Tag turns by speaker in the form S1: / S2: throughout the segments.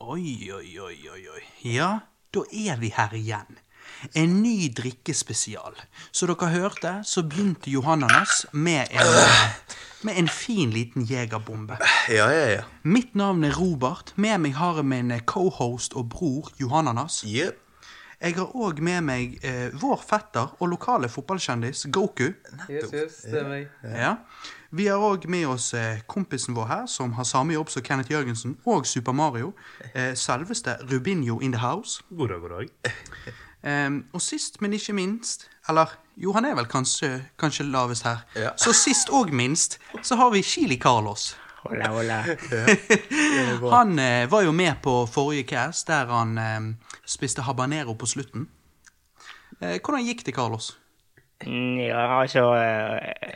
S1: Oi, oi, oi, oi, oi. Ja, da er vi her igjen. En ny drikkespesial. Som dere hørte, så begynte Johannes med en, med en fin liten jegerbombe.
S2: Ja, ja, ja.
S1: Mitt navn er Robert. Med meg har jeg min cohost og bror Johannes.
S2: Jep.
S1: Jeg har òg med meg eh, vår fetter og lokale fotballkjendis Goku.
S3: Yes, yes, det er meg.
S1: Ja. Vi har òg med oss eh, kompisen vår her, som har samme jobb som Kenneth Jørgensen, og Super Mario. Eh, selveste Rubinho in the house.
S4: God dag, god dag.
S1: Eh, og sist, men ikke minst Eller jo, han er vel kanskje, kanskje lavest her.
S2: Ja.
S1: Så sist og minst så har vi Chili Carlos.
S5: Hola, hola.
S1: Han eh, var jo med på forrige cast, der han eh, spiste habanero på slutten. Eh, hvordan gikk det, Carlos?
S5: Mm, Ja, altså eh,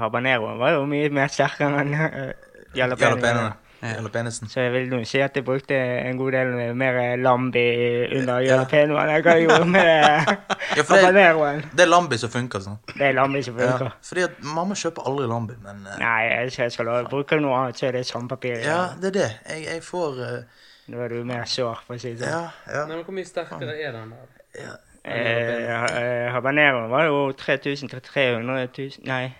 S5: Habaneroen var jo mye mer sterkere enn uh,
S2: Jalapenoene.
S5: jalapeñoen.
S2: Jalapenisen.
S5: Så jeg vil nå si at jeg brukte en god del mer lambi under jalapeñoen enn hva jeg gjorde med
S2: Ja, for det,
S5: habaneroen.
S2: det er Lambi som funker sånn.
S5: Det er lambi som
S2: Ja,
S5: funker.
S2: fordi at mamma kjøper aldri Lambi, men eh,
S5: Nei, altså, jeg skal love. Bruker du noe annet, så er det sandpapir.
S2: Ja, det er det. Jeg, jeg får eh,
S5: Nå er du mer sår, for å si det sånn.
S2: Ja, ja.
S3: Nei, men Hvor mye sterkere er den der?
S5: Eh, ha- eh, habaneroen var jo 3000 til 300 000 Nei, et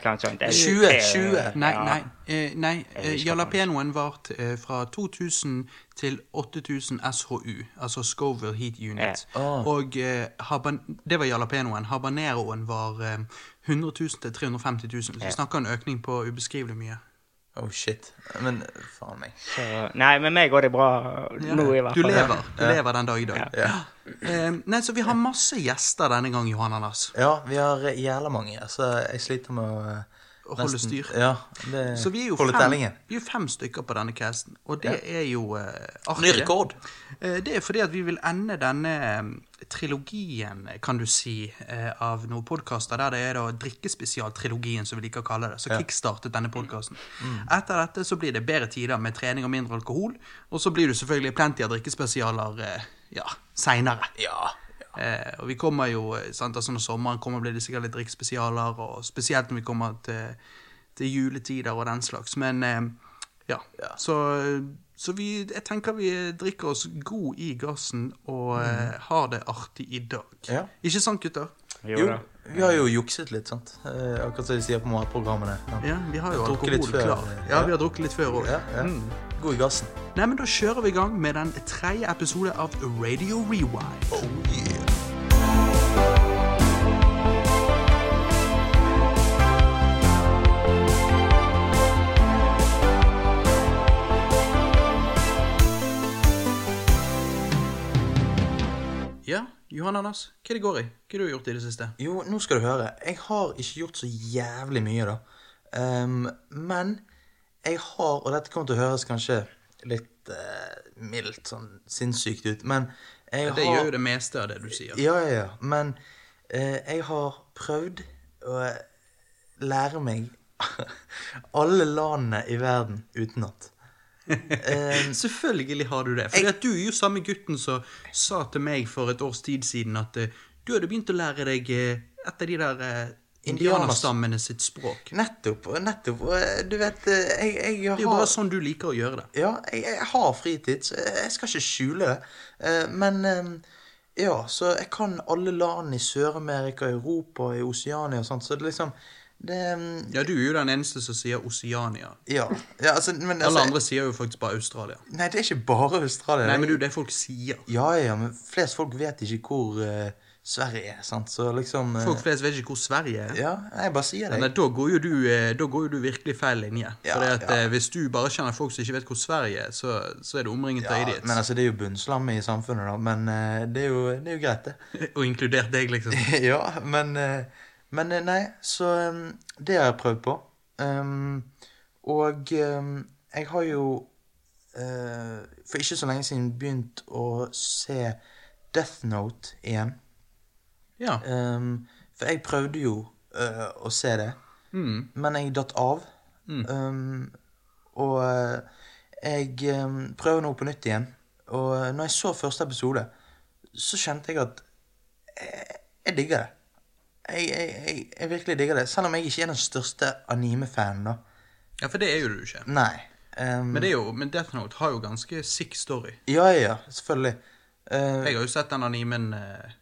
S5: eller annet sånt. Det er
S2: 20,
S5: 300 000,
S1: Nei,
S5: ja.
S1: nei. Eh, nei eh,
S5: husker
S1: Jalapenoen var t- eh, fra 2000 til 8000 SHU, altså Scoville Heat Unit.
S2: Ja. Ah.
S1: Og eh, haban det var jalapeñoen. Habaneroen var eh, 100 000 til 350 000. Så vi snakker en økning på ubeskrivelig mye.
S2: Oh shit. Men faen meg.
S5: Så, nei, med meg går det bra nå, i hvert
S1: Du
S5: fall.
S1: lever, du lever den dag i dag.
S2: Ja.
S1: Eh, nei, så vi har masse gjester denne gang, Johan Anders.
S2: Ja, vi har eh, jævla mange, så jeg sliter med å eh,
S1: Å holde
S2: nesten-
S1: styr.
S2: Ja, det,
S1: Så vi er jo
S2: holde
S1: fem,
S2: tellingen.
S1: vi er fem stykker på denne casten, og det er jo eh,
S2: Ny
S1: artig.
S2: rekord.
S1: Eh, Det er fordi at vi vil ende denne eh, trilogien, kan du si, eh, av noen podkaster der det er da drikkespesialtrilogien, som vi liker å kalle det, som kickstartet denne podkasten. Etter dette så blir det bedre tider med trening og mindre alkohol, og så blir det selvfølgelig plenty av drikkespesialer eh, ja, seinere.
S2: Ja.
S1: Eh, og vi kommer jo, eh, sant, altså Når sommeren kommer, blir det sikkert litt drikkespesialer, og spesielt når vi kommer til, til juletider og den slags. Men eh, ja. Så, så vi, jeg tenker vi drikker oss god i gassen og
S2: Mm.
S1: eh, har det artig i dag.
S2: Ja.
S1: Ikke sant, gutter?
S5: Jo
S2: Jo,
S5: da.
S2: vi har jo jukset litt, sant. Eh, Akkurat som de sier på matprogrammene.
S1: Ja, Vi har jo
S2: Drukket
S1: alkohol
S2: litt før. eh,
S1: klar. Ja, vi har drukket litt før òg.
S2: Ja, ja.
S1: Mm.
S2: God i gassen.
S1: Nei, men Da kjører vi i gang med den tredje episode av Radio Rewind.
S2: Oh yeah.
S1: Ja, Johan Anders, hva er det går i? Hva har du gjort i det siste?
S2: Jo, nå skal du høre. Jeg har ikke gjort så jævlig mye, da. Ehm, men jeg har Og dette kommer til å høres kanskje litt eh, mildt sånn sinnssykt ut, men jeg
S1: Det
S2: har
S1: gjør jo det meste av det du sier.
S2: Ja, ja, ja. Men eh, jeg har prøvd å lære meg alle landene i verden utenat. Ehm,
S1: Selvfølgelig har du det. For du er jo samme gutten som sa til meg for et års tid siden at eh, du hadde begynt å lære deg eh, et av de der eh,
S2: Indianers-
S1: indianerstammene sitt språk.
S2: Nettopp, og nettopp. Og eh, du vet, eh, jeg, jeg har
S1: Det er jo bare sånn du liker å gjøre det.
S2: Ja, jeg, jeg har fritid, så jeg jeg skal ikke skjule det. Eh, Men eh, ja, så jeg kan alle land i Sør-Amerika, Europa, i Oseania og sånt, så det liksom det, eh,
S1: Ja, du er jo den eneste som sier Oceania.
S2: ja, ja, altså, men altså,
S1: Alle andre sier jo faktisk bare Australia.
S2: Nei, det er ikke bare Australia.
S1: Nei, men du, det folk sier.
S2: Ja, ja, men flest folk vet ikke hvor eh, Sverige er, sant, så liksom eh,
S1: Folk flest vet ikke hvor Sverige er.
S2: Ja, jeg bare sier
S1: Nei,
S2: det.
S1: da går jo du, eh, da går jo du virkelig feil linje.
S2: Ja,
S1: Fordi at
S2: ja.
S1: eh, Hvis du bare kjenner folk som ikke vet hvor Sverige er, så, så er du omringet av
S2: Ja,
S1: idiots.
S2: men altså, det er jo bunnslam i samfunnet, da, men eh, det, er jo, det er jo greit, det.
S1: Og inkludert deg, liksom.
S2: ja, men, eh, men eh, nei, så eh, det har jeg prøvd på. Ehm, og eh, jeg har jo eh, for ikke så lenge siden begynt å se Death Note igjen.
S1: Ja.
S2: Ehm, for jeg prøvde jo eh, å se det,
S1: mm.
S2: men jeg datt av. Ehm, og eh, jeg eh, prøver nå på nytt igjen. Og eh, når jeg så første episode, så kjente jeg at jeg, jeg digger det. Jeg, jeg, jeg, jeg virkelig digger det. Selv om jeg ikke er den største anime-fanen, da.
S1: ja, for det er jo du ikke.
S2: Nei. Um,
S1: Men, det er jo, men Death Note har jo ganske sick story.
S2: Ja, ja, ja, selvfølgelig. Eh,
S1: Jeg har jo sett den animen eh,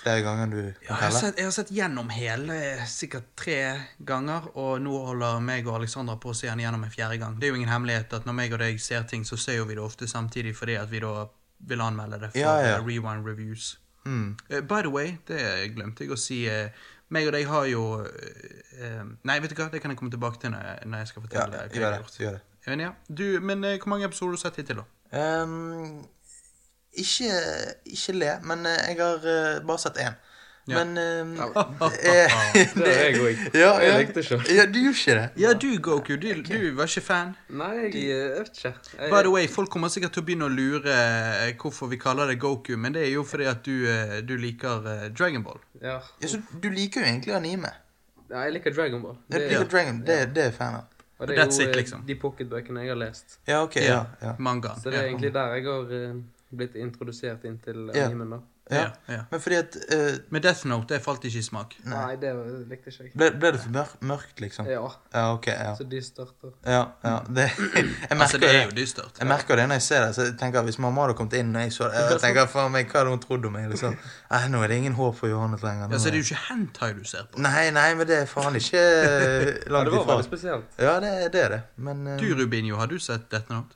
S2: flere ganger du
S1: ja, jeg, har sett, jeg har sett gjennom hele eh, sikkert tre ganger, og nå holder meg og Alexandra på å se den gjennom en fjerde gang. Det er jo ingen hemmelighet at når meg og deg ser ting, så ser jo vi det ofte samtidig fordi at vi da vil anmelde det for
S2: Ja, ja.
S1: eh, rewind reviews.
S2: Mm.
S1: Eh, by the way, det glemte jeg å si. eh, meg og deg har jo eh, eh, Nei, vet du hva, det kan jeg komme tilbake til når jeg, når jeg skal
S2: Ja,
S1: fortelle
S2: ja,
S1: deg hva jeg
S2: gjør
S1: har
S2: det.
S1: gjort.
S2: Gjør det.
S1: Men, ja. du, men eh, hvor mange episoder har du sett hittil, da?
S2: Ehm, ikke, ikke le, men eh, jeg har eh, bare sett én.
S1: Ja.
S2: Men ehm, det er-
S3: Det er jeg òg.
S2: ja, ja.
S3: Jeg likte ikke.
S2: Ja, du gjorde ikke det?
S1: Ja, du, Goku, du, du var ikke fan.
S3: Nei, jeg eh, jeg vet ikke. Jeg,
S1: By the way, Folk kommer sikkert til å begynne å lure eh, hvorfor vi kaller det Goku, men det er jo fordi at du, eh, du liker eh, Dragon Ball.
S3: ja.
S2: Ja, så du liker jo egentlig anime.
S3: Nei, jeg liker Dragon Ball.
S2: Du liker Dragon, det, det er jeg fan av.
S3: og det er
S1: That's
S3: jo
S1: it,
S3: eh,
S1: liksom.
S3: de pocketbøkene jeg har lest.
S2: Ja, ok, ja. ja.
S1: Mangaen.
S3: Så det er egentlig der jeg har eh, blitt introdusert inn til eh,
S2: Ja.
S3: animen, da.
S1: ja.
S2: ja.
S1: Ja, ja.
S2: Men fordi at eh,
S1: Men Death Note det falt ikke i smak.
S3: Nei, det var- likte ikke jeg.
S2: ble, ble det for mør mørkt, liksom?
S3: Ja,
S2: Ja, ok, ja.
S3: så de starter.
S2: ja, ja. Det, jeg
S1: Altså,
S2: merker
S1: det er
S2: det.
S1: jo dystert.
S2: Jeg merker det når jeg ser det. så jeg tenker at Hvis mamma hadde kommet inn og jeg så det, jeg tenker faen meg, hva hadde hun trodd om meg? Liksom. Nei, nå er det ingen håp for Johannes lenger. nå
S1: Altså,
S2: er-
S1: det er jo ikke hentai du ser på.
S2: Nei, nei, men det er faen ikke eh,
S3: Ja,
S2: langt
S3: det
S2: ifra.
S3: var veldig spesielt.
S2: Ja, det, er- det er det. Men eh,
S1: Du, Rubinho, har du sett Death Note?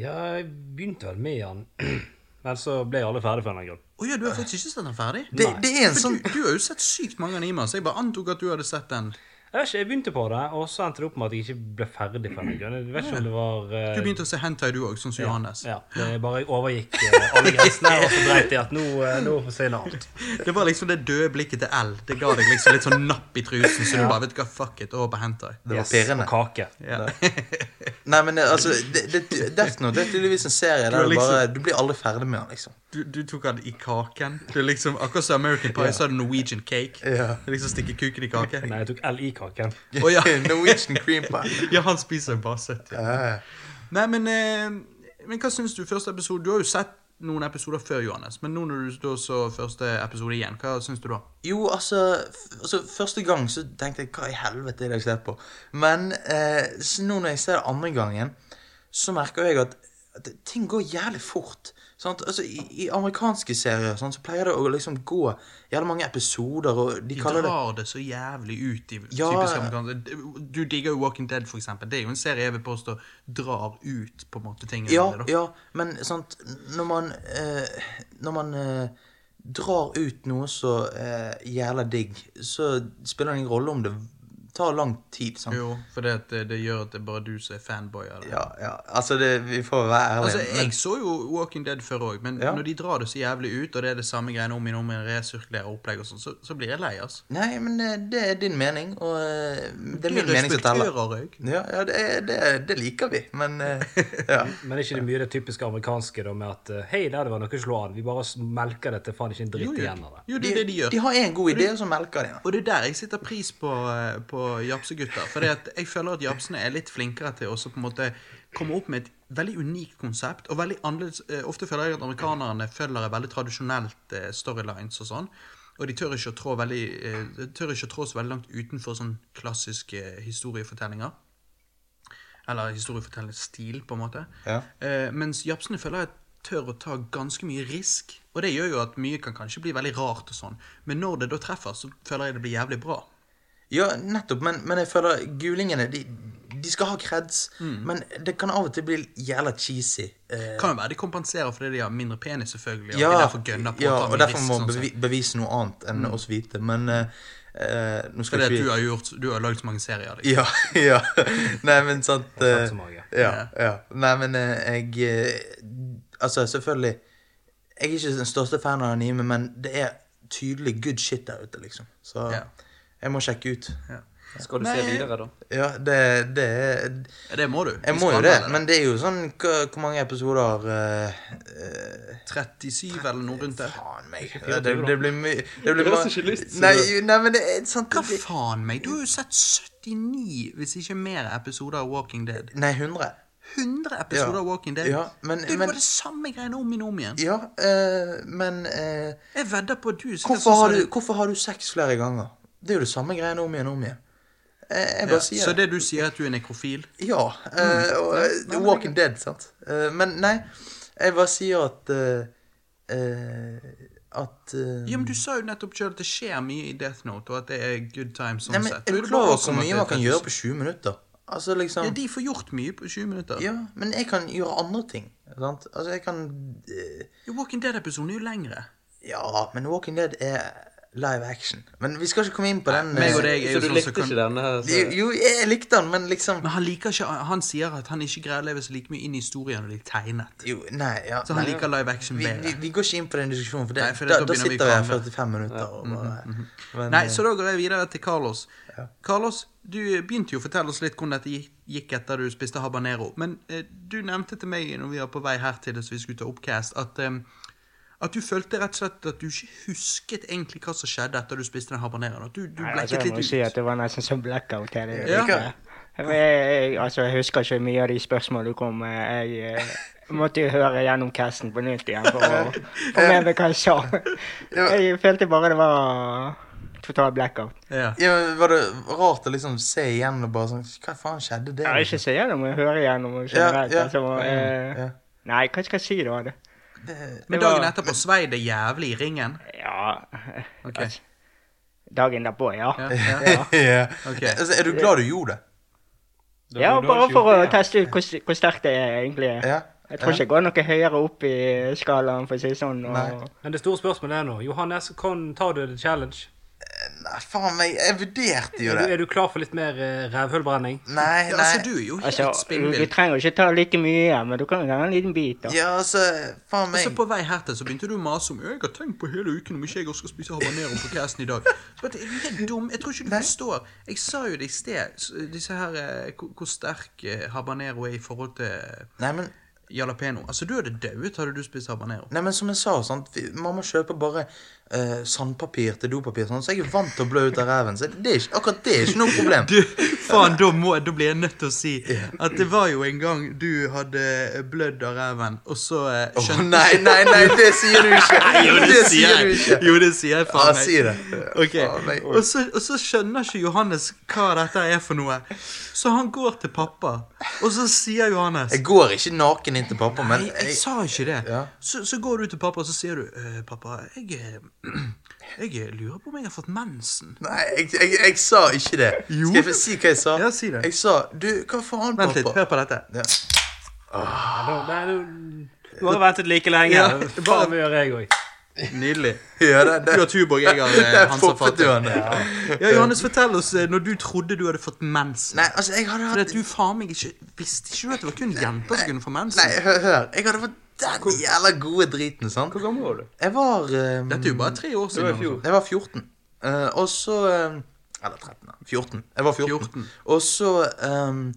S6: Ja, jeg begynte vel med han, men så ble jeg aldri ferdig for en grunn.
S1: Å ja, du har faktisk ikke sett den ferdig?
S2: det, det er en
S1: For
S2: sånn
S1: du, du har jo sett sykt mange animer, så jeg bare antok at du hadde sett den.
S6: Jeg vet ikke, jeg begynte på det, og så endte det opp med at jeg ikke ble ferdig for en grunn. Jeg vet ikke om det var eh,
S1: Du begynte å se hentai, du òg, sånn som Johannes.
S6: Ja, det er bare jeg overgikk eh, alle grensene, og så dreit jeg at nå, eh, nå forsvinner alt.
S1: Det var liksom det døde blikket til L. Det ga deg liksom litt sånn napp i trusen, så du bare vet du hva, fuck it, over på hentai.
S2: Det var pirrende.
S6: Og kake.
S1: Ja.
S2: Nei, men det, altså, det, det, Death Note det er tydeligvis en serie
S1: har
S2: der du
S1: liksom-
S2: bare Du blir aldri ferdig med den, liksom.
S1: Du, du tok den i kaken. Du er liksom, akkurat som American Pie, så er det Norwegian cake.
S2: Ja.
S1: Du Liksom stikke kuken i kaken.
S6: Nei, jeg tok L i kaken.
S1: Å ja.
S2: Norwegian cream pie.
S1: ja, han spiser en basset. Ja.
S2: Ja, ja.
S1: Nei, men, eh, men hva syns du første episode? Du har jo sett noen episoder før, Johannes. Men nå når du da så første episode igjen, hva syns du da?
S2: Jo, altså, f- altså Første gang så tenkte jeg Hva i helvete er det jeg ser på? Men eh, så nå når jeg ser det andre gangen, så merker jeg at, at ting går jævlig fort. Sant? Altså, i, I amerikanske serier sånn, så pleier det å liksom gå jævlig mange episoder, og de
S1: De
S2: kaller det
S1: drar det så jævlig ut i
S2: Ja.
S1: typiske amerikanske Du digger jo Walking Dead, for eksempel. Det er jo en serie jeg vil påstå drar ut på en måte tingene.
S2: Ja,
S1: da.
S2: ja, men sant Når man, eh, når man eh, drar ut noe så eh, jævla digg, så spiller det ingen rolle om det tar lang tid. Sant?
S1: Jo, for det, at eh, det, det gjør at det er bare du som er fanboy av det.
S2: Ja, ja, altså det, Vi får være ærlige.
S1: Altså,
S2: men-
S1: Jeg så jo Walking Dead før òg, men
S2: Ja.
S1: når de drar det så jævlig ut, og det er det samme greiene om igjen og om igjen, resirkulerer opplegg og sånn, så, så blir jeg lei, altså.
S2: Nei, men eh, det er din mening, og eh, det er min
S1: Jeg
S2: mening som teller.
S1: respekterer jeg.
S2: Ja, ja det, er- det, er- det liker vi, men eh, ja.
S6: Men er ikke det mye det typiske amerikanske da, med at eh, hei, der det var noe å slå an. Vi bare melker det til faen ikke en
S1: Jo,
S6: dritt
S1: jo.
S6: igjen av det.
S1: jo, det er det de gjør.
S2: De har en god idé, og så melker de den.
S1: Og det er der jeg setter pris på, eh, på japsegutter. For jeg føler at japsene er litt flinkere til å også på en måte komme opp med et veldig unikt konsept. Og veldig annerledes eh, Ofte føler jeg at amerikanerne følger et veldig tradisjonelt eh, storylines og sånn. Og de tør ikke å trå, veldig, eh, de tør ikke å trå så veldig langt utenfor sånn klassiske eh, historiefortellinger. Eller historiefortellerstil, på en måte.
S2: Ja.
S1: Eh, mens japsene føler jeg tør å ta ganske mye risk. Og det gjør jo at mye kan kanskje bli veldig rart og sånn. Men når det da treffer, så føler jeg det blir jævlig bra.
S2: Ja, nettopp, men, men jeg føler gulingene de, de skal ha kreds, men det kan av og til bli jævla cheesy. eh,
S1: Kan jo være de kompenserer fordi de har mindre penis, selvfølgelig. Og
S2: ja,
S1: de derfor gønner på
S2: ja,
S1: å ta
S2: og
S1: mye
S2: derfor
S1: risk.
S2: må
S1: Sånn,
S2: bevi,
S1: sett.
S2: bevise noe annet enn oss hvite, men eh, eh, nå skal
S1: fordi at
S2: ikke vi
S1: du har, gjort, du har lagd så mange serier. Liksom.
S2: Ja, ja. Nei, men sant
S6: tatt så
S2: eh,
S6: mange.
S2: Ja, ja. Nei, men eh, jeg eh, Altså, selvfølgelig Jeg er ikke den største fan av anime, men det er tydelig good shit der ute, liksom. Så
S1: Ja.
S2: jeg må sjekke ut.
S3: Skal du
S1: Nei.
S3: se videre, da?
S2: Ja, det, det er
S1: Ja, Det må du.
S2: Jeg
S1: Vi
S2: må jo
S1: skal
S2: det,
S1: anmelde
S2: men det er jo sånn Hvor, hvor mange episoder eh, eh,
S1: 37 eller noe rundt der.
S2: Faen meg. Det, det, det blir mye Det blir
S3: Det høres
S2: ma-
S3: ikke lyst til
S2: Nei,
S3: det.
S2: jo, nei, men det er sånn, sant
S1: Hva
S2: det,
S1: faen meg? Du har jo sett 79, hvis ikke mer, episoder av Walking Dead.
S2: Nei, 100.
S1: 100 episoder
S2: Ja.
S1: av Walking Dead.
S2: Ja, men-
S1: det er jo
S2: men-
S1: bare det samme greiene om igjen og om igjen.
S2: Ja, eh, men eh,
S1: Jeg vedder på at du er sikkert sånn
S2: Hvorfor
S1: som
S2: har,
S1: sa
S2: du,
S1: det.
S2: hvorfor har du sex flere ganger? Det Mm. er jo det samme greiene om igjen og om igjen. Eh, Jeg
S1: Ja.
S2: bare sier
S1: Så Mm. det du sier, at du er nekrofil?
S2: Ja. eh, og, eh, The Walking Dead, sant. Eh, men nei, jeg bare sier at eh, eh, At eh,
S1: Ja, men Du sa jo nettopp sjøl at det skjer mye i Death Note, og at det er good time sånn
S2: Nei, men
S1: sett.
S2: Er du
S1: Og det
S2: klar
S1: bare
S2: over hvor
S1: kommer
S2: mye
S1: til
S2: man kan
S1: et-
S2: gjøre på 20 minutter? Altså liksom
S1: Ja, De får gjort mye på 20 minutter.
S2: Ja, men jeg kan gjøre andre ting. Sant? Altså, jeg kan eh,
S1: Jo, Walking Dead-episoden er jo lengre.
S2: Ja, men Walking Dead er live action. Men vi skal ikke komme inn på den.
S1: meg og
S2: eh,
S1: deg er jo sånn
S3: Så du
S1: som
S3: likte
S1: kan
S3: ikke denne her?
S2: jo,
S3: Så...
S2: jo, jeg likte den, men liksom
S1: Men han liker ikke Han sier at han ikke greier å leve seg like mye inn i historien når de er tegnet.
S2: Jo, nei, ja.
S1: Så han
S2: nei,
S1: liker live action
S2: vi, vi,
S1: bedre.
S2: vi går ikke inn på den diskusjonen, for, det,
S1: Nei, for
S2: da,
S1: da
S2: da
S1: begynner vi
S2: sitter vi her
S1: krangle.
S2: 45 minutter og bare men,
S1: Mhm, Nei,
S2: eh,
S1: så da går jeg videre til Carlos. Carlos, du begynte jo å fortelle oss litt hvordan dette gikk- gikk etter du spiste habanero. Men eh, du nevnte til meg når vi var på vei her til det, så vi skulle ta oppcast, at, eh, at du følte rett og slett at du ikke husket egentlig hva som skjedde etter du spiste den habaneroen. At du, du
S5: Nei, altså,
S1: blekket
S5: jeg må
S1: litt ut.
S5: si at det var nesten som blackout her. Jeg,
S1: Ja.
S5: jeg, jeg, altså, jeg husker ikke mye av de spørsmålene du kom med. Jeg eh, måtte jo høre gjennom casten på nytt igjen for å få med meg hva jeg sa. Jeg følte bare det var total blackout.
S1: Ja.
S2: ja, men Var det rart å liksom se igjen og bare sånn Hva faen skjedde det?
S5: Jeg har ikke se gjennom, jeg hører gjennom og generelt.
S2: ja.
S5: Altså, eh,
S2: Ja.
S5: Nei, hva skal jeg si da? Det?
S1: Men
S5: det var-
S1: dagen etterpå svei det jævlig i ringen.
S5: Ja
S1: Ok.
S5: altså, Dagen derpå, ja.
S1: Ja, ja.
S2: ja.
S1: Ok.
S2: altså, er du glad du gjorde det?
S3: Da-
S5: Ja,
S3: da
S5: bare
S3: har du
S5: for å
S3: gjort det, ja.
S5: teste ut hvor, hvor sterkt det er, egentlig.
S2: Ja.
S5: Jeg tror ikke jeg går noe høyere opp i skalaen, for å si det sånn. Og,
S2: Nei.
S6: Men det store spørsmålet er nå Johannes, kan, tar du The Challenge?
S2: Nei, faen meg, jeg vurderte jo
S6: Er du,
S2: det.
S6: er du klar for litt mer eh, rævhullbrenning?
S2: Nei,
S1: Ja,
S2: nei.
S1: altså, du er jo helt
S5: altså, du, du
S1: spinnvill.
S5: trenger jo ikke ta like mye, men du kan jo ta en liten bit. da.
S2: Ja, altså, faen
S1: Og så
S2: meg.
S1: på vei her til så begynte du å mase om «Ja, Jeg har tenkt på hele uken om ikke jeg også skal spise habanero på casten i dag. Så bare, er du helt dum? Jeg tror ikke du forstår. Jeg sa jo det i sted, s- disse her, eh, hvor hvor sterk eh, habanero er i forhold til
S2: Nei, men
S1: jalapeño. Altså, du hadde dauet hadde du spist habanero.
S2: Nei, men som jeg sa, sant? vi- mamma kjøper bare eh, sandpapir til dopapir, sånn, så jeg er vant til å blø ut av ræven. Så det er ikke, akkurat det er ikke noe problem.
S1: Du, faen, da, må, da blir jeg nødt til å si at det var jo en gang du hadde eh, blødd av ræven, og så eh,
S2: Åh,
S1: skjønte
S2: nei, nei, nei, det sier du ikke!
S1: Jo, det, sier
S2: du
S1: jeg.
S2: ikke.
S1: Jo, det sier jeg faen
S2: Ja,
S1: meg.
S2: si det.
S1: Ok,
S2: Faen meg.
S1: og så, og så skjønner ikke Johannes hva dette er for noe. Så han går til pappa, og så sier Johannes
S2: Jeg går ikke naken inn til pappa, men
S1: Nei, jeg sa ikke det.
S2: Ja.
S1: Så, så går du til pappa, og så sier du «Eh, Pappa, jeg, eh, jeg lurer på om jeg har fått mensen.
S2: Nei, jeg, jeg, jeg sa ikke det.
S1: Jo.
S2: Skal jeg få si hva jeg sa?
S1: Ja, si det.
S2: Jeg sa Du, hva faen,
S1: Vent litt,
S2: pappa?
S1: hør på dette.
S6: Ja, da- Nei, du, du har ventet like lenge.
S1: Ja, bare-
S6: Faen, det gjør jeg òg.
S1: Nydelig.
S2: Ja, det,
S1: Du
S2: det,
S1: har Tuborg, jeg har eh,
S2: der
S1: Hansa
S2: poppet du
S1: Fatih.
S2: han. Nei,
S1: Ja, Johannes, fortell oss eh, når du trodde du hadde fått mensen.
S2: altså, jeg hadde
S1: Fordi at
S2: hatt
S1: du faen meg ikke visste ikke du at det var kun jenter som kunne få mensen.
S2: Nei, hør, hør. Jeg hadde fått den jævla gode driten, sant?
S3: Hvor gammel var du?
S2: Jeg var eh,
S1: Dette er jo bare tre år
S3: Det var i
S1: siden.
S3: fjor.
S2: Jeg var 14. eh, og så eh, Eller 13. da. 14. Jeg var 14.
S1: 14.
S2: Og så eh,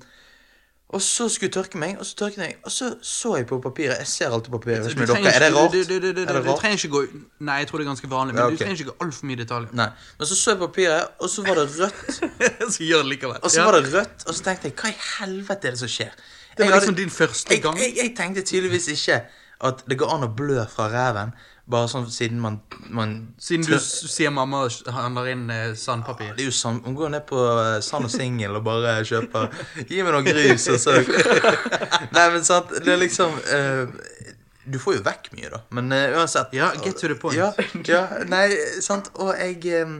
S2: Og så skulle jeg tørke meg, og så tørket jeg, og så så jeg på papiret. Jeg ser alltid på papiret. Jeg vet ikke om det er dere. Er det rart?
S1: Du, du, du, du,
S2: Er det
S1: du
S2: rart?
S1: trenger ikke gå Nei, jeg tror det er ganske vanlig, men
S2: Ja, ok.
S1: du trenger ikke gå altfor mye detaljer.
S2: Nei. Men så så jeg på papiret, og så var det rødt.
S1: så gjør det likevel.
S2: Og så var det rødt, og så tenkte jeg hva i helvete er det som skjer?
S1: det
S2: Jeg
S1: var
S2: hadde-
S1: liksom din første
S2: jeg,
S1: gang.
S2: jeg, jeg tenkte tydeligvis ikke at det går an å blø fra ræven, bare sånn siden man, man
S1: Siden du
S2: tør-
S1: s- sier mamma handler inn eh, sandpapir.
S2: Det er jo sånn, Hun går ned på eh, Sand og Singel og bare kjøper Gi meg noe grus, og så Nei, men sant, det er liksom eh, Du får jo vekk mye, da, men eh, uansett.
S1: Ja, get to the point.
S2: Ja, ja, nei, sant, og jeg eh,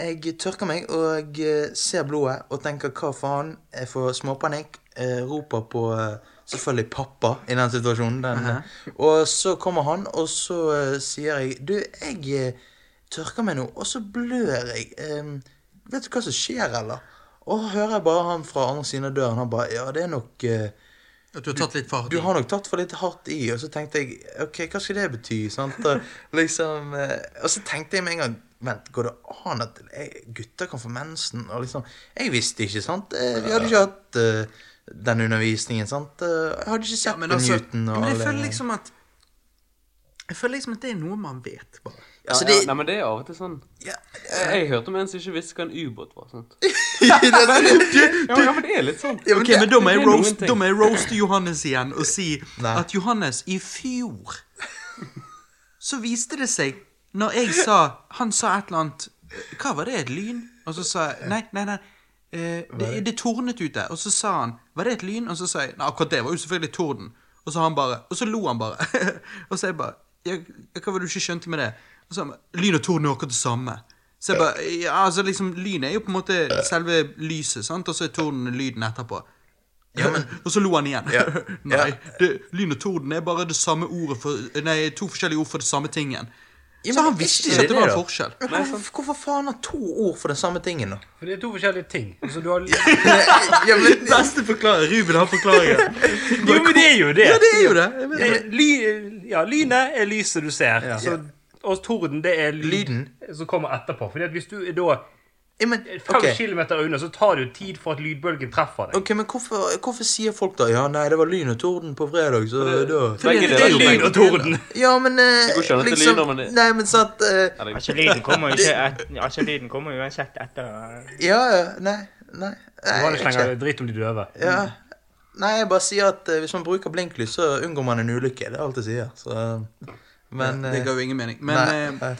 S2: jeg tørker meg og eh, ser blodet og tenker hva faen. Jeg får småpanikk. eh, Roper på eh, selvfølgelig pappa i den situasjonen. Den, eh, Og så kommer han, og så eh, sier jeg Du, jeg eh, tørker meg nå, og så blør jeg. Em, vet du hva som skjer, eller? Og hører jeg bare han fra andre siden av døren. Han bare Ja, det er nok eh,
S1: At du har tatt litt fart.
S2: du
S1: i.
S2: har nok tatt for litt hardt i, og så tenkte jeg OK, hva skal det bety? Sant? Og, liksom, eh, og så tenkte jeg med en gang Vent, går det an at jeg, gutter kan få mensen? Og liksom, jeg visste ikke, sant? Eh, Vi hadde ikke hatt eh, den undervisningen, sant? Eh, Jeg hadde ikke sett
S1: Ja, men
S2: på
S1: altså,
S2: Newton og
S1: men jeg
S2: alle-
S1: føler liksom at Jeg føler liksom at det er noe man vet, bare.
S3: Ja,
S2: Altså,
S3: ja.
S2: det-
S3: Nei, men det er av og til sånn.
S2: ja,
S3: Jeg, jeg hørte om en som ikke visste hva en ubåt var. sant? Ja, men- ja, men det er litt sånn.
S2: ja, men
S1: Ok,
S2: det-
S1: men da må
S3: det
S1: jeg
S3: er noen
S1: roast-
S3: ting.
S1: da må jeg roaste Johannes igjen og si
S2: Nei.
S1: at Johannes, i fjor så viste det seg Når jeg sa Han sa et eller annet Hva var det? Et lyn? Og så sa jeg Nei, nei, nei. eh, det, det tornet ute, og så sa han Var det et lyn? Og så sa jeg Nei, akkurat det var jo selvfølgelig torden. Og så han bare Og så lo han bare. og så jeg bare jeg, Hva var det du ikke skjønte med det? Og så han bare Lyn og torden er jo akkurat det samme. Så jeg bare Ja, altså liksom Lyn er jo på en måte selve lyset, sant? Og så er torden lyden etterpå. og så lo han igjen. nei, det, lyn og torden er bare det samme ordet for Nei, to forskjellige ord for det samme tingen.
S2: Ja,
S1: Så
S2: men
S1: han visste
S2: ikke
S1: ikke at det var
S2: da.
S1: en forskjell.
S2: Men Hvorfor, hvorfor faen har to ord for den samme tingen, da?
S6: For det er to forskjellige ting. Så du har
S2: Ja, men,
S1: Beste forklarer. Ruben har forklaringer.
S6: Jo, men det er jo det.
S1: Ja, det er jo det. Jeg mener-
S6: Eh, Ly, ja, lynet er lyset du ser. Så, og torden, det er lyd,
S2: Lyden.
S6: som kommer etterpå. Fordi at hvis du er da
S2: ja, men,
S6: fem
S2: ok.
S6: kilometer unna, så tar det jo tid for at lydbølgen treffer deg.
S2: Ok, men hvorfor, hvorfor sier folk da Ja, nei, det var lyn og torden på fredag, så da
S1: Fordi
S3: Begge
S1: det
S3: deler
S1: er jo
S3: lyd
S1: begge
S6: og
S1: deler.
S6: torden.
S2: Ja, men eh,
S3: går ikke an at det
S2: liksom,
S3: lyder, men det-
S2: Nei, men sant eh,
S3: Eller-
S5: Altså, lyden kommer jo ikke et, altså, lyden kommer jo uansett etter
S2: Ja, ja, nei, nei Nei,
S6: Du har det
S2: jeg vet
S6: slenger
S2: ikke.
S6: dritt om de døve.
S2: ja. nei jeg bare sier at eh, hvis man bruker blinklys, så unngår man en ulykke. Det er alt jeg sier. Så, eh, men
S1: Det ga
S2: eh,
S1: jo ingen mening. Men
S2: nei,
S1: eh,
S2: nei.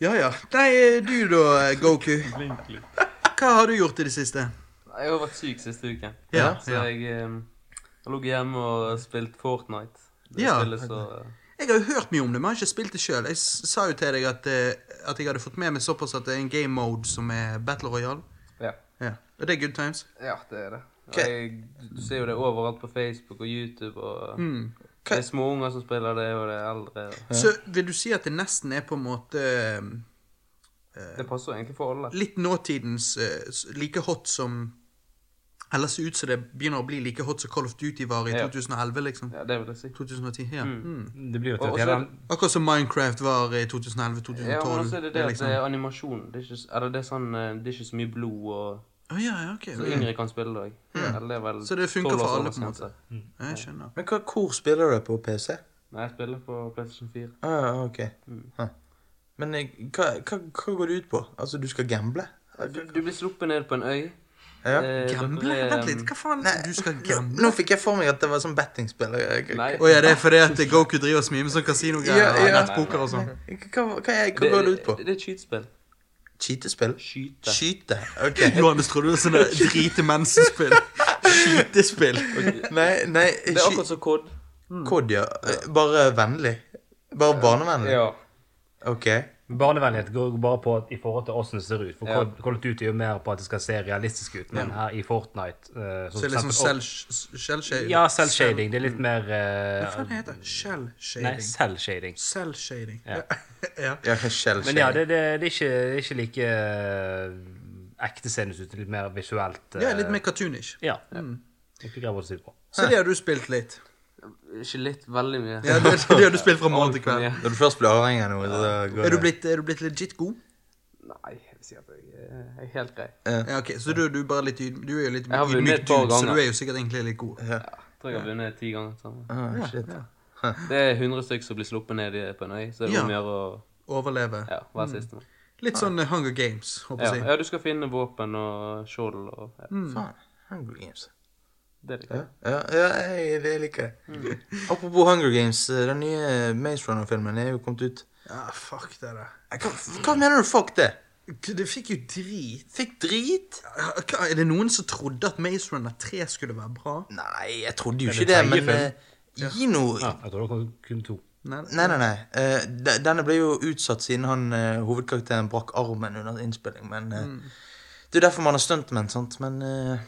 S1: ja, ja. Nei, eh, du da, Goku. Hva har du gjort i det siste?
S3: Nei, Jeg har vært syk siste uke.
S1: Ja,
S3: Så
S1: ja.
S3: jeg eh, har ligget hjemme og spilt Fortnite. Det
S1: Ja.
S3: spillet så eh,
S1: Jeg har jo hørt mye om det, men jeg har ikke spilt det sjøl. Jeg s- sa jo til deg at, eh, at jeg hadde fått med meg såpass at det er en game mode som er Battle Royale.
S3: Ja.
S1: Ja. Og det er good times.
S3: Ja, det er det. Og
S2: Hva-
S3: Jeg, du ser jo det overalt på Facebook og YouTube. og
S1: Mm.
S3: Det er små unger som spiller det, og det er eldre. Og...
S1: Så vil du si at det nesten er på en måte eh,
S3: Det passer jo egentlig for alle.
S1: litt nåtidens eh, s- like hot som Eller ser ut som det begynner å bli like hot som Call of Duty var i
S3: Ja.
S1: 2011, liksom.
S3: Ja, det vil jeg si.
S1: 2010, ja. Mm.
S6: Det blir jo
S3: Og
S6: til
S3: også er
S6: at
S3: det,
S1: Akkurat som Minecraft var i 2011-2012.
S3: ja, men også er det det at
S1: liksom-
S3: det er animasjon. Det er ikke, s- eller det er sånn, eh, det er ikke så mye blod, og
S1: Å, ja, ja, ok.
S3: så yngre kan spille det òg.
S1: Mm. Så det funker for alle, på en måte. Ja, Jeg skjønner.
S2: men hva kor spiller du på PC?
S3: Nei, jeg spiller på PlayStation 4.
S2: Ah, ok. Huh. Men eh, hva, hva, hva går det ut på? Altså, du skal gamble?
S1: Eh,
S3: Du, du blir sluppet ned på en øy.
S2: Ja.
S3: Eh, dere
S1: Gamble?
S3: er,
S1: Vent litt, hva faen?
S2: Nei,
S1: Du skal
S2: Nå,
S1: gamble?
S2: nå fikk jeg for meg at det var sånn bettingspill. Jeg- jeg-
S3: eh, Nei.
S1: Å ja, det er fordi at Goku driver og smier med sånn
S2: Ja,
S1: kasinogreier og
S2: ja.
S1: nettpoker og sånn.
S2: Hva, hva, er- hva går det ut på?
S3: Det er et skytespill.
S2: Cheatespill?
S3: Skyte.
S2: Skyte? Ok.
S1: Johannes trodde det var sånne drite mensenspill. Skytespill.
S2: Nei, nei
S3: Det er akkurat som Cod.
S2: Kod, ja. Bare vennlig. Bare barnevennlig?
S3: Ja.
S2: Ok.
S6: Barnevennlighet går bare på at, i forhold til åssen det ser ut. For
S3: Ja.
S6: Call- Call of Duty er jo mer på at det skal se realistisk ut, men her i Fortnite eh,
S1: Så det er liksom
S6: selv,
S1: selvshading.
S6: Ja, selvshading. Det er litt mer eh,
S1: Hva faen heter det?
S6: Nei,
S1: Shell-shading.
S6: selvshading.
S1: Selvshading.
S6: Ja.
S1: Ja.
S2: Jeg har skjell
S6: Men ja, det, det, det, er, ikke, det er ikke like eh, ekte senest ut. Litt mer visuelt. eh,
S1: Ja, litt mer cartoonish.
S6: Ja. Ikke greier å si det på.
S1: Så det har du spilt litt.
S3: Ikke litt, veldig mye.
S1: Ja, det, det har du spilt fra morgen til
S3: Altfor
S1: kveld.
S3: mye.
S2: Når du først blir avhengig av noe, så går
S1: Er du
S2: det.
S1: blitt, er du blitt legit god?
S3: Nei, jeg vil si at jeg eh, jeg er helt grei.
S1: Ja, ok, Så du, du, er bare litt, yd- du er jo litt
S3: Jeg har vunnet
S1: ydmyk
S3: et par
S1: dude, så
S3: ganger.
S1: du er jo sikkert egentlig litt god.
S3: Jeg tror jeg har vunnet ti ganger til sammen.
S2: Ah, shit.
S3: Det er 100 stykker som blir sluppet ned i- på en øy, så det
S1: Ja. Mm.
S3: er om å gjøre å
S1: Overleve.
S3: ja, være sistemann.
S1: Litt sånn eh, Hunger Games, håper
S3: Ja,
S1: jeg. å si.
S3: ja, du skal finne våpen og skjold og ja,
S1: Mm.
S2: Faen. Hunger Games.
S3: Det er det.
S2: Ja, ja, ja jeg, jeg liker det. Apropos Hunger Games, eh, den nye Maze Runner-filmen er jo kommet ut.
S1: Ja, fuck det der.
S2: Hva, hva mener du, fuck det?
S1: K- Det fikk jo drit.
S2: Fikk drit?
S1: Ja, hva- Er det noen som trodde at Maze Runner 3 skulle være bra?
S2: Nei, jeg trodde jo
S6: Er
S2: ikke
S6: det
S2: det,
S6: tredje
S2: men
S6: film?
S2: eh, gi noe
S6: Ja, jeg tror det var kun to.
S1: Nei,
S2: Nei, nei, nei. Eh, de- denne ble jo utsatt siden han eh, hovedkarakteren brakk armen under innspilling, men eh,
S1: Mm.
S2: Det er jo derfor man har stuntmenn, sant, men eh,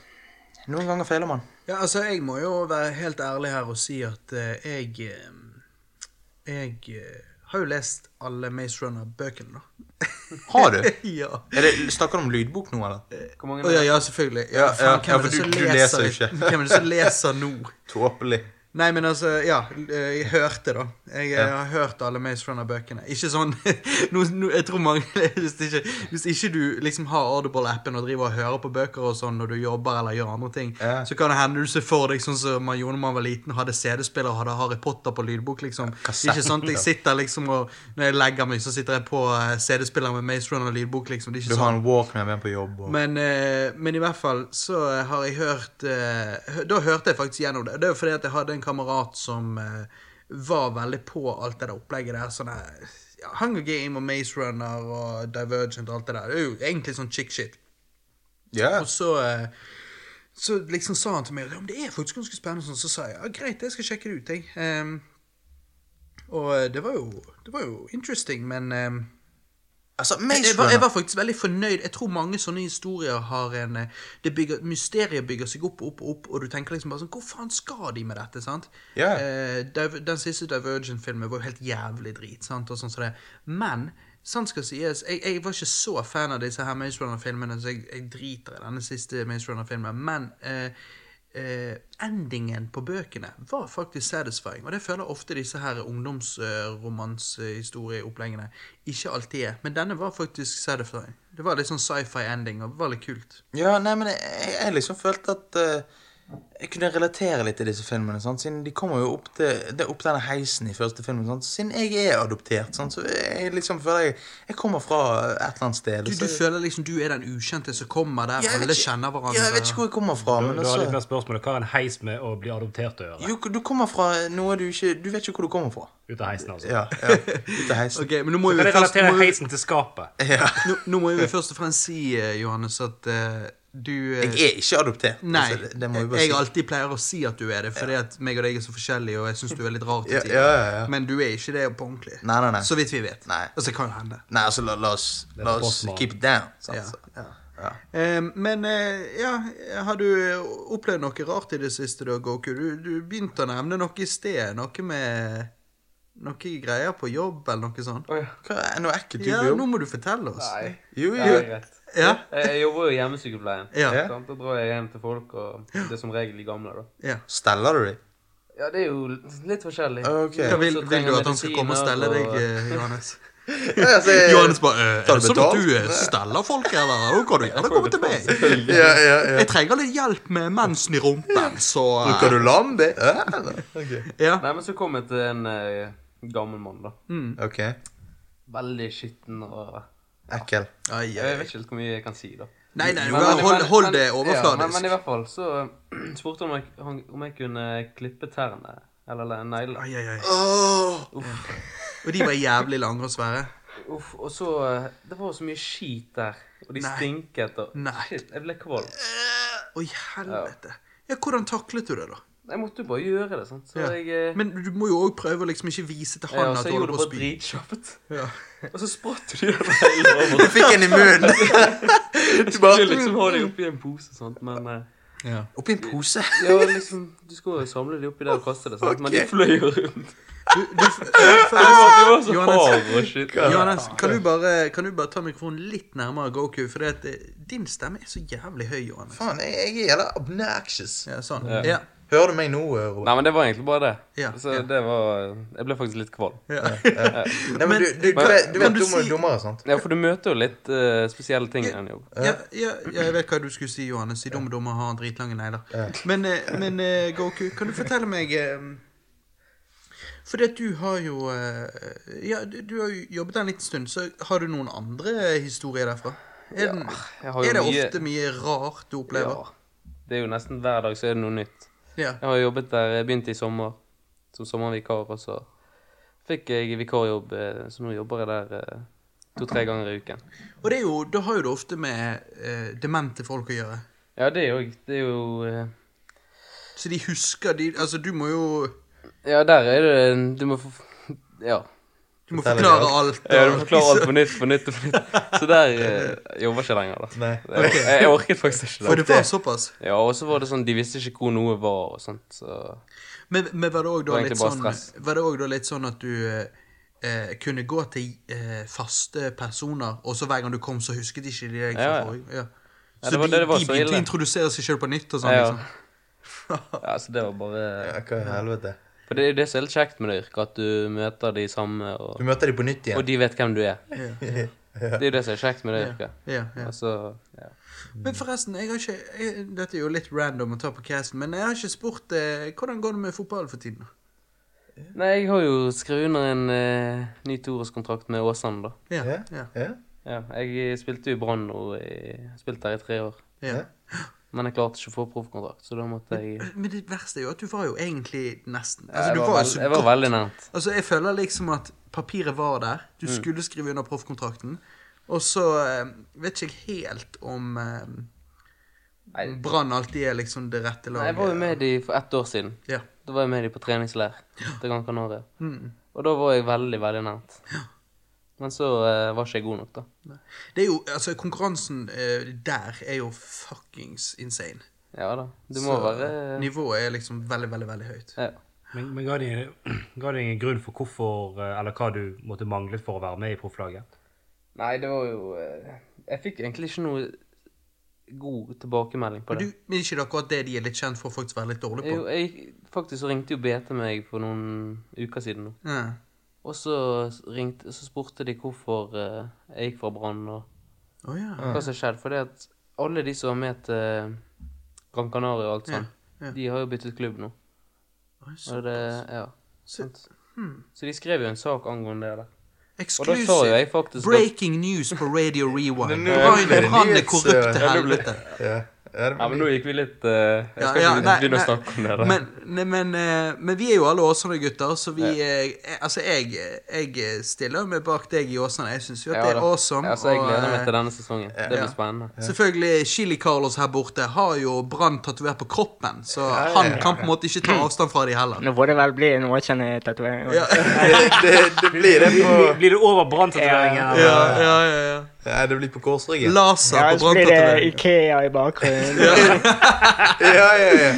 S2: noen ganger feiler man.
S1: Ja, altså, jeg må jo være helt ærlig her og si at eh, jeg eh, Jeg eh, har jo lest alle Maze Runner-bøkene, da.
S2: Har du? Er
S1: ja.
S2: det, snakker du om lydbok nå, eller?
S3: Hvor mange
S1: Å ja, ja, selvfølgelig. Ja,
S2: Ja,
S1: faen,
S2: ja,
S1: hvem
S2: ja,
S1: er
S2: for
S1: det som
S2: du- du leser jo
S1: litt-
S2: ikke.
S1: Hvem er det som leser nå?
S2: Tåpelig.
S1: Nei, men altså, ja. eh, Jeg hørte, da. Jeg, eh, har hørt alle Maze Runner-bøkene. Ikke sånn nå, nå, Jeg tror mange hvis ikke, hvis ikke du liksom har Audible-appen og driver og hører på bøker og sånn når du jobber eller gjør andre ting,
S2: Ja.
S1: så kan det hende du ser for deg sånn som man gjorde da man var liten, hadde CD-spiller og hadde Harry Potter på lydbok, liksom. Det er ikke sånn at jeg sitter liksom og Når jeg legger meg, så sitter jeg på eh, CD-spiller med Maze Runner-lydbok, liksom. Det er
S2: Du
S1: ikke sånn.
S2: har en walkman med på jobb og
S1: Men, eh, men i hvert fall så eh, har jeg hørt eh, hø- Da hørte jeg faktisk gjennom det. Det er jo fordi at jeg hadde en kamerat som eh, var veldig på alt det der opplegget der. Sånne, ja, Hunger Game og Maze Runner og Divergent og alt det der. Det er jo egentlig sånn chick sånn shit.
S2: Ja.
S1: Og så, eh, så liksom sa han til meg ja, men det er faktisk ganske spennende. Sånn, så sa jeg ja, greit, jeg skal sjekke det ut. Jeg. Ehm, og eh, det var jo, det var jo interesting, men ehm,
S2: Altså,
S1: jeg,
S2: Maze
S1: var, jeg
S2: Runner
S1: var faktisk veldig fornøyd. Jeg tror mange sånne historier har en eh, det bygger, Mysteriet bygger seg opp og opp og opp, og du tenker liksom bare sånn Hvor faen skal de med dette? sant?
S2: Ja.
S1: Eh, Div- den siste Divergent-filmen var jo helt jævlig drit. sant? Og sånn som det. Men sant skal sies, jeg, jeg var ikke så fan av disse her Maze Runner-filmene, så jeg, jeg driter i denne siste Maze Runner-filmen. Men eh, eh, endingen på bøkene var faktisk satisfying. Og det føler ofte disse her ungdomsromanshistorieoppleggene ikke alltid er. Men denne var faktisk satisfying. Det var litt sånn sci-fi-ending, og det var litt kult.
S2: Ja, nei, men jeg, jeg liksom følte at eh, jeg kunne relatere litt til disse filmene. Sant? Siden de kommer jo opp til det er opp denne heisen i første filmen. Sant? Siden jeg er adoptert, sant? så jeg liksom føler jeg Jeg kommer fra et eller annet sted.
S1: Du,
S2: så-
S1: du føler liksom du er den ukjente som kommer der,
S2: Ja, jeg vet
S1: alle
S2: ikke-
S1: kjenner hverandre.
S2: Ja, jeg vet ikke hvor jeg kommer fra.
S6: Du,
S2: men
S6: du har litt
S2: altså,
S6: mer spørsmål hva har en heis med å bli adoptert å gjøre.
S2: jo, du kommer fra noe du ikke Du vet ikke hvor du kommer fra.
S6: Ut av heisen, altså.
S2: Ja, ja. Ut av heisen.
S1: Ok, men nå må
S6: Kan
S1: vi
S6: jeg
S1: først,
S6: relatere
S1: må vi,
S6: heisen til skapet?
S1: nå, nå må vi først og fremst si, eh, Johannes, at eh, du eh,
S2: Jeg er ikke adoptert.
S1: Nei,
S2: altså, det, det må vi bare
S1: jeg
S2: si.
S1: alltid pleier å si at du er det, fordi at meg og deg er så forskjellige, og jeg syns du er litt rar til
S2: Ja,
S1: tider.
S2: ja, ja, ja.
S1: Men du er ikke det på ordentlig.
S2: Nei, nei, nei.
S1: Så vidt vi vet.
S2: Nei.
S1: Altså, det kan jo hende.
S2: Nei, altså, la, la oss,
S6: er
S2: la oss
S6: postmannen.
S2: keep it down. Sant?
S1: Ja,
S2: så.
S1: ja.
S2: Ja.
S1: Eh, men eh, ja, har du eh, opplevd noe rart i det siste, da, Goku? Du, du begynte å nevne noe i sted. Noe med Noe greier på jobb, eller noe sånt.
S3: Oi,
S2: Hva er noe ekkelt du
S1: Ja,
S2: gjør?
S1: nå må du fortelle oss.
S3: nei.
S2: Jo,
S3: Ja,
S2: jo.
S3: jeg vet.
S1: Ja,
S3: Jeg, jeg jobber jo i hjemmesykepleien.
S1: Ja.
S3: sant? Da drar jeg hjem til folk, og det er som regel de gamle, da.
S1: ja.
S2: Steller du dem?
S3: Ja, det er jo litt forskjellig.
S2: Ok.
S1: Hva vil,
S3: Så
S1: vil
S3: trenger
S1: du at han skal komme og stelle deg,
S3: medisiner, og-
S1: eh, Johannes?
S2: Altså, jeg-
S1: Johannes bare «Eh,
S2: Tar
S1: Er
S2: du
S1: det sånn at
S2: betalt?»
S1: du eh, steller folk, eller? Da kan du gjerne komme til meg.
S2: ja, ja, ja.
S1: Jeg trenger litt hjelp med mensen i rumpen, så eh,
S2: Bruker du lambi? Ja, eller?
S1: Ja.
S3: Nei, men så kom jeg til en eh, gammel mann, da.
S2: Ok.
S3: Veldig skitten og
S2: Ekkel.
S1: Ai,
S3: Jeg vet ikke helt hvor mye jeg kan si, da.
S1: Nei, nei,
S3: Men-
S1: bare
S3: men-
S1: hold,
S3: men-
S1: hold
S3: men-
S1: det
S3: Ja, men, men i
S1: overfladisk.
S3: hvert fall så eh, spurte han meg han- om jeg kunne klippe tærne. Eller negler.
S1: Ai, ai, ai.
S2: Åh!
S1: Og de var jævlig lange og svære.
S3: Uff, og så eh, Det var så mye skit der. Og de
S1: Nei.
S3: stinket og
S1: Nei.
S3: Shit, jeg ble kvalm.
S1: Å, helvete. Ja, Hvordan taklet du det, da?
S3: Jeg måtte jo bare gjøre det, sant. Så
S1: Ja.
S3: jeg eh,
S1: Men du må jo òg prøve å liksom ikke vise til
S3: ja,
S1: han
S3: så
S1: at du
S3: jeg
S1: holder
S3: gjorde
S1: på
S3: det
S1: å
S3: bare
S1: spy.
S3: dritkjapt.
S1: Ja.
S3: Og så spratt de den neglen over.
S2: Fikk en i munnen.
S3: Jeg skulle liksom ha det oppi en pose, sant, men eh,
S1: Ja.
S2: Oppi en pose.
S3: Ja, liksom, du skal jo samle de oppi der og kaste det, sant? men de
S2: Ok.
S3: fløy jo rundt.
S1: Du, du, først,
S3: Det var så
S1: Johannes-
S3: hav og shit.
S1: Johannes, kan du, bare, kan du bare ta mikrofonen litt nærmere Goku? For det at eh, din stemme er så jævlig høy, Johannes.
S2: Faen, jeg, jeg er jævla obnoxious.
S1: Ja, sånn.
S3: Ja.
S1: Ja.
S2: Hører du meg nå, eh, Robert?
S3: Nei, men det var egentlig bare det.
S1: Ja,
S3: så
S1: ja.
S3: det var Jeg ble faktisk litt kvalm.
S1: Ja.
S2: Nei, men du, du, du,
S3: Men-
S2: vet- du
S1: Kan
S2: vet
S1: du
S2: du må
S1: si-
S2: jo dummere, sant?
S3: Ja, for du møter jo litt eh, spesielle ting i den jobben.
S1: Ja, ja, ja, jeg vet hva du skulle si, Johannes. I Dumme Dummer har han dritlange negler. Men, eh, men eh, Goku, kan du fortelle meg eh, Fordi at du har jo eh, Ja, du du har jo jobbet der en liten stund, så har du noen andre historier derfra? Er, den,
S3: Jeg
S1: er det ofte mye rart du opplever?
S3: Ja. Det er jo nesten hver dag så er det noe nytt.
S1: Ja.
S3: Jeg har jobbet der jeg begynte i sommer som sommervikar, og så fikk jeg vikarjobb, eh, så nå jobber jeg der eh, to-tre ganger i uken.
S1: Og det er jo, da har jo det ofte med eh, demente folk å gjøre.
S3: Ja, det er jo, det er jo eh,
S1: Så de husker de Altså, du må jo
S3: Ja, der er det Du må få Ja.
S1: Du må
S2: Fortell det,
S1: forklare alt.
S3: Ja, du
S1: og-
S3: forklarer alt på nytt, på nytt, på nytt. Så der eh, jobber ikke lenger, da.
S2: Nei.
S3: Jeg, jeg, jeg orket faktisk
S1: For
S3: ikke det.
S1: det var såpass.
S3: Ja, og så var det sånn, de visste ikke hvor noe var og sånt, så
S1: Men, men var det òg da,
S3: Det var
S1: litt
S3: egentlig
S1: sånn,
S3: bare stress.
S1: var det også da litt sånn at du eh, eh, kunne gå til eh, faste personer, og så hver gang du kom, så husket ikke de deg? fra
S3: Ja, ja.
S1: forrige- ja. Så
S3: Ja, det var-
S1: de,
S3: det var
S1: de
S3: så
S1: begynte å
S3: ille.
S1: introdusere seg sjøl på nytt og sånn?
S3: ja.
S1: liksom.
S3: ja, så det var bare
S2: Ja, hva i helvete.
S3: For det er jo det som er litt kjekt med det yrket, at du møter de samme, og,
S2: Du møter dem på nytt
S3: og
S2: igjen.
S3: de vet hvem du er.
S1: Ja,
S3: Det er jo det som er kjekt med det yrket.
S1: ja, ja.
S3: Altså, ja.
S1: Men forresten, jeg har ikke jeg, Dette er jo litt random å ta på casten, men jeg har ikke spurt eh, hvordan går det med fotballen for tiden. da?
S3: Nei, jeg har jo skrevet under en eh, ny toårskontrakt med Åsane, da.
S1: Ja,
S2: Ja,
S1: ja,
S2: ja.
S3: Ja, jeg spilte jo i Brann nå, i- spilte der i tre år.
S1: ja.
S3: Men jeg klarte ikke å få proffkontrakt, så da måtte jeg
S1: Men det verste er jo at du var jo egentlig nesten
S3: Ja,
S1: altså,
S3: jeg
S1: du
S3: var,
S1: var jo
S3: veld-
S1: så
S3: jeg var
S1: godt-
S3: veldig nært.
S1: Altså, jeg føler liksom at papiret var der. Du
S3: Mm.
S1: skulle skrive under proffkontrakten. Og så eh, vet ikke jeg helt om eh,
S7: Brann alltid er liksom det rette
S3: Nei,
S7: laget.
S3: jeg var jo med de for ett år siden.
S7: Ja. Mm.
S3: Da var jeg med de på treningsleir til Gran Canaria. Og da var jeg veldig, veldig nært. Men så eh, var ikke jeg god nok, da.
S7: Det er jo, altså Konkurransen eh, der er jo fuckings insane.
S3: Ja da. Du må
S7: Så
S3: være eh,
S7: Nivået er liksom veldig, veldig veldig høyt.
S3: ja.
S6: Men, men ga det ga det ingen grunn for hvorfor, eh, eller hva du måtte manglet for å være med i profflaget?
S3: Nei, det var jo eh, Jeg fikk egentlig ikke noe god tilbakemelding på
S7: Men
S3: det.
S7: du, men ikke det akkurat det de er litt kjent for å faktisk være litt dårlig på?
S3: Jo, jeg, faktisk så ringte jo BT meg for noen uker siden nå.
S7: Ja.
S3: Og så, ringte, så spurte de hvorfor eh, jeg gikk fra Brann, og
S7: Å ja.
S3: hva som skjedde. For det at alle de som var med til eh, Gran Canaria og alt sånn,
S7: Ja, ja.
S3: de har jo byttet klubb nå.
S7: Oi, så-
S3: Og det, ja,
S7: så- hmm.
S3: sant. Så de skrev jo en sak angående det. der. Og da sa jo
S7: Exclusive!
S3: jeg faktisk at,
S7: Breaking news på Radio Rewind.
S2: Men nå- nå er det
S7: Rainer Brann er
S2: nyhets-
S7: korrupt til
S3: Ja, nå ble-
S7: helvete.
S2: Ja, ja, det
S3: Ja, men nå gikk vi litt eh, Jeg skal
S7: Ja, ja,
S3: ikke
S7: nei,
S3: begynne
S7: nei.
S3: å snakke om det. der.
S7: Men, nei, men, eh, men vi er jo alle Åsane-gutter, så vi eh, Altså, jeg, jeg stiller meg bak deg i Åsane. Jeg syns jo
S3: Ja,
S7: at det er
S3: da.
S7: awesome.
S3: Ja, så jeg
S7: og,
S3: gleder meg
S7: eh,
S3: til denne sesongen. Det blir
S7: ja.
S3: spennende.
S7: Selvfølgelig, Chili Carlos her borte har jo Brann tatovert på kroppen, så han kan på en måte ikke ta avstand fra de heller.
S5: Nå får det vel bli en Åsane-tatovering.
S7: Ja,
S2: det, det blir det på
S6: Blir, blir det over Brann-tatoveringen?
S7: ja, ja, ja, ja.
S2: Ja, det blir på korsryggen.
S7: Laser
S5: Ja,
S7: på
S5: så blir det
S7: branntatovering.
S5: Ikea i bakgrunnen.
S2: Ja, ja, ja.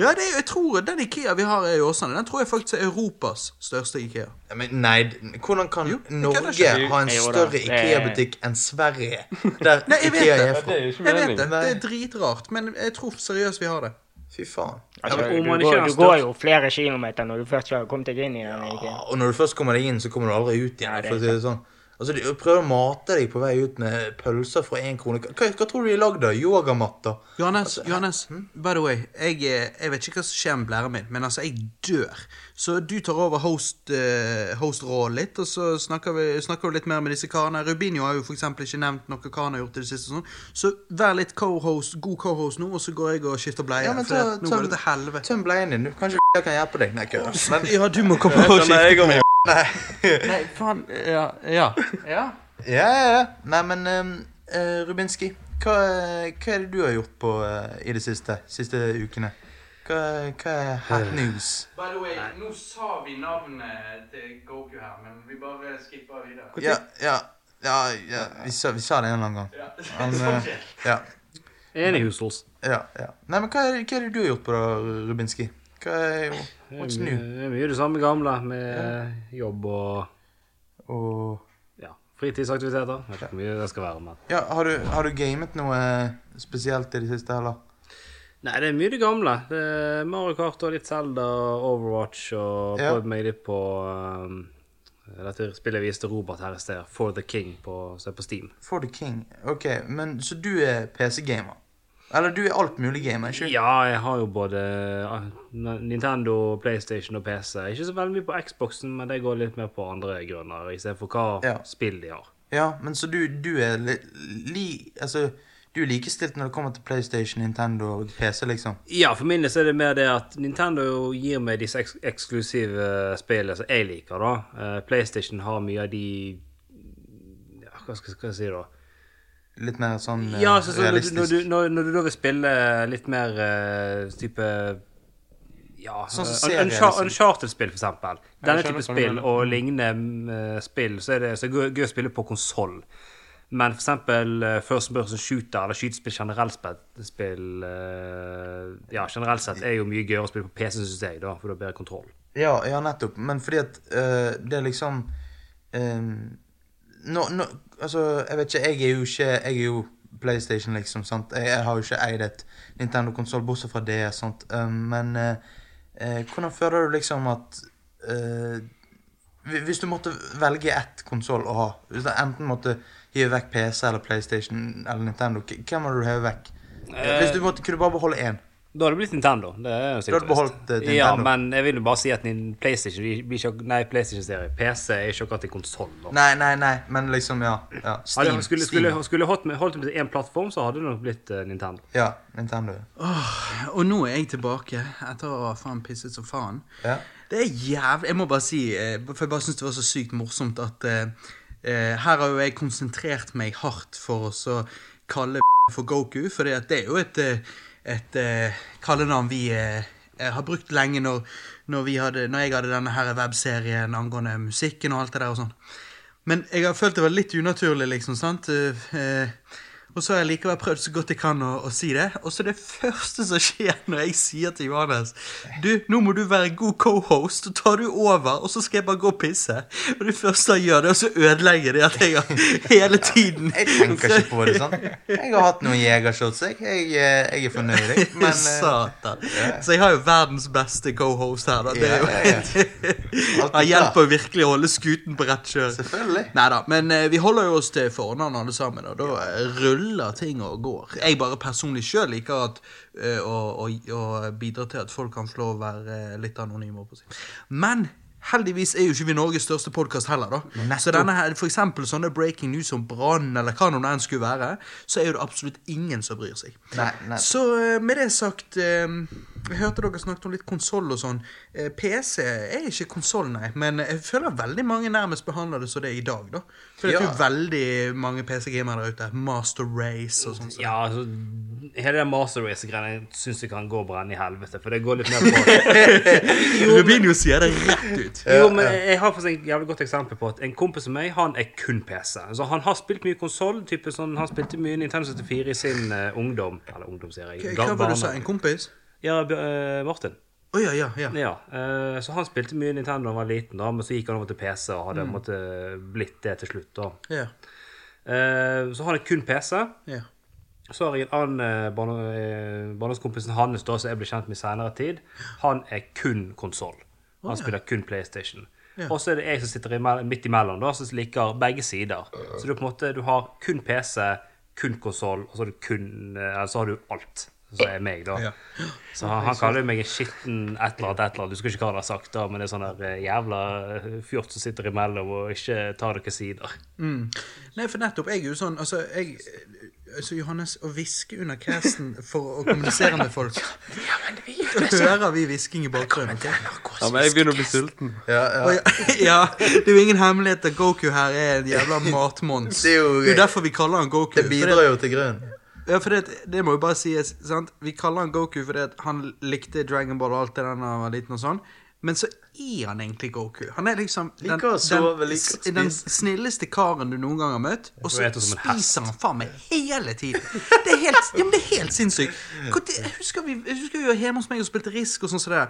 S7: Ja, det er, jo- jeg tror den Ikea vi har her i Åsane, den tror jeg faktisk er Europas største Ikea.
S2: Ja, Men nei, d- hvordan kan
S7: Jo, det kan
S2: Norge
S7: jeg skjønne.
S2: ha en
S5: Jo da,
S2: større
S5: det-
S2: Ikea-butikk enn Sverige? Der
S7: Nei, jeg vet
S2: Ikea
S7: det.
S2: er fra.
S3: er jo ikke
S7: Jeg vet det,
S2: Nei.
S7: det er dritrart, men jeg tror seriøst vi har det.
S2: Fy faen.
S5: Altså,
S6: men om
S5: du,
S6: man ikke er
S5: går,
S6: den
S5: du går
S6: største-
S5: jo flere kilometer når du først har kommet deg inn i den. Ikke?
S2: Og når du først kommer deg inn, så kommer du aldri ut igjen.
S5: Nei, det er
S2: for å si det sånn. Altså, De prøver å mate deg på vei ut med pølser for én krone. Hva, hva tror du de er lagd av? Yogamatter?
S7: Johannes, Johannes, by the way, jeg, eh, jeg vet ikke hva som skjer med blæren min, men altså, jeg dør. Så du tar over host, eh, hostrollen litt, og så snakker vi, snakker vi litt mer med disse karene. Rubinho har jo for eksempel ikke nevnt noe hva han har gjort i det siste. og Sånn. Så vær litt co-host, god co-host nå, og så går jeg og skifter bleie.
S2: Ja, men
S7: for
S2: ta-
S7: at nå
S2: ta-
S7: går det til helvete.
S2: Tøm bleien din. du. Kanskje jeg kan hjelpe deg? Nei, kødda. Men
S7: Ja, du må komme og skifte.
S2: jeg kommer.
S7: Nei, faen. Ja. ja.
S2: Ja, ja, ja. Nei, men ehm, eh, Rubinski, hva, hva er det du har gjort på eh, i det siste? Siste ukene? Hva, hva er
S5: Eh.
S2: hot news?
S7: By the way, nå sa vi navnet til Goku her, men vi bare skipper videre.
S2: Ja, ja, ja, ja. Vi, sa, vi sa det en eller annen gang. Men,
S5: Sånn
S2: eh, ja,
S6: Enig, Husholz.
S2: ja, ja. Nei, men hva er, hva er det du har gjort på da, Rubinski? Hva er
S6: Det
S2: What's
S6: er mye,
S2: new?
S6: det er mye det samme gamle med eh, jobb og
S2: Og,
S6: ja, fritidsaktiviteter. Jeg vet ikke hvor mye det skal være, men
S2: ja, har, du, har du gamet noe spesielt i det siste, eller?
S6: Nei, det er mye det gamle. Det er Mario Kart og litt Zelda og Overwatch og
S2: Ja.
S6: prøvd meg litt på um, dette spillet jeg viste Robert her i sted, For the King, på, som er på Steam.
S2: For the king. Ok, men så du er PC-gamer? Eller du er alt mulig gamer, ikke?
S6: Ja, jeg har jo både ah, Nintendo, PlayStation og PC. Ikke så veldig mye på Xboxen, men det går litt mer på andre grunner, istedenfor hva
S2: Ja.
S6: spill de har.
S2: Ja, men så du, du er li, li, altså, du er likestilt når det kommer til PlayStation, Nintendo og PC, liksom?
S6: Ja, for min del så er det mer det at Nintendo gir meg disse eks eksklusive spillene som jeg liker, da. Eh, PlayStation har mye av de ja, Hva skal skal jeg si, da?
S2: Litt mer sånn eh,
S6: Ja, så, så, når, du,
S2: realistisk.
S6: når, du, når, når du da vil spille litt mer eh, type ja,
S2: Sånn som
S6: eh,
S2: serier,
S6: Unchar-
S2: liksom.
S6: Uncharted-spill, for eksempel. Denne
S3: jeg skjønner
S6: type
S3: hva du
S6: spill
S3: mener.
S6: og lignende mm, eh, spill, så er det så er det gøy, gøy å spille på konsoll. Men for eksempel eh, First Person Shooter eller skytespill generelt spill, spill eh, Ja, generelt sett er jo mye gøyere å spille på PC, synes jeg, da, for du har bedre kontroll.
S2: ja, ja, nettopp. Men fordi at eh, det er liksom eh, nå, nå, Altså, jeg vet ikke, jeg er jo ikke Jeg er jo PlayStation, liksom, sant? Jeg, jeg har jo ikke eid et Nintendo-konsoll, bortsett fra det, sant? Eh, men eh, eh, hvordan føler du liksom at eh, Hvi- Hvis du måtte velge ett konsoll å ha Hvis du enten måtte hive vekk PC eller PlayStation eller Nintendo, k- hvem hadde du hevet vekk?
S6: Eh.
S2: Hvis du måtte, kunne du bare beholde én?
S6: Da hadde det blitt Nintendo. Det er jo
S2: Da hadde du
S6: sikkert
S2: beholdt,
S6: visst.
S2: eh,
S6: Ja,
S2: Nintendo.
S6: men jeg vil jo bare si at nin- PlayStation blir- blir ikke Nei, PlayStation serie. PC er ikke akkurat en konsoll. da.
S2: Nei, nei, nei, men liksom, ja. ja. Steam.
S6: Hadde, skulle
S2: Steam.
S6: skulle, skulle holdt, med, holdt med én plattform, så hadde det nok blitt eh, Nintendo.
S2: Ja, Nintendo.
S7: Og nå er jeg tilbake etter å ha faen pisset som faen.
S2: Ja.
S7: Det er jævlig Jeg må bare si, eh, for jeg bare syns det var så sykt morsomt at eh, eh, Her har jo jeg konsentrert meg hardt for å så kalle for Goku, for det er jo et, eh, et eh, kallenavn vi eh, har brukt lenge når, når, vi hadde, når jeg hadde denne her webserien angående musikken og alt det der og sånn. Men jeg har følt det var litt unaturlig, liksom. sant? Eh, eh, Og så har jeg likevel prøvd så godt jeg kan å, å si det. Og så det første som skjer når jeg sier til Johannes Du, nå må du være god cohost, og tar du over, og så skal jeg bare gå og pisse. Og det første han gjør, det er å så ødelegge det at jeg har hele tiden
S2: Jeg tenker ikke på det sånn. Jeg har hatt noen jegershots, jeg. Jeg, eh, jeg er fornøyd, jeg. Men eh,
S7: Satan. Så jeg har jo verdens beste co-host her, da. Det
S2: Ja,
S7: er jo,
S2: ja, ja. Alt er
S7: Han hjelper jo virkelig å holde skuten på rett kjøl.
S2: selvfølgelig.
S7: Nei da, men eh, vi holder jo oss til fornavn alle sammen, og da eh, ruller ting og går. Jeg bare personlig sjøl liker at, eh, å, å, å bidra til at folk kan få lov å være eh, litt anonyme. holdt på å si. Men heldigvis er jo ikke vi Norges største podkast heller, da. Så denne her, for eksempel sånne breaking news om Brann, eller hva nå det enn skulle være, så er jo det absolutt ingen som bryr seg.
S2: Nei, nei.
S7: Så eh, med det sagt eh, Jeg hørte dere snakket om litt konsoll og sånn. Eh, PC er ikke konsoll, nei, men jeg føler veldig mange nærmest behandler det som det er i dag, da. For det er
S2: Ja.
S7: jo veldig mange PC-gamere der ute. Master Race og sånn. Så.
S6: Ja, altså, hele den Master Race-greiene syns jeg kan gå brann i helvete, for det går litt mer på
S7: Rubinio sier det rett ut.
S6: Jo, men
S7: eh.
S6: jeg har faktisk et jævlig godt eksempel på at en kompis av meg, han er kun PC. Så han har spilt mye konsoll. Sånn, han spilte mye Nintendo 74 i sin eh, ungdom. Eller ungdom, sier jeg.
S7: Hva var det du sa?
S6: Barne-
S7: En kompis?
S6: Ja, Bjør- eh, Martin.
S7: Å ja, ja. ja.
S6: Ja, eh, så han spilte mye Nintendo da han var liten, da, men så gikk han over til PC og hadde på
S7: Mm.
S6: en måte blitt det til slutt. da.
S7: ja,
S6: Eh, så han er kun PC.
S7: ja.
S6: Så har jeg en annen eh, barne- eh, barndomskompisen hans da, som jeg ble kjent med i senere tid. Han er kun konsoll. Han spiller kun PlayStation. Og så er det jeg som sitter imell- midt imellom, da, som liker begge sider. Så du, på en måte, du har kun PC, kun konsoll, og så har du kun eh, eller så har du alt. Som er meg, da.
S7: Ja.
S6: Så han, han kaller jo meg en skitten et eller annet, et eller annet. Du skal ikke hva han har sagt, da, men det er sånn der eh, jævla eh, fjort som sitter imellom og ikke tar dere sider.
S7: Nei, for nettopp, jeg er jo sånn Altså, jeg altså Johannes, å hviske under casten for å kommunisere med folk Hører vi sånn. hvisking i bakgrunnen? ok?
S3: Ja, men jeg begynner å bli sulten.
S2: Ja,
S7: Å,
S2: ja.
S7: ja. ja, det er jo ingen hemmelighet at Goku her er en jævla matmons.
S2: Det er jo-
S7: derfor vi kaller han Goku.
S2: Det bidrar
S7: fordi,
S2: jo til grunn.
S7: ja, fordi at, det må jo bare sies, sant? Vi kaller han Goku fordi at han likte Dragon Ball og alt det der da han var liten og sånn. Men så er han egentlig Goku. Han er liksom den,
S2: Liker å sove,
S7: den,
S2: liker å
S7: s- den
S2: spise.
S7: snilleste karen du noen gang har møtt, og så
S6: vet du som en hest.
S7: spiser han faen meg hele tiden. Det er helt, ja, men det er helt sinnssykt. Hvor tid- Jeg husker vi, jeg husker vi var hjemme hos meg og spilte Risk og sånn som det.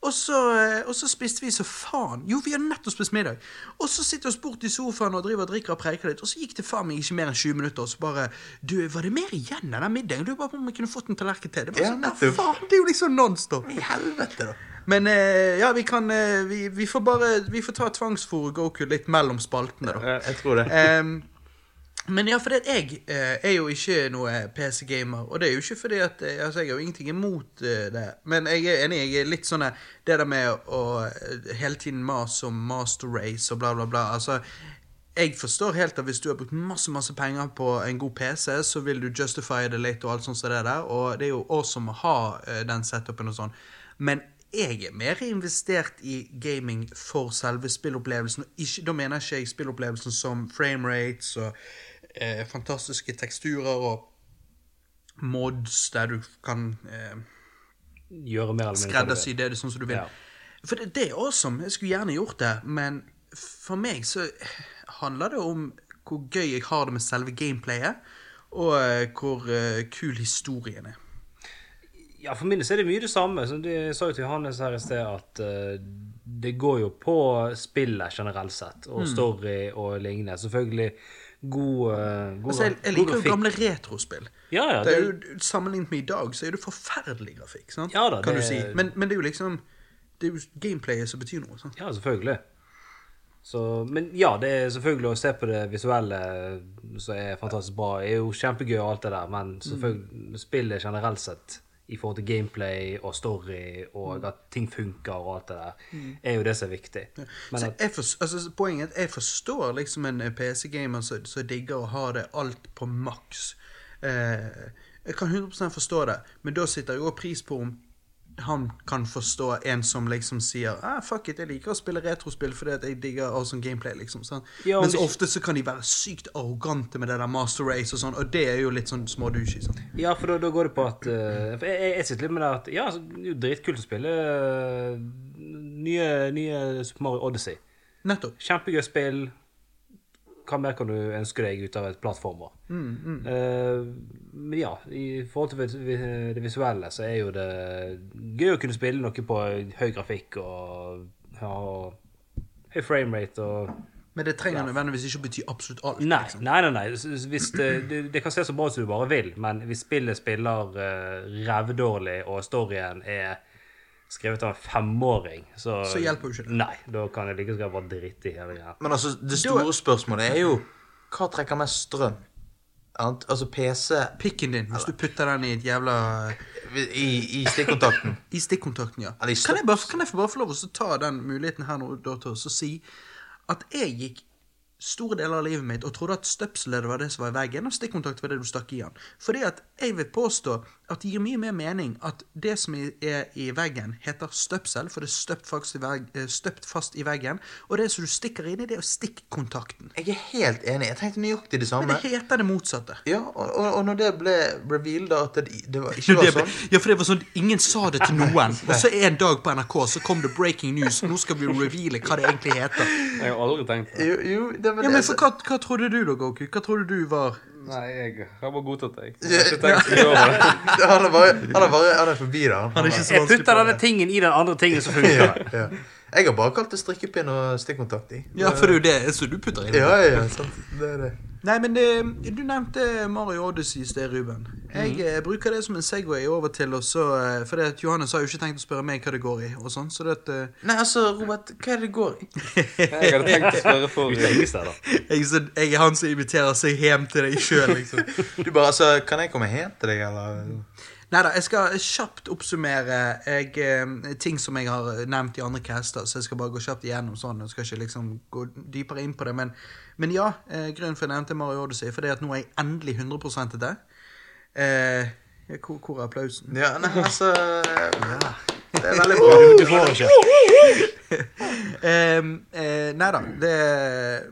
S7: Og så, eh, og så spiste vi så faen. Jo, vi hadde nettopp spist middag. Og så sitter vi oss bort i sofaen og driver og drikker og preiker litt. Og så gikk det faen meg ikke mer enn 20 minutter, og så bare Du, var det mer igjen av den middagen? Du bare på om vi kunne fått en tallerken til. Det var
S2: Ja,
S7: sånn, ja,
S2: nettopp.
S7: faen, det er jo liksom nonstop.
S2: I helvete, da.
S7: Men eh, ja, vi kan eh, vi, vi får bare Vi får ta tvangsfòre Goku litt mellom spaltene, da.
S2: Jeg tror det.
S7: Ehm, men ja, fordi at jeg eh, er jo ikke noe PC-gamer, og det er jo ikke fordi at eh, Altså, jeg har jo ingenting imot eh, det, men jeg er enig, jeg er litt sånn eh, Det der med å eh, hele tiden mase om master race og bla, bla, bla. Altså, jeg forstår helt at hvis du har brukt masse masse penger på en god PC, så vil du justify det litt og alt sånt som det der, og det er jo awesome å ha eh, den setupen og sånn, men jeg er mer investert i gaming for selve spillopplevelsen. og Ikke, da mener ikke jeg spillopplevelsen som frame rates og eh, fantastiske teksturer og mods der du kan eh,
S6: Gjøre mer eller mindre.
S7: skreddersy det, det er sånn som du vil.
S6: Ja.
S7: For det, det er awesome. Jeg skulle gjerne gjort det, men for meg så handler det om hvor gøy jeg har det med selve gameplayet, og eh, hvor eh, kul historien er.
S6: Ja, for min del så er det mye det samme. Som du sa jo til Johannes her i sted, at eh, det går jo på spillet generelt sett, og
S7: Mm.
S6: story og lignende. Selvfølgelig god, eh, god,
S7: Altså, jeg, jeg
S6: god
S7: liker jo
S6: grafikk.
S7: gamle retrospill.
S6: Ja, ja,
S7: Det er jo, sammenlignet med i dag, så er det forferdelig grafikk. sant?
S6: Ja da,
S7: kan
S6: det-
S7: du si. men, men det er jo liksom Det er jo gameplayet som betyr noe. sant?
S6: ja selvfølgelig. Så, men ja, det er selvfølgelig å se på det visuelle eh, som er fantastisk bra. Det er jo kjempegøy og alt det der, men
S7: Mm.
S6: selvfølgelig spillet generelt sett i forhold til gameplay og story
S7: Mm.
S6: og at ting funker og alt det der, er jo det som er viktig. Men
S7: Så jeg for, altså, poenget er at jeg forstår liksom en eh, PC-gamer som som digger å ha det alt på maks. Eh, jeg kan 100 forstå det, men da sitter jeg også pris på om han kan forstå en som liksom sier ah, 'fuck it, jeg liker å spille retrospill fordi at jeg digger awesome gameplay'. liksom, sånn.
S1: Ja,
S7: Mens
S1: men-
S7: ofte så kan de være sykt arrogante med det der Master Race og sånn, og det er jo litt sånn smådusj. Sånn.
S1: Ja, for da, da går det på at eh, for jeg, jeg- jeg sitter litt med det at Ja, altså, det er jo dritkult å spille eh, nye, nye Super Mario Odyssey.
S7: Nettopp.
S1: Kjempegøy spill. Hva mer kan du ønske deg ut av et plattformer? Eh, men ja, i forhold til vis- vi- det visuelle så er jo det gøy å kunne spille noe på høy grafikk og ha høy framerate og
S7: Men det trenger nødvendigvis ikke å bety absolutt alt.
S1: Nei,
S7: liksom.
S1: nei, nei. nei. S- s- Hvis det, det, det kan se så bra ut som du bare vil, men hvis spillet spiller uh, rævdårlig, og storyen er skrevet av en femåring, så
S7: Så hjelper jo ikke det.
S1: Nei, da kan jeg like gjerne bare drite i hele greia.
S2: Men altså, det store spørsmålet er jo hva trekker mest strøm? Ant- Altså PC
S7: Pikken din, hvis du putter den i et jævla
S2: i, i stikkontakten.
S7: I stikkontakten, ja.
S2: Eller i
S7: Kan jeg, bare, kan jeg få bare få lov å så ta den muligheten her nå, da, til å så si at jeg gikk store deler av livet mitt og trodde at støpselet var det som var i veggen, og stikkontakt var det du stakk i den. Fordi at jeg vil påstå at det gir mye mer mening at det som er i veggen, heter støpsel, for det er støpt, faktisk i vegg, eh, støpt fast i veggen, og det som du stikker inn i, det er jo stikkontakten.
S2: Jeg er helt enig. Jeg tenkte nøyaktig det
S7: Men
S2: samme.
S7: det heter det motsatte.
S2: Ja, og, og, og når det ble revealed, da, at det, det var, ikke var
S7: Det ble-
S2: sånn
S7: Ja, for det var sånn, Ingen sa det til noen. Og så en dag på NRK så kom det breaking news. Nå skal vi reveale hva det egentlig heter.
S3: Jeg har aldri tenkt på det.
S2: Jo, jo det var
S7: Ja, men
S2: det.
S7: for hva, hva trodde du da, Goku? Hva trodde du var
S3: Nei, jeg har bare godtatt det. Jeg har ikke tenkt å gjøre det.
S2: Han er bare, han er bare han er forbi det. Han.
S7: ikke
S1: Jeg putter denne tingen i den andre tingen som funker.
S2: Ja, ja. Jeg har bare kalt det strikkepinn og stikkontakt i.
S7: Ja, for det er jo det så du putter inn.
S2: Ja, ja, sant. Det er det.
S7: Nei, men det, du nevnte Mario Odyssey i sted, Ruben. Jeg eh, bruker det som en Segway over til og så eh, For det at Johannes har jo ikke tenkt å spørre meg hva det går i, og sånn, så det at eh,
S2: Nei, altså, Robert, hva er det det går i?
S3: Jeg hadde tenkt å spørre for
S1: Ingen steder.
S7: jeg, så, jeg er han som inviterer seg hjem til deg sjøl, liksom.
S2: Du bare, altså, Kan jeg komme hjem til deg, eller?
S7: Nei da, jeg skal kjapt oppsummere jeg, eh, ting som jeg har nevnt i andre caster, så jeg skal bare gå kjapt igjennom sånn. Jeg skal ikke liksom gå dypere inn på det. Men, men ja, eh, grunnen for at jeg nevnte Mario Odyssey, for det er at nå er jeg endelig 100 til det. Eh, ja, hvor, hvor er applausen?
S2: Ja, nei, altså Det er veldig bra.
S1: Du får ikke.
S7: Eh, eh, nei da, det,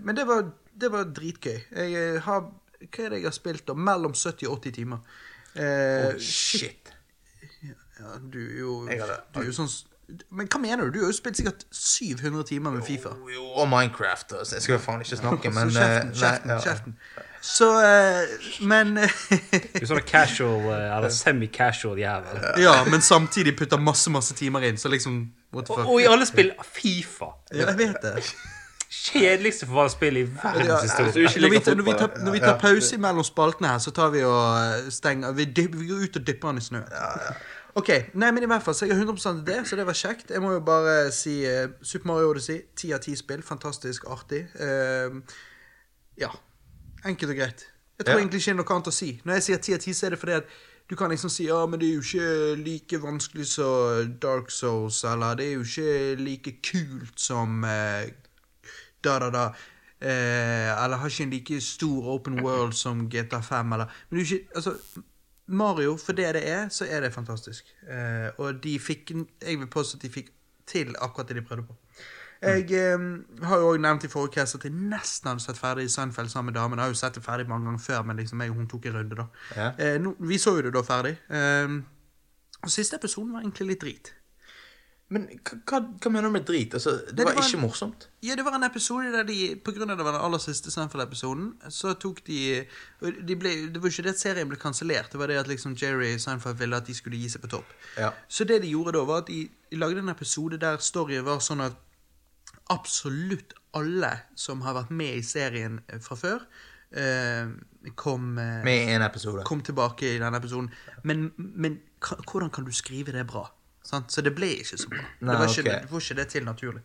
S7: men det var, det var dritgøy. Jeg eh, har Hva er det jeg har spilt, da? Mellom 70 og 80 timer. Eh,
S2: Shit.
S7: ja, du er jo
S2: Jeg hadde-
S7: Du er jo sånn s- Men hva mener du? Du har jo spilt sikkert 700 timer med Fifa.
S2: Jo, Og Minecraft. Altså. Jeg skal faen ikke snakke, men
S7: Så kjeften,
S2: eh,
S7: kjeften,
S2: nei, ja.
S7: kjeften. Så eh, Men
S1: Du er sånn casual, eh, eller semi-casual jævel.
S7: Ja, men samtidig putter masse, masse timer inn, så liksom What the
S1: Og,
S7: fuck?
S1: og i alle spill Fifa.
S7: Ja, jeg vet det.
S1: Kjedeligste forvalgsspill i
S7: Ja,
S1: verdenshistorien.
S3: Hvis du ikke
S7: Når vi,
S3: liker
S7: tar, når, vi tar,
S3: fotball
S7: når vi tar pause mellom spaltene her, så tar vi og eh, stenger Vi, dyp, vi går ut og dypper den i snøen. Ok, nei, men i hvert fall, så Jeg har 100 det, så det var kjekt. Jeg må jo bare si eh, Super Mario Odyssey, ti av ti spill. Fantastisk artig. Eh, ja. Enkelt og greit. Jeg tror
S2: Ja.
S7: egentlig ikke det er noe annet å si. Når jeg sier ti av ti, så er det fordi at du kan liksom si ja, men det er jo ikke like vanskelig som Dark Souls, eller det er jo ikke like kult som eh, da, da, da. Eh, eller har ikke en like stor open world som GTA5, eller Men du ikke Altså, Mario, for det det er, så er det fantastisk. Eh, og de fikk Jeg vil påstå at de fikk til akkurat det de prøvde på. Jeg eh, har jo også nevnt i forrige cast at jeg nesten hadde sett ferdig Seinfeld sammen med damen. Jeg har jo sett det ferdig mange ganger før, men liksom jeg og hun tok en runde, da.
S2: Ja.
S7: Eh, nå- vi så jo det da ferdig. Eh, og siste episoden var egentlig litt drit.
S2: Men hva, hva, hva mener du med drit? Altså,
S7: det
S2: det var
S7: var en-
S2: ikke morsomt.
S7: Ja, det var en episode der de På grunn av det var den aller siste Seinfeld-episoden, så tok de, og de ble, Det var ikke det at serien ble kansellert, det var det at liksom Jerry Seinfeld ville at de skulle gi seg på topp.
S2: Ja.
S7: Så det de gjorde da, var at de, de lagde en episode der storyen var sånn at absolutt alle som har vært med i serien eh, fra før, eh, kom eh,
S2: Med i en episode.
S7: kom tilbake i denne episoden. Men, men ka- hvordan kan du skrive det bra? Sant? Så det ble ikke så bra.
S2: Nei,
S7: det var ikke,
S2: ok. Hmm.
S7: Du får ikke det til naturlig.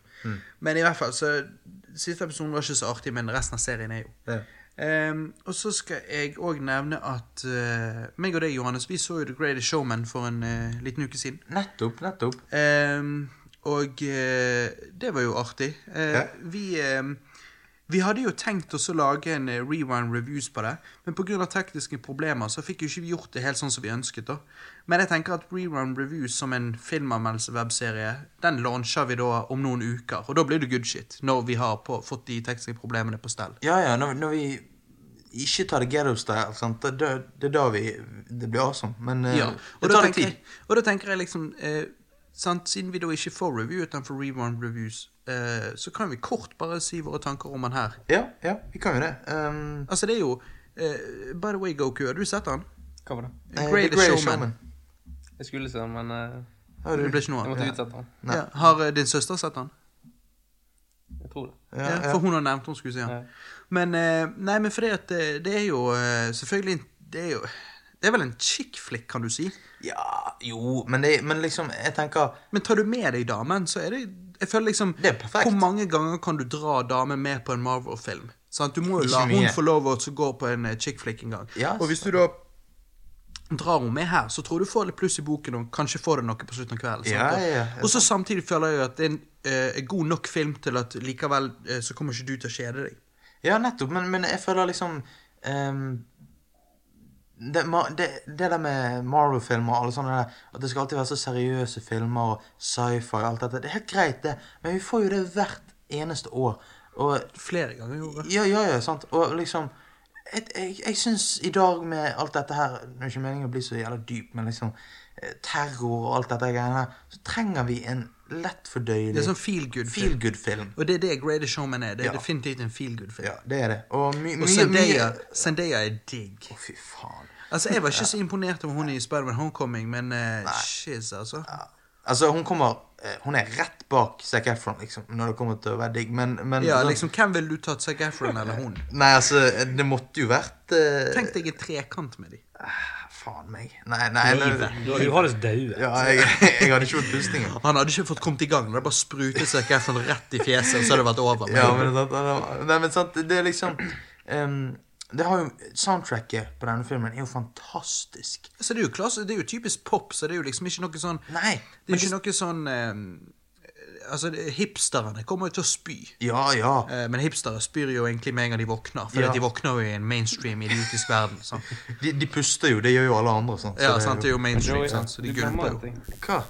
S7: Men i hvert fall, så siste episoden var ikke så artig, men resten av serien er jo.
S2: Ja.
S7: Ehm, og så skal jeg òg nevne at eh, meg og deg, Johannes, vi så jo The Greatest Showman for en eh, liten uke siden.
S2: Nettopp, nettopp.
S7: Ehm, og eh, det var jo artig. Eh,
S2: Ja.
S7: Vi ehm, Vi hadde jo tenkt oss å lage en eh, rewind reviews på det, men pga. tekniske problemer så fikk jo ikke vi gjort det helt sånn som vi ønsket. da. Men jeg tenker at rewind reviews som en filmanmeldelse-webserie, den launcher vi da om noen uker. Og da blir det good shit, når vi har på, fått de tekniske problemene på stell.
S2: Ja, ja, når, når vi ikke tar det ghetto style, sant? Det, det, det er da vi Det blir awesome. Men eh,
S7: Ja, og
S2: det
S7: da,
S2: tar litt
S7: tenker jeg,
S2: tid.
S7: og da tenker jeg liksom eh, sant, Siden vi da ikke får review utenfor rewind reviews, eh, så kan vi kort bare si våre tanker om han her.
S2: Ja, ja, vi kan jo det. Um,
S7: Altså, det er jo eh, By the way, Goku, har du sett han?
S3: Hva var det?
S2: eh,
S7: Greatest
S2: Greatest
S7: Showman.
S3: Jeg skulle se, den, men eh,
S2: Har du-
S7: Det ble ikke noe
S3: jeg
S7: av.
S3: måtte utsette den.
S2: Nei.
S7: Ja. Har eh, din søster sett han?
S3: Jeg tror det.
S2: Ja,
S7: Ja,
S2: ja.
S7: For hun har nevnt hun skulle si han.
S3: Ja.
S7: Men, eh, nei, men fordi at eh, det er jo eh, selvfølgelig en- Det er jo Det er vel en chick flick, kan du si.
S2: ja, jo, men, det, men liksom, jeg tenker
S7: Men tar du med deg damen, så er det Jeg føler liksom
S2: Det er perfekt.
S7: Hvor mange ganger kan du dra damen med på en Marvel-film? Sant? Du må jo
S2: Ikke
S7: la hun
S2: mye.
S7: få lov å gå på en eh, chick flick en gang.
S2: Ja,
S7: og hvis du da drar henne med her, så tror jeg du får litt pluss i boken, og kanskje får du noe på slutten av kvelden. sant?
S2: Ja, ja, ja.
S7: Og så samtidig føler jeg jo at det er en eh, god nok film til at likevel eh, så kommer ikke du til å kjede deg.
S2: Ja, nettopp, men, men jeg føler liksom ehm, det, ma- det, det der med Marvel-filmer og alle sånne der, at det skal alltid være så seriøse filmer og sci-fi og alt dette, det er helt greit, det, men vi får jo det hvert eneste år. Og
S7: Flere ganger i året.
S2: ja, ja, ja, sant. Og liksom Jeg, jeg, jeg syns i dag med alt dette her Det er ikke meningen å bli så jævla dyp, men liksom eh, terror og alt dette greiene her, så trenger vi en
S7: Det
S2: lettfordøyelig
S7: er sånn feel good-film.
S2: feel good-film.
S7: Og det er det Greatest Showman er. Det er
S2: Ja.
S7: definitivt en feel good-film.
S2: Ja, det er det. Og my,
S7: Og
S2: mye, mye
S7: Zendaya, Zendaya er digg.
S2: Å, fy faen.
S7: Altså, Jeg var ikke så imponert over hun i Spiderman Homecoming, men uh, shiz, altså.
S2: Altså, hun kommer eh, Hun er rett bak Zac Efron, liksom, når det kommer til å være digg, men, men
S7: Ja,
S2: sånn-
S7: liksom, Hvem ville du tatt? Zac Efron eller hun?
S2: Nei, altså, det måtte jo vært eh,
S7: Tenk deg en trekant med de.
S2: Faen meg. Nei, nei, nei
S1: Du har jo hans daue.
S2: ja, jeg, jeg hadde ikke fått pustingen.
S7: Han hadde ikke fått kommet i gang. Det hadde bare sprutet Zac Efron rett i fjeset, og så hadde det vært over.
S2: Ja, men, sant, han- nei, men sant, det er liksom ehm, Det har jo Soundtracket på denne filmen er jo fantastisk.
S7: Så Altså, det er jo klasse, det er jo typisk pop, så det er jo liksom ikke noe sånn
S2: Nei.
S7: Det er jo ikke noe sånn eh, Altså, det- hipsterne kommer jo til å spy.
S2: Ja, ja.
S7: Eh, Men hipstere spyr jo egentlig med en gang de våkner, for
S2: Ja.
S7: de våkner jo i en mainstream idiotisk verden. Sant?
S2: De, de puster jo, det gjør jo alle andre. Sant?
S7: Ja, sant, det er jo mainstream,
S3: Joey,
S7: sant? så altså, de
S3: du glemmer
S7: gulper jo.
S3: en ting.
S2: Hva?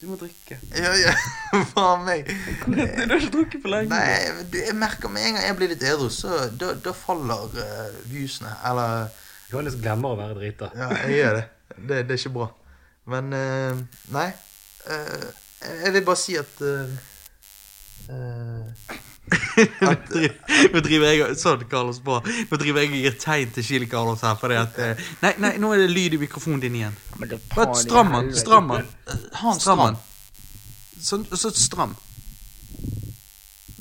S3: Du må drikke.
S2: Ja, ja, faen meg.
S3: Du har ikke drukket på lenge.
S2: Nei, men du, jeg merker med en gang jeg blir litt edru, så da, da faller eh, viewsene. Eller
S1: Johannes glemmer å være drita.
S2: Ja, jeg gjør det. Det, det er ikke bra. Men eh, Nei. eh, jeg vil bare si at eh, eh,
S7: Nå driver- Nå driver jeg og- Sånn, Carlos, bra. Nå driver jeg og gir tegn til Chili Carlos her. Fordi at, eh, nei, nei, nå er det lyd i mikrofonen din igjen.
S5: Men det
S7: Bare
S5: faen i
S7: stram den.
S5: helvete.
S7: Stram den.
S2: Ha en stram.
S7: Stram den. Sånn, så stram.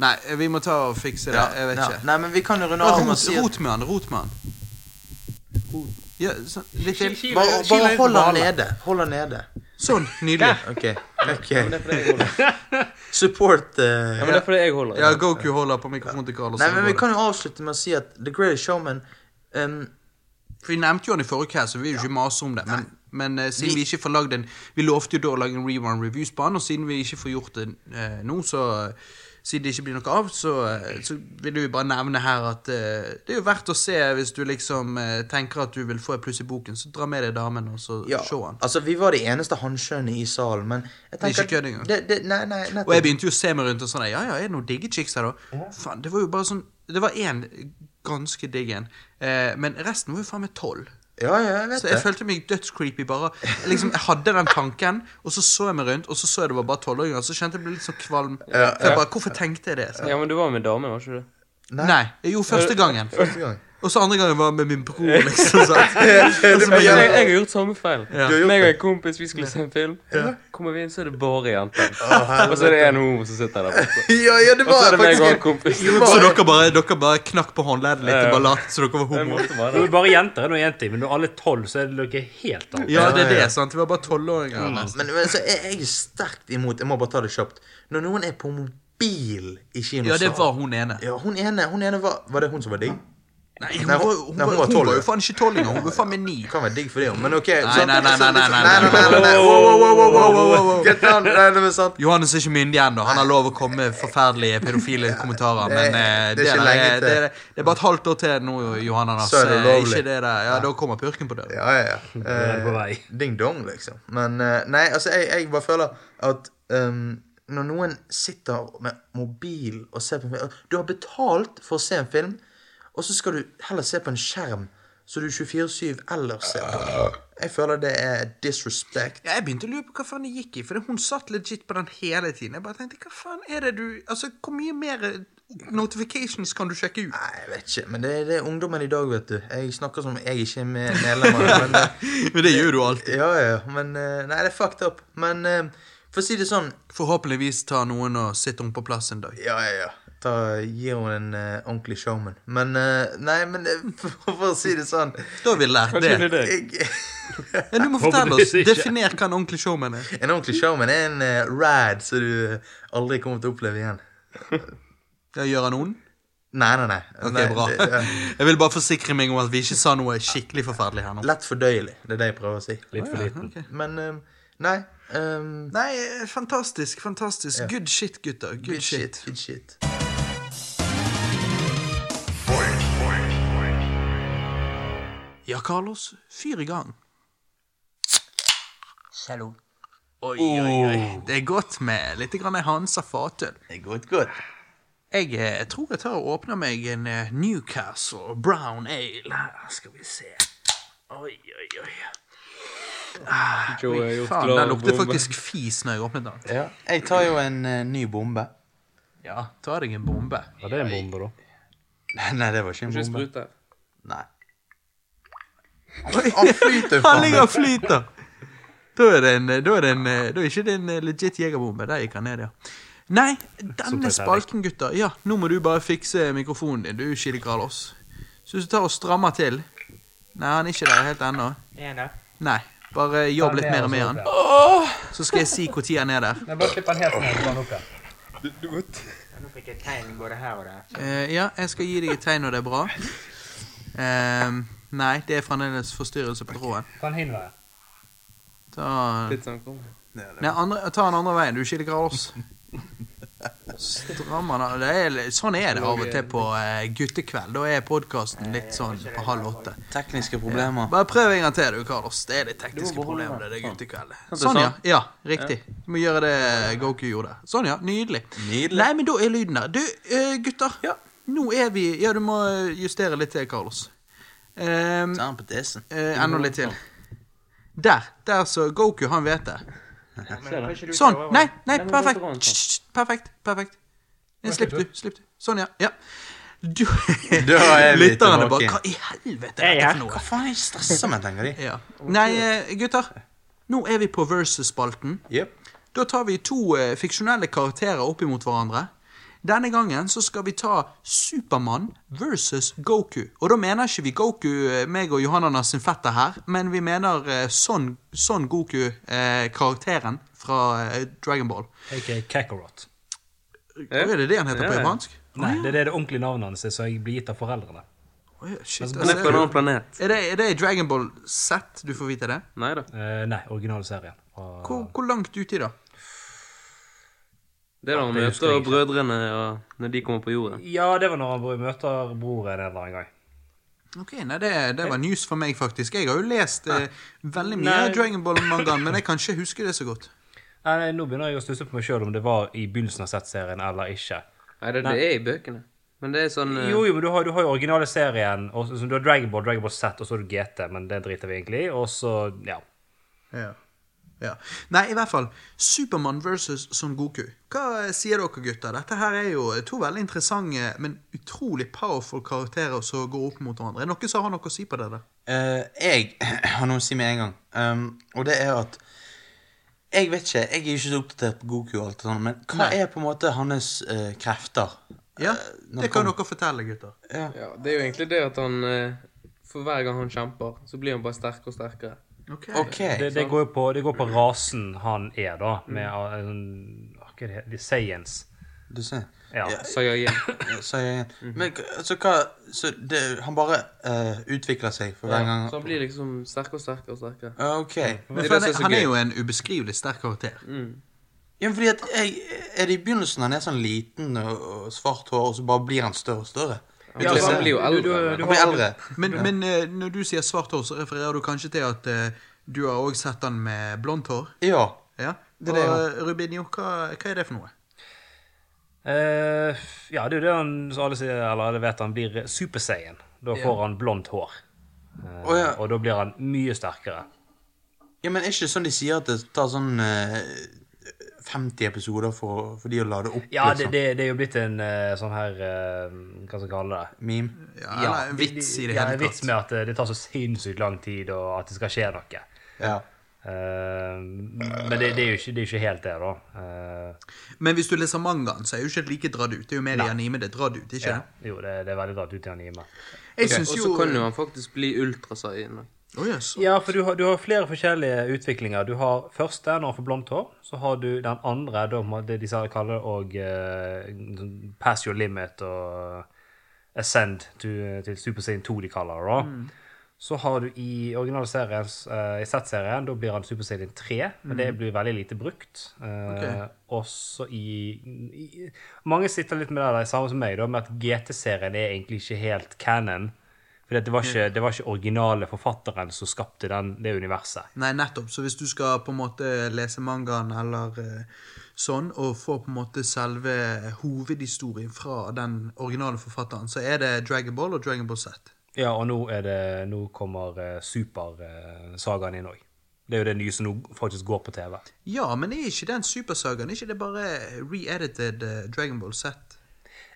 S7: Nei, vi må ta og fikse det. Jeg vet
S2: ja,
S7: ikke.
S2: Nei, men vi kan jo runde av med å
S7: Rot,
S2: si at
S7: rot med han, rot med han. Ja, sånn, litt til.
S2: Bare, bare hold han nede. Hold han nede.
S7: Sånn, nydelig.
S2: OK. ok.
S3: Men det er fordi jeg holder.
S2: Support eh,
S3: Ja, men det er fordi jeg holder.
S7: Ja, Goku holder på mikrofonen til Carlos.
S2: Nei, men vi kan jo avslutte med å si at The Greatest Showman em,
S7: For Vi nevnte jo han i forrige cast, så vi vil jo ikke mase om det. Men, men eh, siden vi,
S2: Vi-
S7: ikke får lagd en Vi lovte jo da å lage en rerun reviews på han, og siden vi ikke får gjort det eh, nå, så eh, siden det ikke blir noe av, så, eh, så vil vi bare nevne her at eh, det er jo verdt å se hvis du liksom eh, tenker at du vil få et pluss i boken, så dra med deg damen og så
S2: ja,
S7: se han.
S2: Altså, vi var de eneste hanskjønne i salen, men jeg
S7: er ikke
S2: tenker
S7: kødd engang.
S2: Det, det, nei, nei,
S7: Og jeg
S2: nettopp.
S7: begynte jo å se meg rundt og sånn Ja, ja, er det noen digge chicks her, da? Faen, det var jo bare sånn Det var én ganske digg en, eh, men resten var jo faen meg tolv.
S2: Ja, ja, jeg vet
S7: Så
S2: det.
S7: jeg følte meg dødscreepy bare. Jeg Liksom, jeg hadde den tanken, og så så jeg meg rundt, og så så jeg det var bare tolvåringer. Så kjente jeg ble litt sånn kvalm. For jeg bare, Hvorfor tenkte jeg det? Så.
S3: Ja, men du var med dame, var ikke du?
S7: Nei. Jeg gjorde første gangen.
S2: Første gang.
S7: Og så andre gangen var jeg med min bror, liksom. sant? Og så
S3: Altså, Jeg,
S7: bare-
S3: jeg har gjort samme feil.
S2: har gjort
S3: Meg og en kompis vi skulle se en film. Kommer vi inn, så er det bare jenter. Og så er det en homo som sitter der borte.
S2: Ja, ja, det
S3: Og så er
S2: var
S3: det meg
S2: faktisk
S3: og
S2: en
S3: en kompis.
S7: Så dere bare, dere bare knakk på håndleddet litt
S3: Ja, ja.
S7: og bare lot som dere var
S3: Jeg
S7: homo?
S3: måtte bare
S1: Når
S3: det.
S1: vi bare jenter er nå én ting, men når alle er tolv, så er det noe helt annet.
S7: Ja, Mm. det er
S2: Ja, ja.
S7: det, sant? Vi var bare tolvåringer. nesten.
S2: Men, men så er jeg er sterkt imot Jeg må bare ta det kjapt. Når noen er på mobil i kinosalen
S7: Ja, det var hun ene.
S2: Ja, hun ene, hun ene var, var det hun som var digg?
S7: Nei, hun,
S2: Nei,
S7: var,
S2: hun-
S7: hun,
S2: nei,
S7: var,
S2: hun var
S7: hun,
S2: tolv,
S7: var jo
S2: ja.
S7: faen ikke tolv engang, hun var faen meg ni.
S2: Kan være digg for det, jo, men OK
S7: Nei,
S2: sant?
S7: nei, nei, nei, nei,
S2: nei,
S7: nei,
S2: nei, nei, nei, nei, wow, wow, wow, wow, wow, wow, wow, wow. Get down, nei, det er sant.
S7: Johannes er ikke myndig ennå. Han har lov å komme med forferdelige pedofile kommentarer.
S2: det-
S7: Men
S2: det
S7: eh,
S2: er
S7: det,
S2: ikke
S7: der
S2: lenge
S7: er,
S2: til.
S7: det, er, det er bare et halvt år til nå, Johanna.
S2: Så er det lovlig.
S7: Ikke det der. Ja, Da kommer purken på døren.
S2: Ja, ja, ja.
S1: er på vei.
S2: Ding-dong, liksom. Men eh, nei, altså, jeg, jeg bare føler at ehm, når noen sitter med mobil og ser på en film Du har betalt for å se en film, og så skal du heller se på en skjerm så du 24-7 ellers ser på. Jeg føler det er disrespect.
S7: Ja, jeg begynte å lure på hva faen det gikk i, for hun satt legit på den hele tiden. Jeg bare tenkte, hva faen er det du Altså, hvor mye mer notifications kan du sjekke ut?
S2: Nei, jeg vet ikke, men det, det er ungdommen i dag, vet du. Jeg snakker som jeg ikke er med- medlem av det, men det.
S7: Men det gjør du alltid.
S2: Ja, ja, ja, men eh, Nei, det er fucked up. Men eh, for å si det sånn
S7: Forhåpentligvis tar noen og sitter hun på plass en dag.
S2: Ja, ja, ja. Da gir hun en eh, ordentlig showman. Men eh, Nei, men eh, for, for å si det sånn
S7: Da har vi lært det.
S3: det.
S2: jeg,
S7: Ja, du må fortelle oss.
S1: Forhåpentligvis ikke.
S7: Definer hva en ordentlig showman er.
S2: En ordentlig showman er en eh, rad som du eh, aldri kommer til å oppleve igjen.
S7: Ja, gjør han ond?
S2: Nei, nei, nei.
S7: Ok,
S2: nei
S7: bra.
S2: det- ja.
S7: Jeg vil bare forsikre meg om at vi ikke sa noe skikkelig forferdelig her nå.
S2: lett fordøyelig. Det er det jeg prøver å si.
S1: Litt for liten.
S2: Men eh, nei. eh,
S7: Nei, eh, fantastisk, fantastisk. Good shit, gutter. Good,
S2: good
S7: shit.
S2: shit. Good shit.
S7: Ja, Carlos, fyr i gang.
S2: Shalom.
S3: Oh.
S7: Det er godt med litt grann Hansa fatøl.
S2: Godt, godt.
S7: Jeg eh, tror jeg tar og åpner meg en eh, Newcastle Brown Ale. Her Skal vi se. Oi, oi, oi.
S3: Joe har gjort
S7: Faen,
S3: klar
S7: den lukter
S3: bombe.
S7: faktisk fis når jeg åpnet den.
S2: Ja. Jeg tar jo en eh, ny bombe.
S7: Ja, ta deg en bombe.
S1: Ja, det er en bombe, da.
S2: Nei, det var ikke en
S3: Ikke
S2: bombe.
S3: sprut der.
S2: Nei. Han flyter jo
S7: Han
S2: faen
S7: ligger
S2: meg.
S7: og flyter! Da er det en, eh, da er det en, eh, da er ikke det en eh, legit jegerbombe. Der gikk han ned, ja. Nei, denne
S1: Superterrik.
S7: spalten, gutter. Ja, nå må du bare fikse mikrofonen din, du, Chili Carlos. Så hvis du tar og strammer til Nei, han er ikke der helt ennå.
S5: Ene.
S7: Nei, bare jobb litt
S6: ned
S7: mer
S6: og så
S7: med
S6: opp
S7: han. Så skal jeg si når han er der.
S6: Nei, bare klipp den helt ned. så går den opp igjen.
S5: Nå fikk jeg tegn både her og der.
S7: Eh, ja, jeg skal gi deg et tegn når det er bra. Ehm, nei, det er fremdeles forstyrrelse på tråden.
S6: Ta den hin veien.
S7: Ta,
S3: Litt sånn kom.
S7: nei, andre, ta den andre veien. Du skiller Carlos. Strammer den av. det er, litt- Sånn er det av og til på eh, guttekveld. Da er podkasten litt sånn på halv åtte.
S2: Tekniske problemer.
S7: Bare prøv en gang til, du, Carlos. Det er litt tekniske problemer med det guttekveldet. Sånn, ja. ja riktig. Du må gjøre det Goku gjorde. Sånn, ja. Nydelig.
S2: Nydelig.
S7: Nei, men da er lyden der. Du, eh, gutter. Nå er vi Ja, du må eh, justere litt til, Carlos. Ehm,
S2: Ta den på tissen.
S7: eh, enda litt til. Der. Der, så Goku, han vet det.
S5: Men kanskje du
S7: Sånn.
S5: prøver å-
S7: Nei, nei,
S3: Nei, men
S7: perfekt.
S3: hvorfor går han sånn?
S7: Hysj, hysj, Perfekt. Perfekt. Nei, Slipp du. Slipp du. Sånn, ja. ja. Du
S2: Da er vi
S7: Lytterne bare
S2: tilbake.
S7: Hva i helvete
S5: Jeg
S7: er
S5: er
S7: dette
S5: her.
S7: for noe?
S2: Hva faen er jeg stressa med, tenker de.
S7: Ja. Nei, eh, gutter. Nå er vi på versus-spalten.
S2: Yep.
S7: Da tar vi to eh, fiksjonelle karakterer opp imot hverandre. Denne gangen så skal vi ta Supermann versus Goku. Og da mener ikke vi Goku, eh, meg og Johanna sin fetter her, men vi mener eh, Son, Son Goku-karakteren fra eh, Dragon Ball.
S6: Aka Kakarot.
S7: Hva er det det han heter på
S3: Ja.
S7: japansk?
S6: Nei, det er det det ordentlige navnet hans er, som jeg blir gitt av foreldrene.
S7: Å ja, shit,
S3: Han er på en
S7: altså,
S3: annen planet.
S7: er, det, er det i Dragon Ball Z du får vite det?
S3: Nei da.
S6: Eh, nei, originalserien. Og-
S7: Hvor, hvor langt uti, da?
S3: Det er da han
S6: Det husker
S3: møter
S6: jeg ikke.
S3: brødrene og når de kommer på jorden.
S6: Ja, det var når han møter broren en eller annen gang.
S7: Ok, nei, det, det var news for meg, faktisk. Jeg har jo lest eh, veldig mye
S6: Nei.
S7: av Dragon Ball-mangaen, men jeg kan ikke huske det så godt.
S6: Nei, nei, nå begynner jeg å stusse på meg sjøl om det var i begynnelsen av Z-serien eller ikke.
S3: Nei, det, det er i bøkene. Men det er sånn eh,
S6: Jo, jo, men du har, du har jo originale serien. Og, så- så du har Dragon Ball, Dragon Ball Z, og så har du GT, men det driter vi egentlig i. Og så, ja.
S7: Ja. ja. Nei, i hvert fall. Supermann versus Son Goku. Hva sier dere, gutter? Dette her er jo to veldig interessante, men utrolig powerful karakterer som går opp mot hverandre. Er det noen som har noe å si på det? der?
S2: Eh, jeg har noe å si med en gang, Ehm, og det er at Jeg vet ikke, jeg er ikke så oppdatert på Goku og alt det sånt, men hva er på en måte hans eh, krefter?
S7: Ja,
S2: Eh, når
S7: Det kan dere fortelle, gutter.
S3: Ja, det er jo egentlig det at han eh, For hver gang han kjemper, så blir han bare sterkere og sterkere.
S7: Ok.
S2: OK.
S6: Det, det går jo
S3: Mm.
S6: på, det går på rasen han er, da. Med eh, sånn- Hva er det? Sayans.
S2: Du ser.
S6: Ja.
S3: Sa jeg igjen.
S2: Så, jeg, men, k- så hva Så det, han bare eh, utvikler seg for hver gang?
S3: Så han blir liksom sterkere og sterkere og sterkere.
S2: Ja, OK.
S3: Det
S7: Men for
S3: er det
S7: han,
S3: som er
S7: er,
S3: så
S7: han er
S3: gøy.
S7: jo en ubeskrivelig sterk karakter.
S2: Ja, fordi at jeg, Er det i begynnelsen han er sånn liten og, og svart hår, og så bare blir han større og større?
S3: Ja, for han blir jo
S6: Du,
S3: eldre.
S6: du,
S2: Han blir eldre.
S7: Men, men eh, når du sier svart hår, så refererer du kanskje til at eh, du har òg sett han med blondt hår?
S2: Ja.
S7: Ja.
S2: Det er
S7: Og
S2: det,
S7: eh, Rubinho, hva, hva er det for noe?
S6: Eh, ja, det er jo det han så alle sier, eller alle vet han blir Super Saiyan. Da får han blondt hår. Eh,
S2: Å, ja.
S6: Og da blir han mye sterkere.
S2: ja, men er ikke det sånn de sier at det tar sånn eh, 50 episoder for, for de å lade opp,
S6: Ja, det, det, det er jo blitt en eh, sånn her eh, Hva skal jeg kalle det?
S2: Meme?
S7: Ja, eller en vits i det
S6: ja,
S7: hele
S6: en vits
S7: tatt.
S6: med at eh, det tar så sinnssykt lang tid, og at det skal skje noe.
S2: Ja.
S6: Eh, men det, det, er jo ikke, det er jo ikke helt det, da. Eh,
S7: Men hvis du leser mangaen, så er jo ikke det like dratt ut. Det er jo mer i anime det er dratt ut, ikke
S6: ja.
S7: det?
S6: Jo, det, det er veldig rart ut i anime.
S7: Jeg
S3: Og
S7: syns
S3: så
S7: jo
S3: kan jo han faktisk bli ultrasaiyan.
S7: Å, jøss.
S6: Ja, for du har, du har flere forskjellige utviklinger. Du har første når han får blondt hår. Så har du den andre, da, må- det de sa- kaller det og, eh, sånn Pass your limit og Ascend to, til Super Saiyan 2, de kaller det. da. Så har du i originalserien, eh, i Z-serien, da blir han Super Saiyan 3. Men det blir veldig lite brukt. Eh, Også i, i Mange sitter litt med det der, samme som meg, da, med at GT-serien er egentlig ikke helt canon. For det var, ikke, det var ikke originale forfatteren som skapte den, det universet.
S7: Nei, nettopp. Så hvis du skal på en måte lese mangaen eller eh, sånn, og få på en måte selve hovedhistorien fra den originale forfatteren, så er det Dragon Ball og Dragon Ball Z.
S6: Ja, og nå, er det, nå kommer eh, Super-sagaen inn òg. Det er jo det nye som nå faktisk går på TV.
S7: Ja, men er ikke den supersagaen? Er ikke det bare re-edited eh, Dragon Ball Z?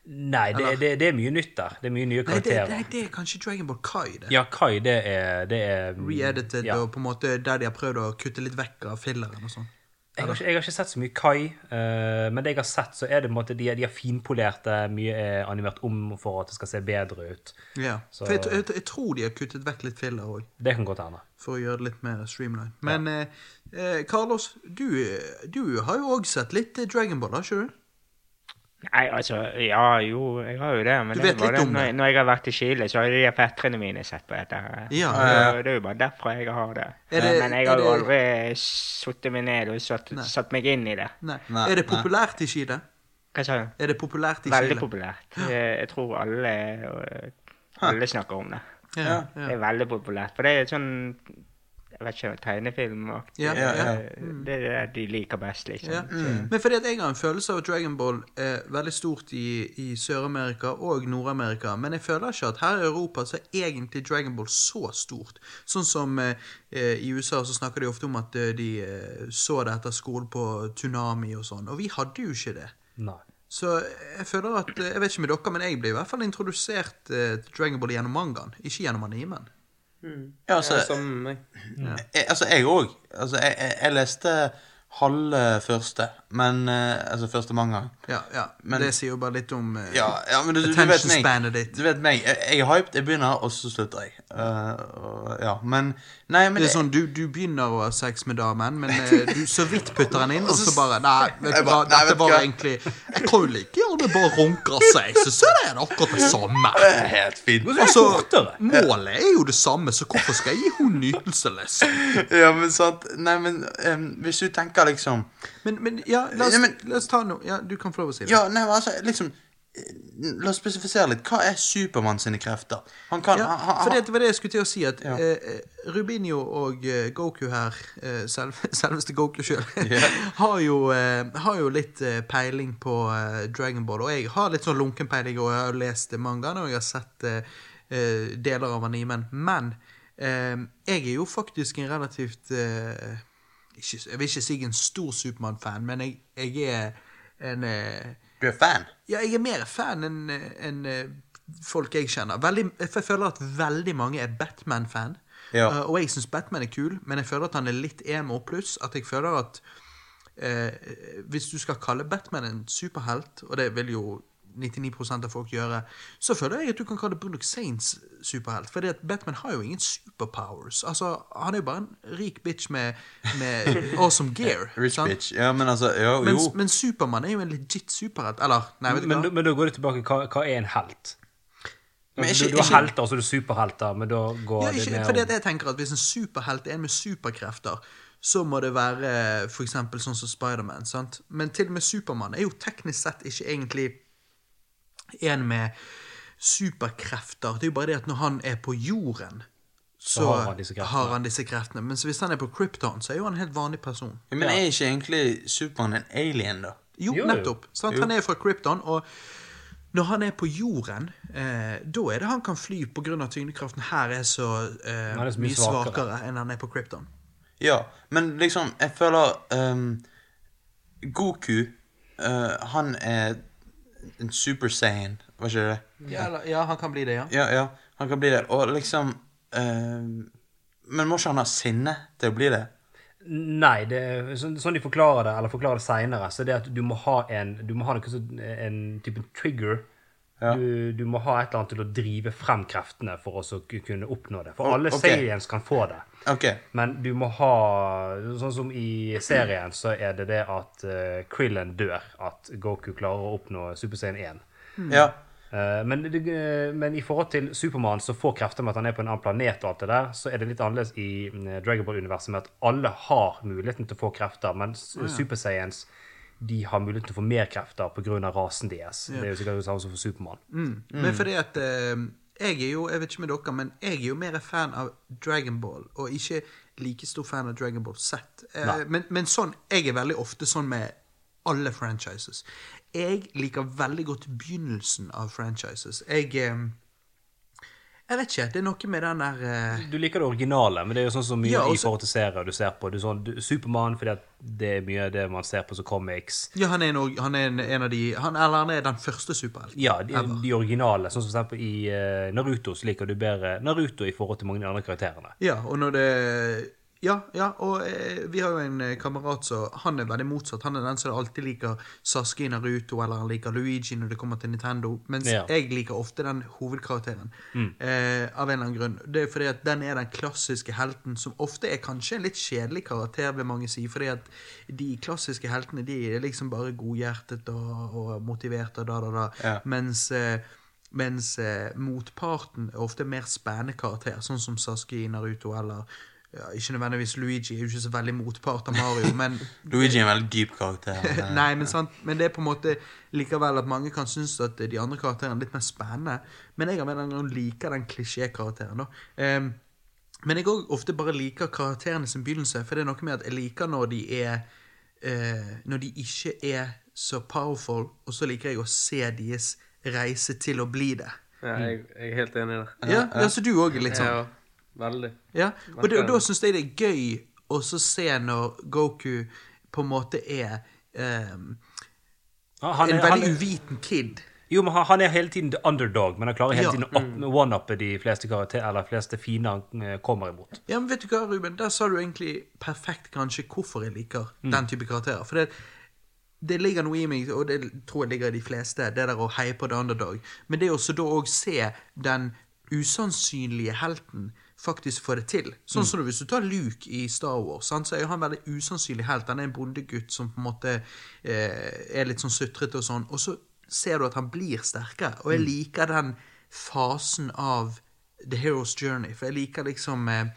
S6: Nei, det, det, det er mye nytt der. Det er mye nye
S7: Nei det,
S6: karakterer.
S7: nei, det er kanskje Dragon Ball Kai, det.
S6: Ja, Kai, det er, det er mm,
S7: Re-edited
S6: ja.
S7: og på en måte der de har prøvd å kutte litt vekk av filleren og sånn.
S6: Jeg har, ikke, jeg har ikke sett så mye Kai, eh, men det jeg har sett, så er det på en måte de, de har finpolert det. Mye er animert om for at det skal se bedre ut.
S7: Ja.
S6: Så-
S7: For jeg, jeg, jeg tror de har kuttet vekk litt filler òg.
S6: Det kan godt hende.
S7: for å gjøre det litt mer streamline. Men eh, eh, Carlos, du, eh, du har jo òg sett litt eh, Dragon Ball, har ikke du?
S5: Nei, altså Ja, jo, jeg har jo det. Men
S7: Du
S5: det er
S7: vet
S5: bare
S7: litt om
S5: når-
S7: det.
S5: Når jeg har vært i Chile, så har de der fetterne mine sett på dette. her.
S7: Ja.
S5: Så Det er jo bare derfor jeg har det.
S7: Er det-
S5: men jeg
S7: er
S5: har jo
S7: det-
S5: aldri satt meg ned og satt, satt meg inn i det.
S7: Nei.
S2: Nei,
S7: er det
S2: nei.
S7: populært i Chile?
S5: Hva sa du?
S7: Er det populært i
S5: Veldig
S7: Chile?
S5: populært. Jeg, jeg tror alle, øh, alle snakker om det.
S7: Ja,
S5: Det
S7: ja.
S5: er veldig populært. For det er sånn jeg vet ikke, tegnefilmaktig.
S7: Ja, ja, ja. Mm.
S5: Eh, Det er det de liker best, liksom.
S7: Ja. Men fordi at jeg har en følelse av at Dragon Ball er veldig stort i, i Sør-Amerika og Nord-Amerika, men jeg føler ikke at her i Europa så er egentlig Dragon Ball så stort. Sånn som eh, eh, i USA så snakker de ofte om at eh, de eh, så det etter skolen på Tsunami og sånn, og vi hadde jo ikke det.
S6: Nei.
S7: Så eh, jeg føler at Jeg vet ikke med dere, men jeg ble i hvert fall introdusert eh, til Dragon Ball gjennom mangaen, ikke gjennom animen.
S2: Ja, altså,
S3: Sammen med meg.
S2: Jeg, altså, jeg òg. Altså, jeg, jeg, jeg leste halve første, men eh, Altså første manga.
S7: Ja, ja.
S2: Men-
S7: det sier jo bare litt om eh,
S2: Ja, ja men du, du vet
S7: Attention
S2: meg.
S7: spanet ditt.
S2: Du vet meg. Jeg, jeg er hyped, jeg begynner, og så slutter jeg. Eh, og, ja, men Nei, men
S7: Det er sånn, du, du begynner å ha sex med damen, men eh, du så vidt putter den inn, og så bare Nei, vet
S2: Jeg
S7: du hva,
S2: bare, nei,
S7: dette
S2: vet
S7: var
S2: du hva?»
S7: egentlig Jeg kan jo like gjerne bare runke av seg, så så er det akkurat det samme.
S2: det er sånn- helt fint.
S7: Altså,
S6: Kortere.
S7: målet er jo det samme, så hvorfor skal jeg gi hun nytelse, liksom?
S2: Ja, men sant. Nei, men em, hvis du tenker liksom
S7: Men, men ja, la oss,
S2: Ja, men-
S7: la oss ta noe. Ja, du kan få lov å si det.
S2: Ja, nei, men altså, liksom eh, La oss spesifisere litt. Hva er Supermann sine krefter? Han kan
S7: Ja,
S2: han, han,
S7: for det var det jeg skulle til å si, at
S2: Ja.
S7: eh, eh, Rubinho og eh, Goku her, eh, selv, selveste Goku sjøl, har, jo, eh, har jo litt eh, peiling på eh, Dragon Ball. Og jeg har litt sånn lunken peiling, og jeg har lest mangaen, og jeg har sett eh, eh, deler av animen. Men eh, jeg er jo faktisk en relativt eh, ikke, Jeg vil ikke si en stor Supermann-fan, men jeg, jeg er en eh,
S2: Du er fan?
S7: ja, jeg er mer fan enn enn, eh, folk jeg kjenner. Veldig, for jeg føler at veldig mange er Batman-fan.
S2: Ja.
S7: Eh, og jeg syns Batman er kul, men jeg føler at han er litt emo pluss. At jeg føler at eh, hvis du skal kalle Batman en superhelt, og det vil jo 99 av folk gjøre, så føler jeg at du kan kalle Bruno Saints superhelt. For Batman har jo ingen superpowers. Altså, Han er jo bare en rik bitch med, med awesome gear.
S2: Rich
S7: sant?
S2: bitch. Ja, men altså Jo, jo.
S7: Mens, men Supermann er jo en legit superhelt. Eller, nei, vet du
S6: Men,
S7: hva.
S6: da- men da går det tilbake hva, hva er en helt?
S2: Men
S6: du,
S2: ikke-
S6: du har
S2: ikke-
S6: helter, og så er du superhelter, men da går
S7: Ja,
S6: det
S7: ikke,
S6: ned
S7: fordi at jeg tenker at Hvis en superhelt er en med superkrefter, så må det være for eksempel sånn som Spiderman. sant? Men til og med Supermann er jo teknisk sett ikke egentlig en med superkrefter. Det er jo bare det at når han er på jorden, så,
S6: har han disse kreftene.
S7: har han disse kreftene. Men hvis han er på Krypton, så er jo han en helt vanlig person.
S2: Men er ikke egentlig Supermann en alien, da?
S7: Jo,
S6: Jo, jo.
S7: nettopp. Sant? Han er fra Krypton, og når han er på jorden, eh, da er det han kan fly pga. tyngdekraften her er så, eh,
S6: Han er så mye
S7: mye svakere.
S6: svakere
S7: enn han er på Krypton.
S2: Ja, men liksom, jeg føler ehm, Goku eh, Han er en super saiyan, var ikke det?
S7: Ja, eller, ja, han kan bli det, ja.
S2: Ja, ja, han kan bli det. Og liksom ehm, Men må ikke han ha sinne til å bli det?
S6: Nei, det, er- sånn, sånn de forklarer det, eller forklarer det seinere, så er det at du må ha en, du må ha noe, sånn- en type trigger. Du, du må ha et eller annet til å drive frem kreftene for å så ku- kunne oppnå det. For
S2: Å,
S6: alle
S2: ok.
S6: Saiyans kan få det.
S2: OK.
S6: Men du må ha Sånn som i serien, så er det det at eh, Krillin dør. At Goku klarer å oppnå Super Saiyan 1.
S7: Hmm.
S2: Ja.
S6: Eh, Men, det- eh, men i forhold til Supermann, som får krefter med at han er på en annen planet, og alt det der, så er det litt annerledes i mm, Dragon Ball-universet med at alle har muligheten til å få krefter, mens eh, Super Saiyans de har muligheten til å få mer krefter pga. rasen deres. Det er jo sikkert det samme som for Supermann.
S7: Men fordi at eh, Jeg er jo, jeg vet ikke med dere, men jeg er jo mer fan av Dragonball, og ikke like stor fan av Dragonball Z. Eh, men, men sånn, jeg er veldig ofte sånn med alle franchises. Jeg liker veldig godt begynnelsen av franchises. Jeg eh, Jeg vet ikke, det er noe med den der eh,
S6: Du liker det originale, men det er jo sånn som mye
S7: Ja,
S6: i
S7: også-
S6: forhold til serier du ser på. Du, sånn, du, Supermann, fordi at det er mye av det man ser på som comics.
S7: Ja, han er, en, org- han er en, en av de han, Eller han er den første superhelten.
S6: Ja, de, de originale. Sånn som for eksempel i eh, Naruto, så liker du bedre Naruto i forhold til mange av de andre karakterene.
S7: Ja, og når det Ja, ja, og eh, vi har jo en eh, kamerat som Han er veldig motsatt. Han er den som alltid liker Saski i Naruto, eller han liker Luigi når det kommer til Nintendo. Mens
S6: Ja.
S7: jeg liker ofte den hovedkarakteren. Eh, av en eller annen grunn. Det er fordi at den er den klassiske helten, som ofte er kanskje en litt kjedelig karakter, vil mange si. Fordi at de klassiske heltene, de er liksom bare godhjertet og, og motivert og da, da, da.
S2: Ja.
S7: Mens, eh, mens eh, motparten er ofte mer spennende karakter, sånn som Saski i Naruto eller ja, Ikke nødvendigvis Luigi, er jo ikke så veldig motpart av Mario, men
S2: Luigi er en veldig dyp karakter. men, eh,
S7: Nei, men, sant? men det er på en måte likevel at mange kan synes at de andre karakterene er litt mer spennende. Men jeg av en eller annen grunn liker den klisjékarakteren. da. Ehm, men jeg òg ofte bare liker karakterene sin begynnelse, for det er noe med at jeg liker når de er eh, Når de ikke er så powerful, og så liker jeg å se deres reise til å bli det.
S3: Ja, jeg, jeg er helt enig der.
S7: Ja, ja så du òg er litt sånn?
S3: Ja, veldig.
S7: Ja, og da, da syns jeg det er gøy å så se når Goku på en måte er ehm,
S6: Ja, han
S7: en
S6: er- han
S7: veldig
S6: er-
S7: uviten kid.
S6: Jo, men han, han er hele tiden the underdog, men han klarer hele
S7: Ja.
S6: tiden å up- one-uppe de fleste karakterer, eller fleste fiender han eh, kommer imot.
S7: Ja, men vet du hva, Ruben, der sa du egentlig perfekt kanskje hvorfor jeg liker den type karakterer. For det, det ligger noe i meg, og det tror jeg ligger i de fleste, det der å heie på the underdog. Men det er også da å se den usannsynlige helten faktisk få det til. Sånn som hvis du tar Luke i Star Wars, sant, så er jo han veldig usannsynlig helt. Han er en bondegutt som på en måte eh, er litt sånn sutrete og sånn. Og så ser du at han blir sterkere, og jeg liker den fasen av The Hero's Journey. For jeg liker liksom eh,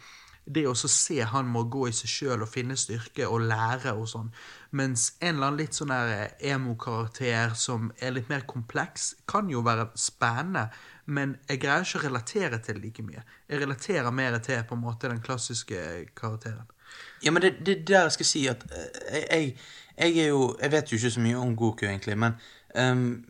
S7: det å så se han må gå i seg sjøl og finne styrke og lære og sånn. Mens en eller annen litt sånn der eh, emo-karakter som er litt mer kompleks, kan jo være spennende, men jeg greier ikke å relatere til det like mye. Jeg relaterer mer til på en måte den klassiske eh, karakteren.
S2: Ja, men det, det der jeg skal si at eh, jeg, jeg, jeg er jo Jeg vet jo ikke så mye om Goku, egentlig, men ehm,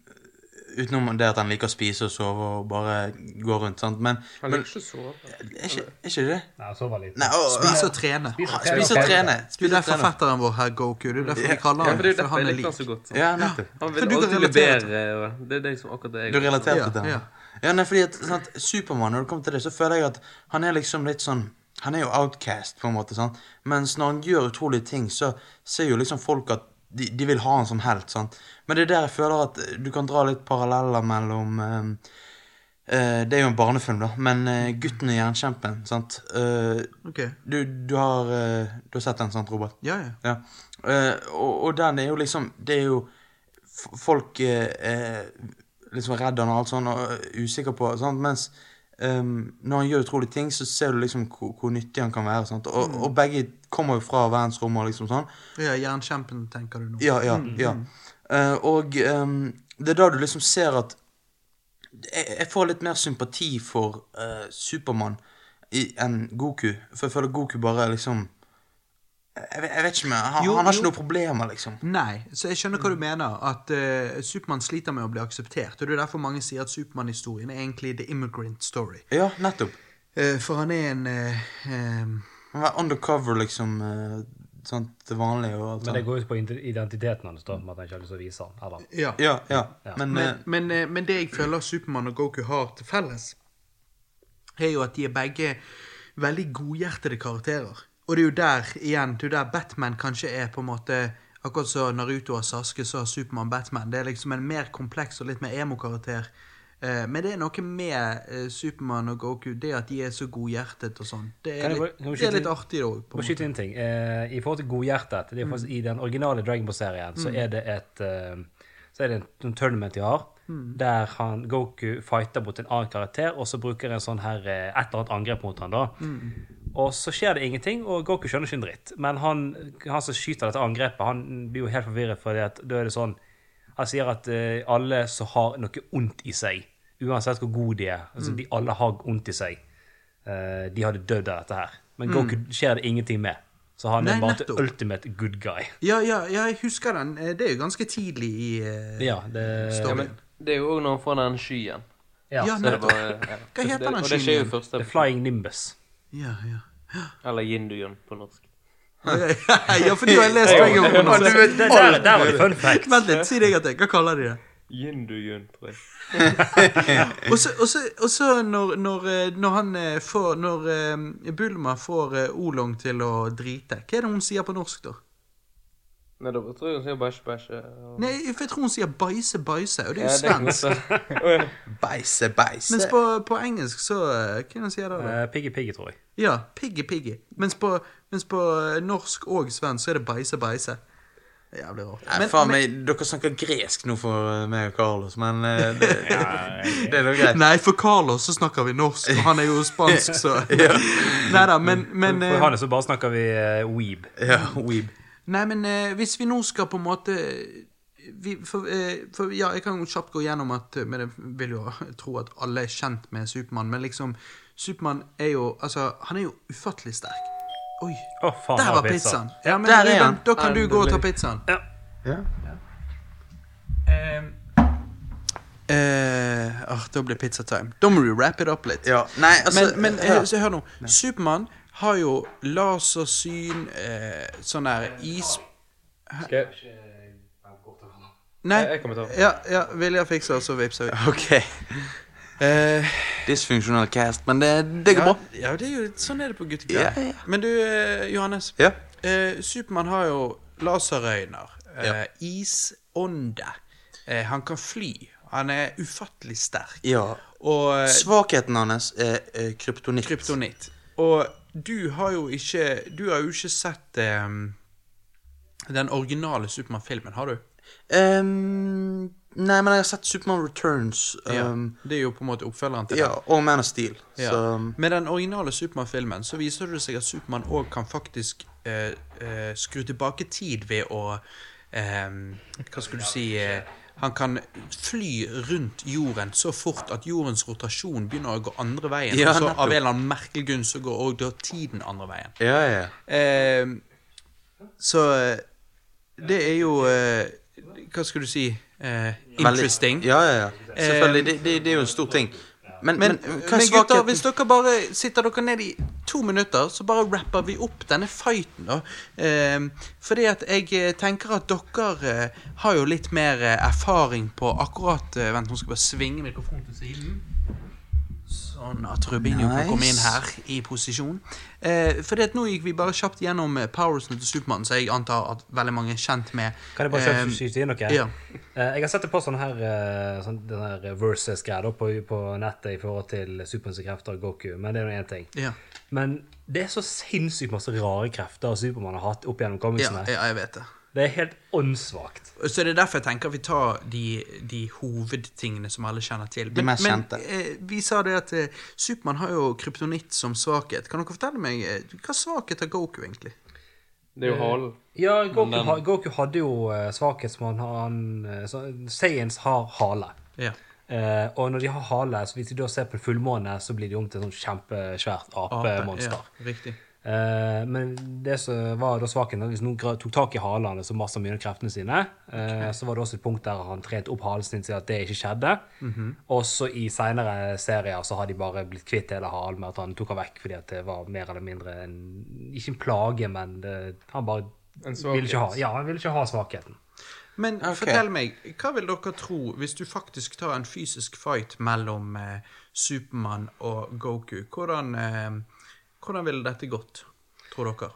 S2: Utenom det at han liker å spise og sove og bare gå rundt, sant, men,
S3: Han
S2: men
S3: liker ikke å sove.
S2: er, ikke, er ikke det?
S6: Nei, så var litt.
S2: Nei, å,
S7: Spise og trene.
S6: Spise og
S2: å- spise og trene.
S7: Du er
S2: Spise og
S7: derfor
S2: trene.
S7: fetteren vår, herr Goku. Det er derfor vi
S3: Ja,
S7: kaller han
S3: for det er jo
S7: for
S3: derfor
S7: han
S3: jeg
S7: er
S3: liker han
S7: lik.
S3: så godt.
S2: Ja, nettopp.
S3: Han
S7: For
S3: vil
S7: du kan
S3: alltid
S7: relatere
S3: levere. og Det er det som akkurat det jeg
S2: Du relaterte
S7: Ja,
S2: til den?
S7: ja.
S2: Ja. nei, fordi at sant, Supermann, når det kommer til det, så føler jeg at han er liksom litt sånn Han er jo outcast, på en måte, sant. Mens når han gjør utrolige ting, så ser jo liksom folk at de, de vil ha han som helt, sant. Men det er der jeg føler at du kan dra litt paralleller mellom eh, eh, Det er jo en barnefilm, da, men eh, 'Gutten i jernkjempen', sant. Eh,
S7: Ok.
S2: du, du, har, eh, du har sett den, sant, Robert?
S7: Ja, ja.
S2: Ja. Eh, og, og den er jo liksom Det er jo f- Folk eh, er liksom redd han og alt sånn, og er usikker på sant? Mens ehm, når han gjør utrolige ting, så ser du liksom hvor, hvor nyttig han kan være. Sant? Og, og begge kommer jo fra verdensrommet og liksom sånn.
S7: ja Jernkjempen, tenker du nå.
S2: Ja, ja,
S7: Mm,
S2: ja. Eh, og ehm, det er da du liksom ser at jeg, jeg får litt mer sympati for uh, Supermann enn Goku. For jeg føler Goku bare liksom Jeg, vet- jeg vet ikke om jeg- han,
S7: Jo,
S2: han har
S7: jo.
S2: ikke noen problemer, liksom.
S7: Nei, så jeg skjønner hva du mener. At eh, Supermann sliter med å bli akseptert. Og det er derfor mange sier at Supermann-historien er egentlig the immigrant story.
S2: Ja, nettopp.
S7: Eh, for han er en eh, eh,
S2: Han var undercover, liksom. eh, sant, det vanlige og alt
S6: Men det
S2: sånt.
S6: går ut på ident- identiteten hans, da, med at han ikke har lyst til å vise han. Eller?
S7: Ja.
S2: Ja, ja. Men,
S7: Men,
S2: eh,
S7: men, eh, men det jeg føler Supermann og Goku har til felles, er jo at de er begge veldig godhjertede karakterer. Og det er jo der igjen, det er jo der Batman kanskje er på en måte Akkurat som Naruto og Saske, så har Supermann Batman. Det er liksom en mer kompleks og litt mer emo-karakter. Eh, Men det er noe med eh, Supermann og Goku, det at de er så godhjertet og sånn. Det
S6: Kan
S7: er
S6: jeg bare-
S7: litt,
S6: kan vi
S7: det
S6: skyte
S7: er litt
S6: inn-
S7: artig
S6: Må
S7: òg.
S6: skyte inn en ting. Eh, I forhold til godhjertet det er jo faktisk I den originale Dragon Ball-serien så er det et eh, Så er det en, en tournament de har, der han, Goku fighter mot en annen karakter, og så bruker en sånn her eh, et eller annet angrep mot han da. Og så skjer det ingenting, og Goku skjønner ikke en dritt. Men han, han som skyter dette angrepet, han blir jo helt forvirret, for da er det sånn Han sier at eh, alle som har noe ondt i seg, uansett hvor gode de er altså, de Alle har ondt i seg. Eh, de hadde dødd av dette her. Men Goku skjer det ingenting med. Så han
S7: Mm. Nei,
S6: er bare the
S7: nettopp.
S6: ultimate good guy.
S7: Ja, ja, ja, jeg husker den. Eh, Det er jo ganske tidlig i eh,
S6: Ja, det,
S7: storyen.
S3: Det er jo òg når han får den skyen.
S6: ja,
S7: Ja,
S3: Så er
S6: så
S3: det
S7: nettopp.
S3: bare, ja.
S7: Hva heter den
S3: skyen? Og det
S7: skyen
S3: skjer jo
S7: igjen?
S3: først.
S6: The Flying Nimbus.
S7: Ja, ja.
S3: Eller Yinduyen på norsk.
S7: ja, for du har lest Dragon
S2: Å,
S7: Ball.
S2: du vet
S6: Der,
S2: alt!
S6: der var det fun fact.
S7: Vent litt, si det en gang til. Hva kaller de det?
S3: Yinduyen, tror jeg.
S7: Og så- Og så- og så når, når, eh, når han eh, får Når eh, Bulma får eh, Olong til å drite, hva er det hun sier på norsk, da?
S3: Nei, da tror jeg hun sier bæsj, bæsj. eh, og-
S7: Nei, for jeg tror hun sier bæsje, bæsje, og det er
S3: Ja,
S7: jo
S3: det kan godt
S7: svensk.
S3: være. Å, ja.
S2: Beise, beise.
S7: Mens på, på engelsk, så eh, Hva er det hun sier da? da?
S6: Eh, Piggy Piggy, tror jeg.
S7: Ja, piggy, piggy. Mens på, mens på eh, norsk og svensk så er det bæsje, bæsje. Det er Jævlig rart.
S2: Nei, faen meg, dere snakker gresk nå for eh, meg og Carlos, men eh, det, det er da greit.
S7: Nei, for Carlos så snakker vi norsk, og han er jo spansk, så Nei da, men, men
S6: For
S7: eh,
S6: Johannes så bare snakker vi eh, weeb.
S2: Ja, weeb.
S7: Nei, men eh, hvis vi nå skal på en måte vi, for, eh, for ja, Jeg kan jo kjapt gå gjennom at eh, Men jeg vil jo tro at alle er kjent med Supermann, men liksom Supermann er jo Altså, han er jo ufattelig sterk. Oi,
S6: Å, faen,
S7: der
S6: her
S7: var
S6: er
S7: pizzaen! Ja, men
S2: Der er
S7: Ruben,
S2: han.
S7: da kan
S3: Nei,
S7: du
S3: det
S7: gå og ta
S3: blir-
S7: pizzaen.
S6: Ja.
S2: Ja.
S7: Eh, eh, ah, da blir pizzatime. Da må du wrap it up litt.
S2: ja. Nei, altså
S7: Men, men
S2: hør.
S7: hør, så hør nå. Supermann har jo lasersyn, eh, sånn der is...
S3: Skal jeg-
S7: Nei,
S3: Jeg kommer til å
S7: ja, ja, Vilja fikser, og så vipser vi.
S2: OK.
S7: Eh,
S2: Dysfunksjonell cast, men det, det går
S7: ja,
S2: bra.
S7: ja, det er jo, sånn er det på
S2: Ja,
S7: guttekvelden.
S2: ja.
S7: Men du, eh, Johannes.
S2: Ja.
S7: Eh, Supermann har jo laserøyne, eh, isånde. Eh, han kan fly. Han er ufattelig sterk.
S2: ja.
S7: Og eh,
S2: Svakheten hans er eh, kryptonitt.
S7: kryptonitt. Og du har jo ikke Du har jo ikke sett eh, den originale Supermann-filmen, har du?
S2: Ehm, nei, men jeg har sett Supermann Returns ehm,
S7: Det er jo på en måte oppfølgeren til
S2: ja.
S7: den.
S2: og Man of Steel.
S7: Ja.
S2: Så ehm,
S7: Med den originale Supermann-filmen så viser det seg at Supermann òg kan faktisk eh, eh, skru tilbake tid ved å eh, Hva skulle du si eh, Han kan fly rundt jorden så fort at jordens rotasjon begynner å gå andre veien.
S2: Ja,
S7: og så
S2: nettopp.
S7: av en eller annen merkelig grunn så går òg da tiden andre veien.
S2: Ja, ja.
S7: Eh, så eh, det er jo eh, Hva skulle du si eh, Interesting.
S2: Ja, ja, ja. Selvfølgelig. Det, det, det er jo en stor ting. Men, eh, men,
S7: Men,
S2: hva er
S7: men gutter,
S2: svakheten
S7: hvis dere bare sitter dere ned i to minutter, så bare rapper vi opp denne fighten, da. Ehm, fordi at jeg eh, tenker at dere eh, har jo litt mer eh, erfaring på akkurat eh, Vent, nå skal jeg bare svinge mikrofonen til siden. Så Sånn at Rubinho kan
S2: Nice.
S7: komme inn her i posisjon. Eh, for det at nå gikk vi bare kjapt gjennom eh, powersen til Supermann, så jeg antar at veldig mange er kjent med
S6: Kan jeg bare kjøpe,
S7: eh,
S6: skyte inn noe?
S7: ja.
S6: Eh, Jeg har sett det på sånn her, eh, sånn, den her versus-greia da, på, på nettet i forhold til Supermanns krefter og Goku, men det er nå én ting.
S7: Ja.
S6: Men det er så sinnssykt masse rare krefter Supermann har hatt opp gjennom
S7: Ja,
S6: comicsene.
S7: ja, jeg vet det.
S6: Det er helt åndssvakt.
S7: Så det er derfor jeg tenker vi tar de, de hovedtingene som alle kjenner til.
S2: De mest kjente.
S7: Men eh, vi sa det at eh, Supermann har jo kryptonitt som svakhet. Kan dere fortelle meg eh, hva svakhet har Goku egentlig?
S3: Det er jo halen.
S6: Ja, Goku,
S3: Men-
S6: ha- Goku hadde jo eh, svakhet som han, han eh, så, Saiyans har hale.
S7: Ja.
S6: Eh, og når de har hale, så hvis de da ser på fullmåne, så blir de om til et sånt kjempesvært apemonster.
S7: Ja, riktig.
S6: Eh, men det som var da svaken, hvis noen gra- tok tak i halene så masse mye av kreftene sine, eh, så var det også et punkt der han trente opp halen sin til at det ikke skjedde.
S3: Mhm.
S6: Og så i seinere serier så har de bare blitt kvitt hele halen med at han tok han vekk fordi at det var mer eller mindre en Ikke en plage, men det, han bare
S3: En
S6: ville ikke ha,
S3: svakhet.
S6: ja, han ville ikke ha svakheten.
S7: Men
S2: Ok.
S7: fortell meg, hva vil dere tro hvis du faktisk tar en fysisk fight mellom eh, Supermann og Goku? Hvordan, eh, hvordan ville dette gått, tror dere?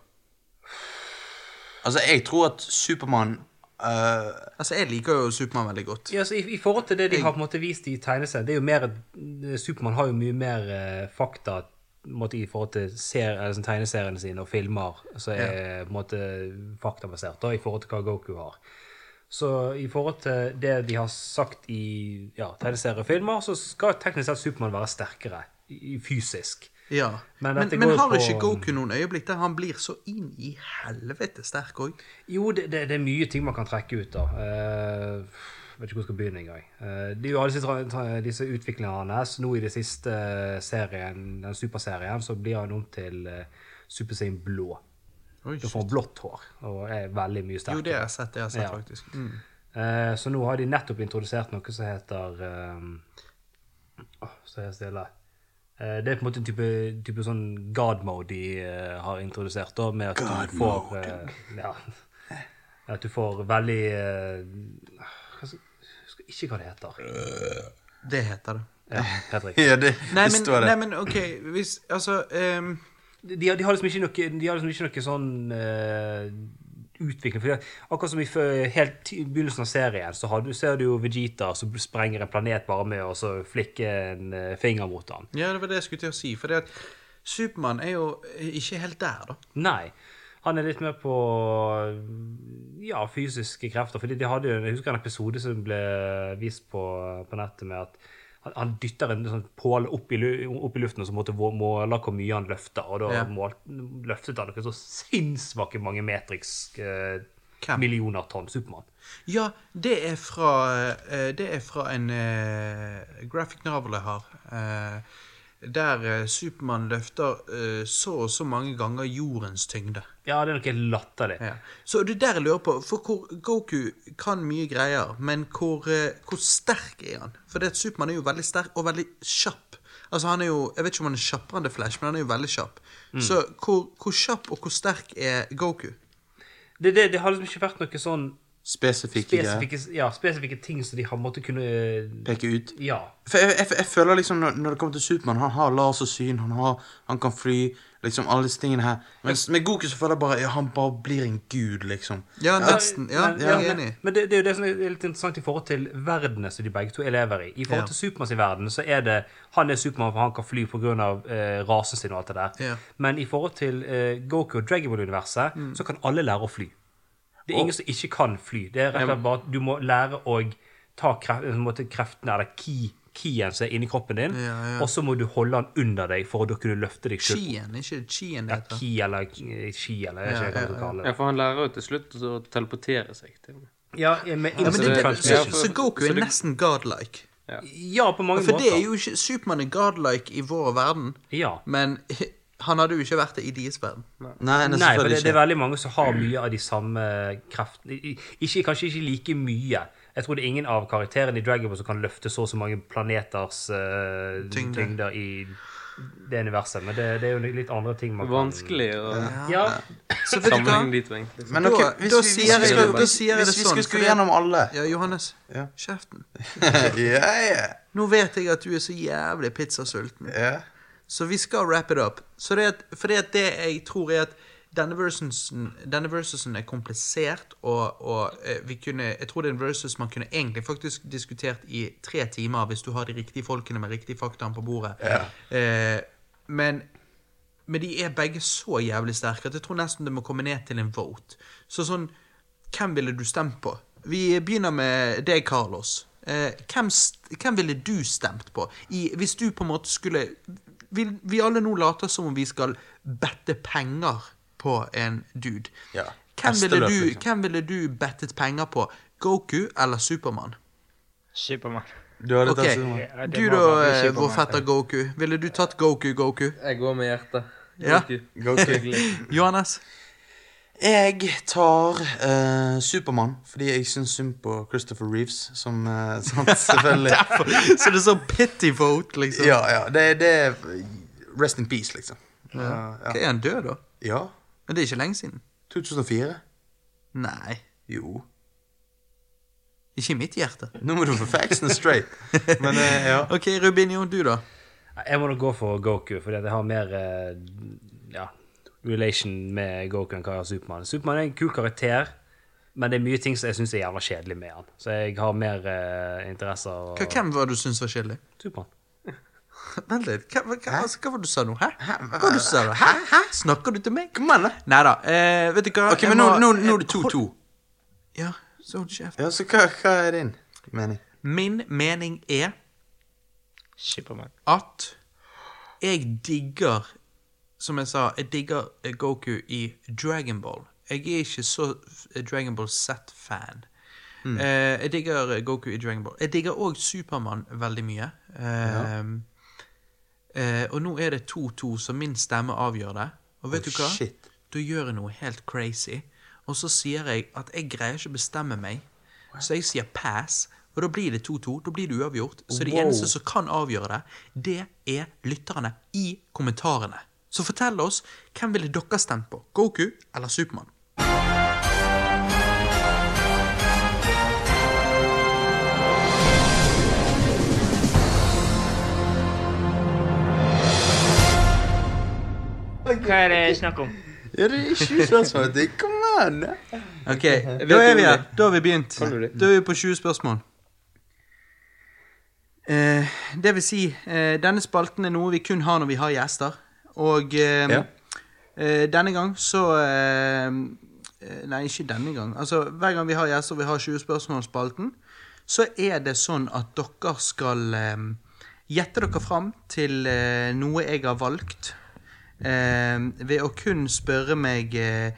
S2: Altså, jeg tror at Supermann øh,
S7: Altså, jeg liker jo Supermann veldig godt.
S6: Ja, så i, I forhold til det de har på en måte vist i tegneserien det er jo mer, at- Supermann har jo mye mer eh, fakta på en måte, i forhold til ser, eller, sånn, tegneseriene sine og filmer, som er på en måte faktabasert da, i forhold til hva Goku har. Så i forhold til det de har sagt i ja, tegneserier og filmer, så skal teknisk sett Supermann være sterkere i, i fysisk.
S7: Ja.
S6: Men
S7: Men,
S6: dette
S7: men,
S6: går jo
S7: har
S6: på-
S7: ikke Goku noen øyeblikk der han blir så inn i helvete sterk òg?
S6: Jo, det, det, det er mye ting man kan trekke ut av. Eh, vet ikke hvor jeg skal begynne engang. Eh, det er jo alle disse, tra- tra- disse utviklingene hans. Nå i det siste eh, serien, den superserien, så blir han om til uh, Super Saiyan blå. Du får blått hår og er veldig mye
S7: Jo,
S6: sterkere.
S7: det har jeg sett. det har jeg sett
S6: Ja.
S7: faktisk. Mm.
S6: Eh, så nå har de nettopp introdusert noe som heter eh, åh, Så er jeg stille. Eh, det er på en måte en type, type sånn god mode de eh, har introdusert, da, med at du får eh, ja, At du får veldig eh, hva skal, Jeg husker ikke hva det heter.
S7: Det heter det.
S6: Ja, helt riktig.
S2: Ja, det,
S7: Nei,
S2: det
S7: men,
S2: står det.
S7: nei, men OK, hvis Altså ehm,
S6: de, de har- de har liksom ikke noe, de har liksom ikke noe sånn eh, utvikling. For det- akkurat som i fø- helt ti- i begynnelsen av serien, så har du, ser du jo Vegeta som sprenger en planet bare med å så flikke en eh, finger mot han.
S7: Ja, det var det jeg skulle til å si. For det at Supermann er jo eh, ikke helt der, da.
S6: Nei. Han er litt mer på ja, fysiske krefter. fordi de hadde, jo- Jeg husker en episode som ble vist på, på nettet med at han, han dytter en sånn påle opp, i lu- opp i luften, og så måtte vå- måle hvor mye han løfter. Og da
S7: Ja.
S6: mål, løftet han noe så sinnssvake mange metrisk eh,
S7: Hvem?
S6: millioner tonn Supermann.
S7: Ja, det er fra, eh, det er fra en eh, graphic novel jeg har. eh, der eh, Supermann løfter eh, så og så mange ganger jordens tyngde.
S6: Ja, det er noe helt latterlig.
S7: Ja. Så det er der jeg lurer på, for hvor Goku kan mye greier, men hvor, eh, hvor sterk er han? For det at Supermann er jo veldig sterk og veldig kjapp. Altså han er jo, Jeg vet ikke om han er kjappere enn The Flash, men han er jo veldig kjapp. Så hvor, hvor kjapp og hvor sterk er Goku?
S6: Det, det, det har liksom ikke vært noe sånn
S2: Spesifikke greier.
S6: spesifikke, ja, spesifikke ting som de har måttet kunne
S2: Peke ut.
S6: Ja.
S2: For jeg, jeg, jeg føler liksom når, når det kommer til Supermann, han har lasersyn, han, har, han kan fly, liksom alle disse tingene her. Mens med Goku så føler jeg bare ja, han bare blir en gud, liksom.
S7: Ja, nesten. Ja,
S6: men,
S7: jeg er
S6: men,
S7: enig.
S6: men det, det er jo det som er litt interessant i forhold til verdenene som de begge to lever i. I forhold
S7: Ja.
S6: til Supermann sin verden, så er det han er Supermann, for han kan fly pga. Eh, rasen sin og alt det der.
S7: Ja. Mm.
S6: Men i forhold til eh, Goku og Dragonball-universet, så kan alle lære å fly. Det er ingen som ikke kan fly. Det er rett og slett bare at du må lære å ta kreft, på en måte kreftene, eller ki, kien som er inni kroppen din,
S7: Ja, ja.
S6: og så må du holde den under deg for å da kunne løfte deg sjøl.
S7: Chien, ikke Chien det heter.
S6: Ki eller eh, ki, eller jeg
S7: Ja,
S6: vet ikke hva
S7: altså. ja,
S6: du kaller det.
S3: Ja, for han lærer jo til slutt å teleportere seg. til og med.
S6: Ja, med
S7: Ja, men det, er det,
S3: Ja,
S7: så,
S3: for-
S7: så Goku
S3: så
S7: er
S3: det-
S7: nesten godlike.
S6: Ja, på mange
S7: For
S6: måter.
S7: det er jo ikke Supermann er godlike i vår verden,
S6: Ja.
S7: men han hadde jo ikke vært det i deres verden.
S2: Nei, nei,
S6: Nei, for det,
S2: selvfølgelig
S6: det er
S2: ikke.
S6: veldig mange som har mye av de samme kreftene. I- Ikke, kanskje ikke like mye. Jeg tror det er ingen av karakterene i Dragon Ball som kan løfte så og så mange planeters eh,
S7: Tyngde.
S6: tyngder i det universet. Men det, det er jo litt andre ting man kan
S3: Vanskelig å
S6: Ja,
S7: Så vet du hva?
S3: sammenligne de to, egentlig.
S2: Men
S7: Da-
S2: ok,
S7: da
S2: hvis vi- hvis vi
S7: sier jeg-
S2: skal-
S7: da sier jeg
S2: Hvis
S7: det
S2: vi
S7: sånn,
S2: skulle gå
S7: fordi-
S2: gjennom alle
S7: Ja, Johannes.
S2: Ja.
S7: Kjeften.
S2: Ja, ja,
S7: Nå vet jeg at du er så jævlig pizzasulten.
S2: ja.
S7: Så vi skal wrap it up. Så det, at, fordi at det jeg tror er at denne versusen, denne versusen er komplisert, og, og eh, vi kunne, jeg tror det er en versus man kunne egentlig faktisk diskutert i tre timer hvis du har de riktige folkene med riktige faktaen på bordet. Eh, men, men de er begge så jævlig sterke at jeg tror nesten det må komme ned til en vote. Så sånn, hvem ville du stemt på? Vi begynner med deg, Carlos. Eh, hvem, st hvem ville du stemt på? I, hvis du på en måte skulle vi, vi alle nå later som om vi skal bette penger på en dude.
S2: Ja,
S7: Hvem ville,
S2: hesteløp,
S7: du,
S2: liksom.
S7: hvem ville du bettet penger på? Goku eller Supermann?
S5: Supermann.
S2: Du hadde
S7: Ok,
S2: tatt Superman.
S5: Ja, det
S7: Du
S5: må
S7: da,
S5: være
S7: eh,
S5: Superman.
S7: vår fetter Goku. Ville du tatt Goku, Goku?
S3: Jeg går med hjertet.
S7: Ja.
S3: Goku.
S2: Goku.
S3: Hyggelig.
S7: Johannes?
S2: Jeg tar eh, Supermann fordi jeg syns synd på Christopher Reeves, som eh, sant, selvfølgelig
S7: Så det er sånn pity vote, liksom.
S2: Ja, ja. Det, det er Rest in peace, liksom.
S7: Hva er han død, da?
S2: Ja.
S7: Men det er ikke lenge siden.
S2: 2004?
S7: Nei.
S2: Jo.
S7: Ikke i mitt hjerte.
S2: Nå må du få faxene straight. Men eh, ja.
S7: OK, Rubinio, du, da?
S6: jeg må nok gå for Goku, fordi at jeg har mer eh, ja, relation med Goku enn hva jeg har Supermann. Supermann er en kul karakter, men det er mye ting som jeg syns er jævla kjedelig med han. Så jeg har mer eh, interesse av
S7: Hva, hvem var det du syntes var kjedelig?
S6: Supermann.
S7: Vent litt. Hva, hva, hva, altså, hva var det du sa nå? Hæ? Hva var det du sa nå? Hæ? Hæ? Snakker du til meg? Kom igjen, da. Nei da. Eh, vet du hva
S2: Ok,
S7: Jeg
S2: men nå,
S7: må-
S2: nå, nå er det 2-2.
S7: Ja, så hold kjeft.
S2: Ja, så hva, hva er din mening?
S7: Min mening er
S5: Supermann.
S7: at jeg digger Som jeg sa, jeg digger eh, Goku i Dragonball. Jeg er ikke så eh, Dragonball Z-fan. Eh, jeg digger Goku i Dragonball. Jeg digger òg Supermann veldig mye. Eh, eh, og nå er det 2-2, så min stemme avgjør det. Og vet
S2: Oh,
S7: du hva?
S2: shit.
S7: Da gjør jeg noe helt crazy. Og så sier jeg at jeg greier ikke å bestemme meg, så jeg sier pass. Og da blir det 2-2. Da blir det uavgjort. Så de
S2: Wow.
S7: eneste som kan avgjøre det, det er lytterne i kommentarene. Så fortell oss, hvem ville dere stemt på? Goku eller Supermann?
S5: Hva er det snakk om?
S2: Ja, det er 20 spørsmål. Det, kom an!
S3: Mhm.
S7: Ok, da er vi her. Da har vi begynt.
S3: Kan du det?
S7: Da er vi på 20 spørsmål. Eh, det vil si, eh, denne spalten er noe vi kun har når vi har gjester. Og eh,
S2: Ja.
S7: eh, denne gang så eh, eh, Nei, ikke denne gang. Altså, hver gang vi har gjester og vi har 20 spørsmål-spalten, så er det sånn at dere skal eh, gjette dere fram til eh, noe jeg har valgt. Eh, ved å kun spørre meg eh,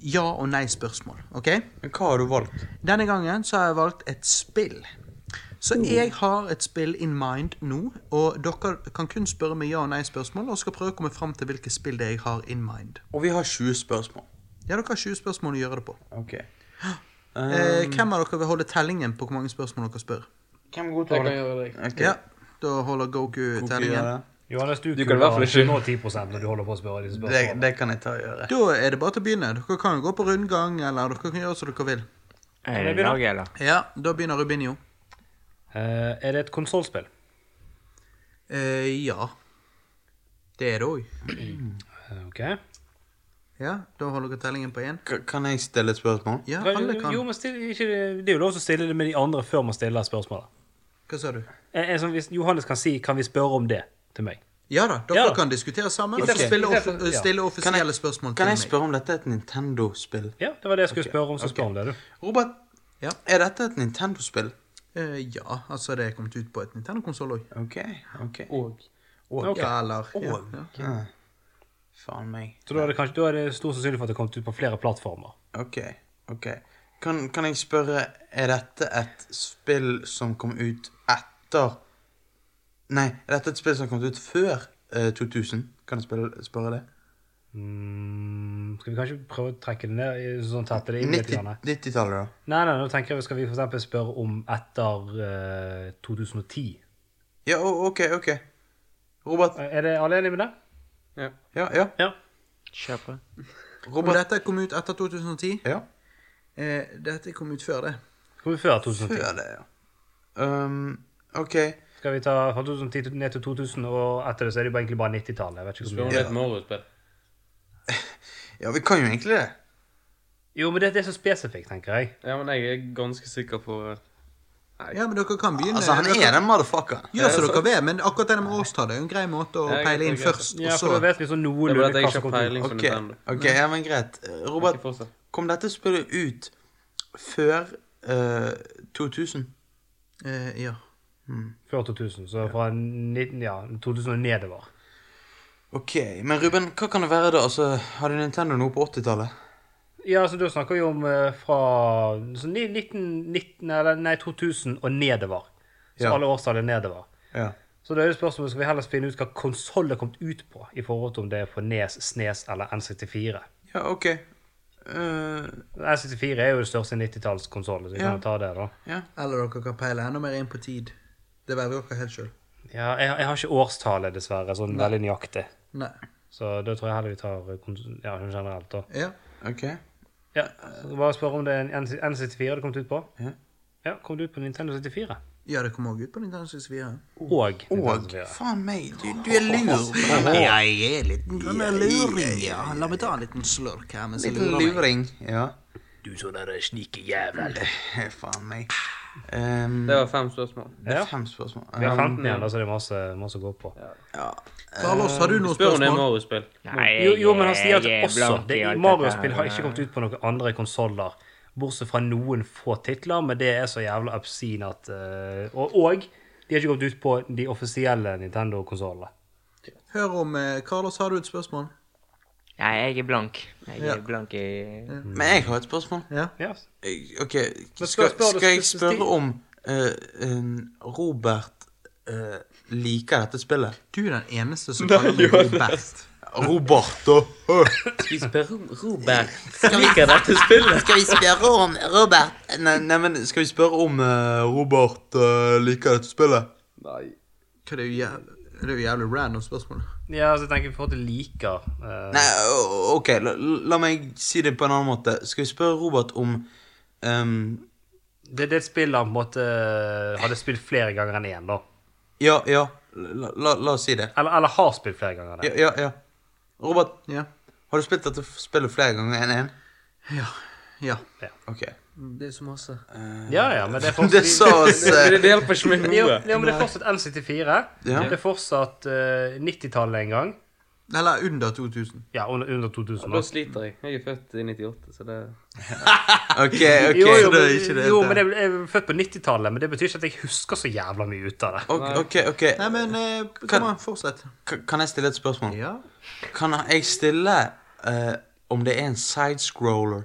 S7: ja- og nei-spørsmål. ok?
S2: Men hva har du valgt?
S7: Denne gangen så har jeg valgt et spill.
S2: Oh.
S7: Så jeg har et spill in mind nå, og dere kan kun spørre meg ja- og nei-spørsmål, og skal prøve å komme fram til hvilket spill det er jeg har in mind.
S2: Og vi har 20 spørsmål.
S7: Ja, dere har 20 spørsmål å gjøre det på.
S2: Ok.
S7: Eh,
S2: Um.
S7: hvem av dere vil holde tellingen på hvor mange spørsmål dere spør?
S2: Hvem er god
S3: Jeg kan gjøre det.
S2: Ok.
S7: Ja, Da holder Goku tellingen.
S2: det.
S6: Johannes, du,
S3: Du kan i
S6: kunne
S3: hvert fall ikke-
S6: nå 10 når du holder på å spørre disse
S2: Det,
S6: spørsmålene.
S2: det kan jeg ta og gjøre.
S7: Da er det bare til å begynne. Dere kan jo gå på rundgang, eller dere kan gjøre som dere vil.
S5: Er det
S6: begynne?
S5: lag, eller?
S7: Ja, da begynner Rubinio.
S6: Eh, er det et konsollspill?
S7: Eh, ja. Det er det òg.
S6: Eh, OK.
S7: Ja, da holder dere tellingen på én.
S2: K- Kan jeg stille et spørsmål?
S7: Ja, alle
S6: Jo,
S7: kan.
S6: men still, ikke, det er jo lov til å stille det med de andre før man stiller spørsmålet.
S7: Hva sa du?
S6: Eh, eh, som hvis Johannes kan si 'Kan vi spørre om det?' til meg.
S7: Ja da, dere
S6: Ja da.
S7: kan diskutere sammen og
S6: Istedenfor-
S7: så spille off
S6: istedenfor- ja.
S7: stille offisielle
S2: Kan jeg-
S7: spørsmål til
S2: Kan jeg
S7: meg.
S2: spørre om dette er et Nintendo-spill?
S6: Ja, det var det jeg skulle spørre om. Så spør om det, du.
S2: Robert,
S7: Ja.
S2: er dette et Nintendo-spill?
S7: Eh, ja, altså det er kommet ut på et Nintendo-konsoll òg.
S2: Ok, ok.
S3: Og
S2: Og,
S7: Ja, eller ja, ja.
S2: ja. Faen meg.
S6: Så da er det kanskje, da er det stor sannsynlig for at det har kommet ut på flere plattformer.
S2: Ok, ok. Kan, kan jeg spørre, er dette et spill som kom ut etter Nei, er dette et spill som kom ut før eh, 2000? Kan jeg spille, spørre det?
S6: Mm, skal vi kanskje prøve å trekke det ned? i- sånn tette det inn litt?
S2: 90-
S6: Grann.
S2: 90-tallet, da?
S6: Nei, nei, nå tenker jeg vi skal vi for eksempel spørre om etter eh, 2010. Eh,
S2: Ja, å, ok, ok. Robert,
S6: Er det alle enige med det?
S2: ja, ja.
S6: Ja.
S5: Kjør på.
S7: Og
S2: Robert,
S7: dette kom ut etter 2010.
S2: ja.
S7: Eh, dette kom ut før det.
S6: Skal vi før 2010?
S2: Før det, ja. Um, OK.
S6: Skal vi ta fra 2010 til- ned til 2000, og etter det så er det jo egentlig bare 90-tallet. Jeg vet ikke hvor
S3: Spør om
S6: mye.
S3: det er et morospill.
S2: Ja, vi kan jo egentlig det.
S6: Jo, men det, det er så spesifikt, tenker jeg.
S3: Ja, men jeg er ganske sikker på eh,
S7: Ja, men dere kan begynne.
S2: Altså, han er den motherfuckeren.
S7: Gjør som dere vil, men akkurat det med årstallet er jo en grei måte å
S3: Ja, jeg
S7: peile inn
S3: tenker jeg.
S7: først,
S6: Ja,
S7: og
S6: for da
S7: så
S6: vet vi sånn
S3: Det er bare
S6: noenlunde
S3: at jeg
S6: hva
S3: ikke
S6: som
S3: har
S6: kommer
S3: peiling på
S2: Ok,
S3: Nintendo.
S2: ok, ja, men greit. Robert,
S3: Ikke fortsett.
S2: kom dette spillet ut før eh, 2000?
S7: eh, Ja.
S6: ut før 2000. Så fra 19, ja, 2000 og nedover.
S2: Ok, men Ruben, hva kan det være da? Altså, hadde Nintendo noe på 80-tallet?
S6: Ja, så da snakker vi om eh, fra så ni- 1919, eller nei, 2000 og nedover. Så
S2: Ja.
S6: alle årstall er nedover.
S2: Ja.
S6: Så da er det spørsmålet, skal vi heller finne ut hva konsoll det er kommet ut på, i forhold til om det er på E Nes, Snes eller N64.
S2: Ja, ok. Eh,
S6: N64 er jo det største 90-tallskonsollen, så vi
S2: Ja.
S6: kan jo ta det, da.
S7: Eller dere kan peile enda mer inn på tid. Det velger dere helt sjøl.
S6: Ja, jeg, jeg har ikke årstallet, dessverre, sånn veldig nøyaktig.
S7: Nei.
S6: Så da tror jeg heller vi tar eh, kons- ja, sånn generelt, da.
S7: Ja.
S2: ok.
S6: Ja, så bare spør om det er en N- N64 det kom ut på.
S2: Ja.
S6: Ja, kom det ut på Nintendo 74?
S7: ja, det kom òg ut på Nintendo 64.
S6: Og Nintendo
S2: Og,
S6: 64.
S2: faen meg, du, du er lur.
S7: Jeg er litt luring, ja. La meg ta en liten slurk her mens jeg
S2: Liten
S7: lurer meg.
S2: luring, ja.
S1: Du sånn der snike jævel.
S2: faen meg. Um,
S3: Det var fem spørsmål.
S2: det
S6: Ja.
S2: er fem spørsmål.
S6: Vi har
S2: Um,
S6: 15 igjen, da, så det er masse, masse å gå på.
S7: Carlos, har du noen
S3: Spør om det er
S7: spørsmål?
S3: morospill.
S5: Nei,
S6: Jo, jo, men han sier
S5: jeg er
S6: at også
S5: blank i
S6: det,
S5: alt
S6: Mario-spill
S5: dette her.
S6: har ikke kommet ut på noen andre konsoller, bortsett fra noen få titler, men det er så jævla obscene at eh, og, og de har ikke kommet ut på de offisielle Nintendo-konsollene.
S7: Hør om eh, Carlos, har du et spørsmål?
S5: Nei, jeg er blank. Jeg
S7: Ja.
S5: er blank i
S2: men jeg har et spørsmål.
S6: Ja.
S2: Eh, Ok,
S6: Men skal
S2: skal,
S6: jeg spørre-
S2: skal jeg
S6: skal-
S2: spørre om eh, en Robert eh, liker dette spillet?
S7: Du er den eneste som kaller meg Robert.
S2: Robert, eh, da!
S3: Vi spør om Robert liker dette spillet.
S2: Skal vi spørre om Robert eh, Nei, nei men skal vi spørre om eh, Robert eh, liker dette spillet?
S7: Hva, Det er jo jævlig, det er jo jævlig random spørsmål.
S6: ja, så jeg tenker vi får til liker eh,
S2: Nei, o- OK, la, la meg si det på en annen måte. Skal vi spørre Robert om ehm,
S6: Det det er et spill han på en måte eh, hadde spilt flere ganger enn én, da.
S2: Ja, ja. La, la, la oss si det.
S6: Eller, eller har spilt flere ganger enn
S2: Ja,
S6: én.
S2: ja. ja. Robert,
S7: Ja.
S2: har du spilt dette spillet flere ganger enn én?
S7: ja.
S2: OK.
S3: Det er så masse.
S6: Ja, ja, men det
S2: Det
S6: er fortsatt
S2: sa oss
S3: Det,
S2: eh,
S3: det hjelper ikke meg
S6: ja,
S3: noe.
S6: ja, men det er fortsatt N64.
S2: Ja.
S6: Det er fortsatt eh, 90-tallet en gang.
S7: Eller under 2000.
S6: Ja, under, under 2000.
S3: Da
S6: da.
S3: sliter jeg. Jeg er født i 98, så det
S2: OK, OK.
S6: Jo, jo,
S7: det er
S6: men-
S7: ikke det
S6: jo,
S7: der.
S6: men jeg ble- jeg er født på 90-tallet, men det betyr ikke at jeg husker så jævla mye ut av det.
S2: Ok, ok, ok.
S7: Nei, men eh,
S2: Kan-
S7: kom an, fortsett.
S2: Ka- Kan jeg stille et spørsmål?
S7: Ja.
S2: Kan jeg stille eh, om det er en sidescroller?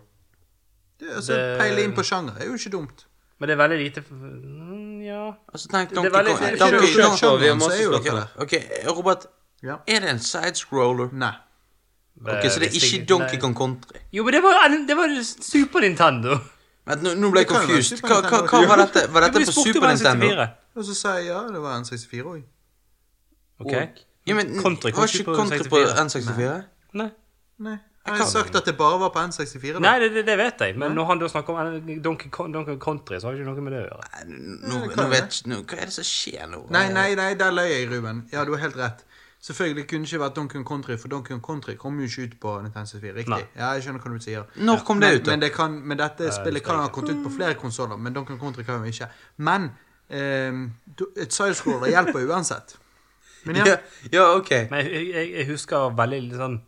S7: Det, altså,
S6: Det-
S7: Peile inn på sjanger er jo ikke dumt.
S6: Men det er veldig lite mm, Ja.
S2: Altså, tenk
S6: Det er
S2: Donkey
S6: veldig-
S2: Kong.
S6: det er
S7: Ikke
S2: Donkey-
S7: det
S3: Kong.
S7: ikke
S3: Vi har
S7: sjangeren, så
S3: masse
S7: er jo
S3: spørsmål.
S7: dere
S2: Donkey-
S7: der.
S2: Ok, Robert.
S7: Ja.
S2: Er det en sidescroller?
S7: Nei.
S2: Ok, Så det er
S6: Hvis
S2: ikke
S6: jeg-
S2: Donkey
S6: nei.
S2: Kong Country?
S6: Jo, men det var, det var Super Nintendo.
S2: Vent, nå, nå ble jeg
S7: Det kan jo være
S2: confused.
S7: Super
S2: Hva, hva,
S7: Nintendo.
S2: hva var dette? Var
S6: Vi
S2: dette på
S6: spurte
S2: Super
S6: bare en
S2: Nintendo?
S6: 64.
S7: Og så sier jeg ja, det var en 64 òg.
S6: Ok.
S2: Ja, men,
S6: Country kom
S2: var
S6: ikke
S2: ikke
S6: på
S2: Country på
S6: 64?
S2: N64?
S6: Nei.
S7: Nei. Har jeg sagt at det bare var på N64? da?
S6: Nei, det, det, det vet jeg, men når han da snakker om Donkey Kong Donkey Kong Country, så har det ikke noe med det å gjøre.
S2: Nei, Nå,
S7: det kan
S2: nå
S7: jo
S2: vet ikke nå, Hva er det som skjer nå?
S7: Nei, nei, nei, der løy jeg, Ruben. Ja, du har helt rett. Selvfølgelig kunne det ikke vært Donkey Kong Country, for Donkey Kong Country kom jo ikke ut på Nintendo 64. Riktig.
S6: Nei.
S7: Ja, jeg skjønner hva du sier.
S2: Når kom det
S7: men,
S2: ut, da?
S7: Men, det kan, men dette spillet kan ha kommet ut på flere konsoller, men Donkey Kong Country kan jo ikke. Men ehm, du- et sidescroller hjelper jo uansett. Men ja,
S2: Ja, ja ok.
S6: Men jeg, jeg, jeg husker veldig litt sånn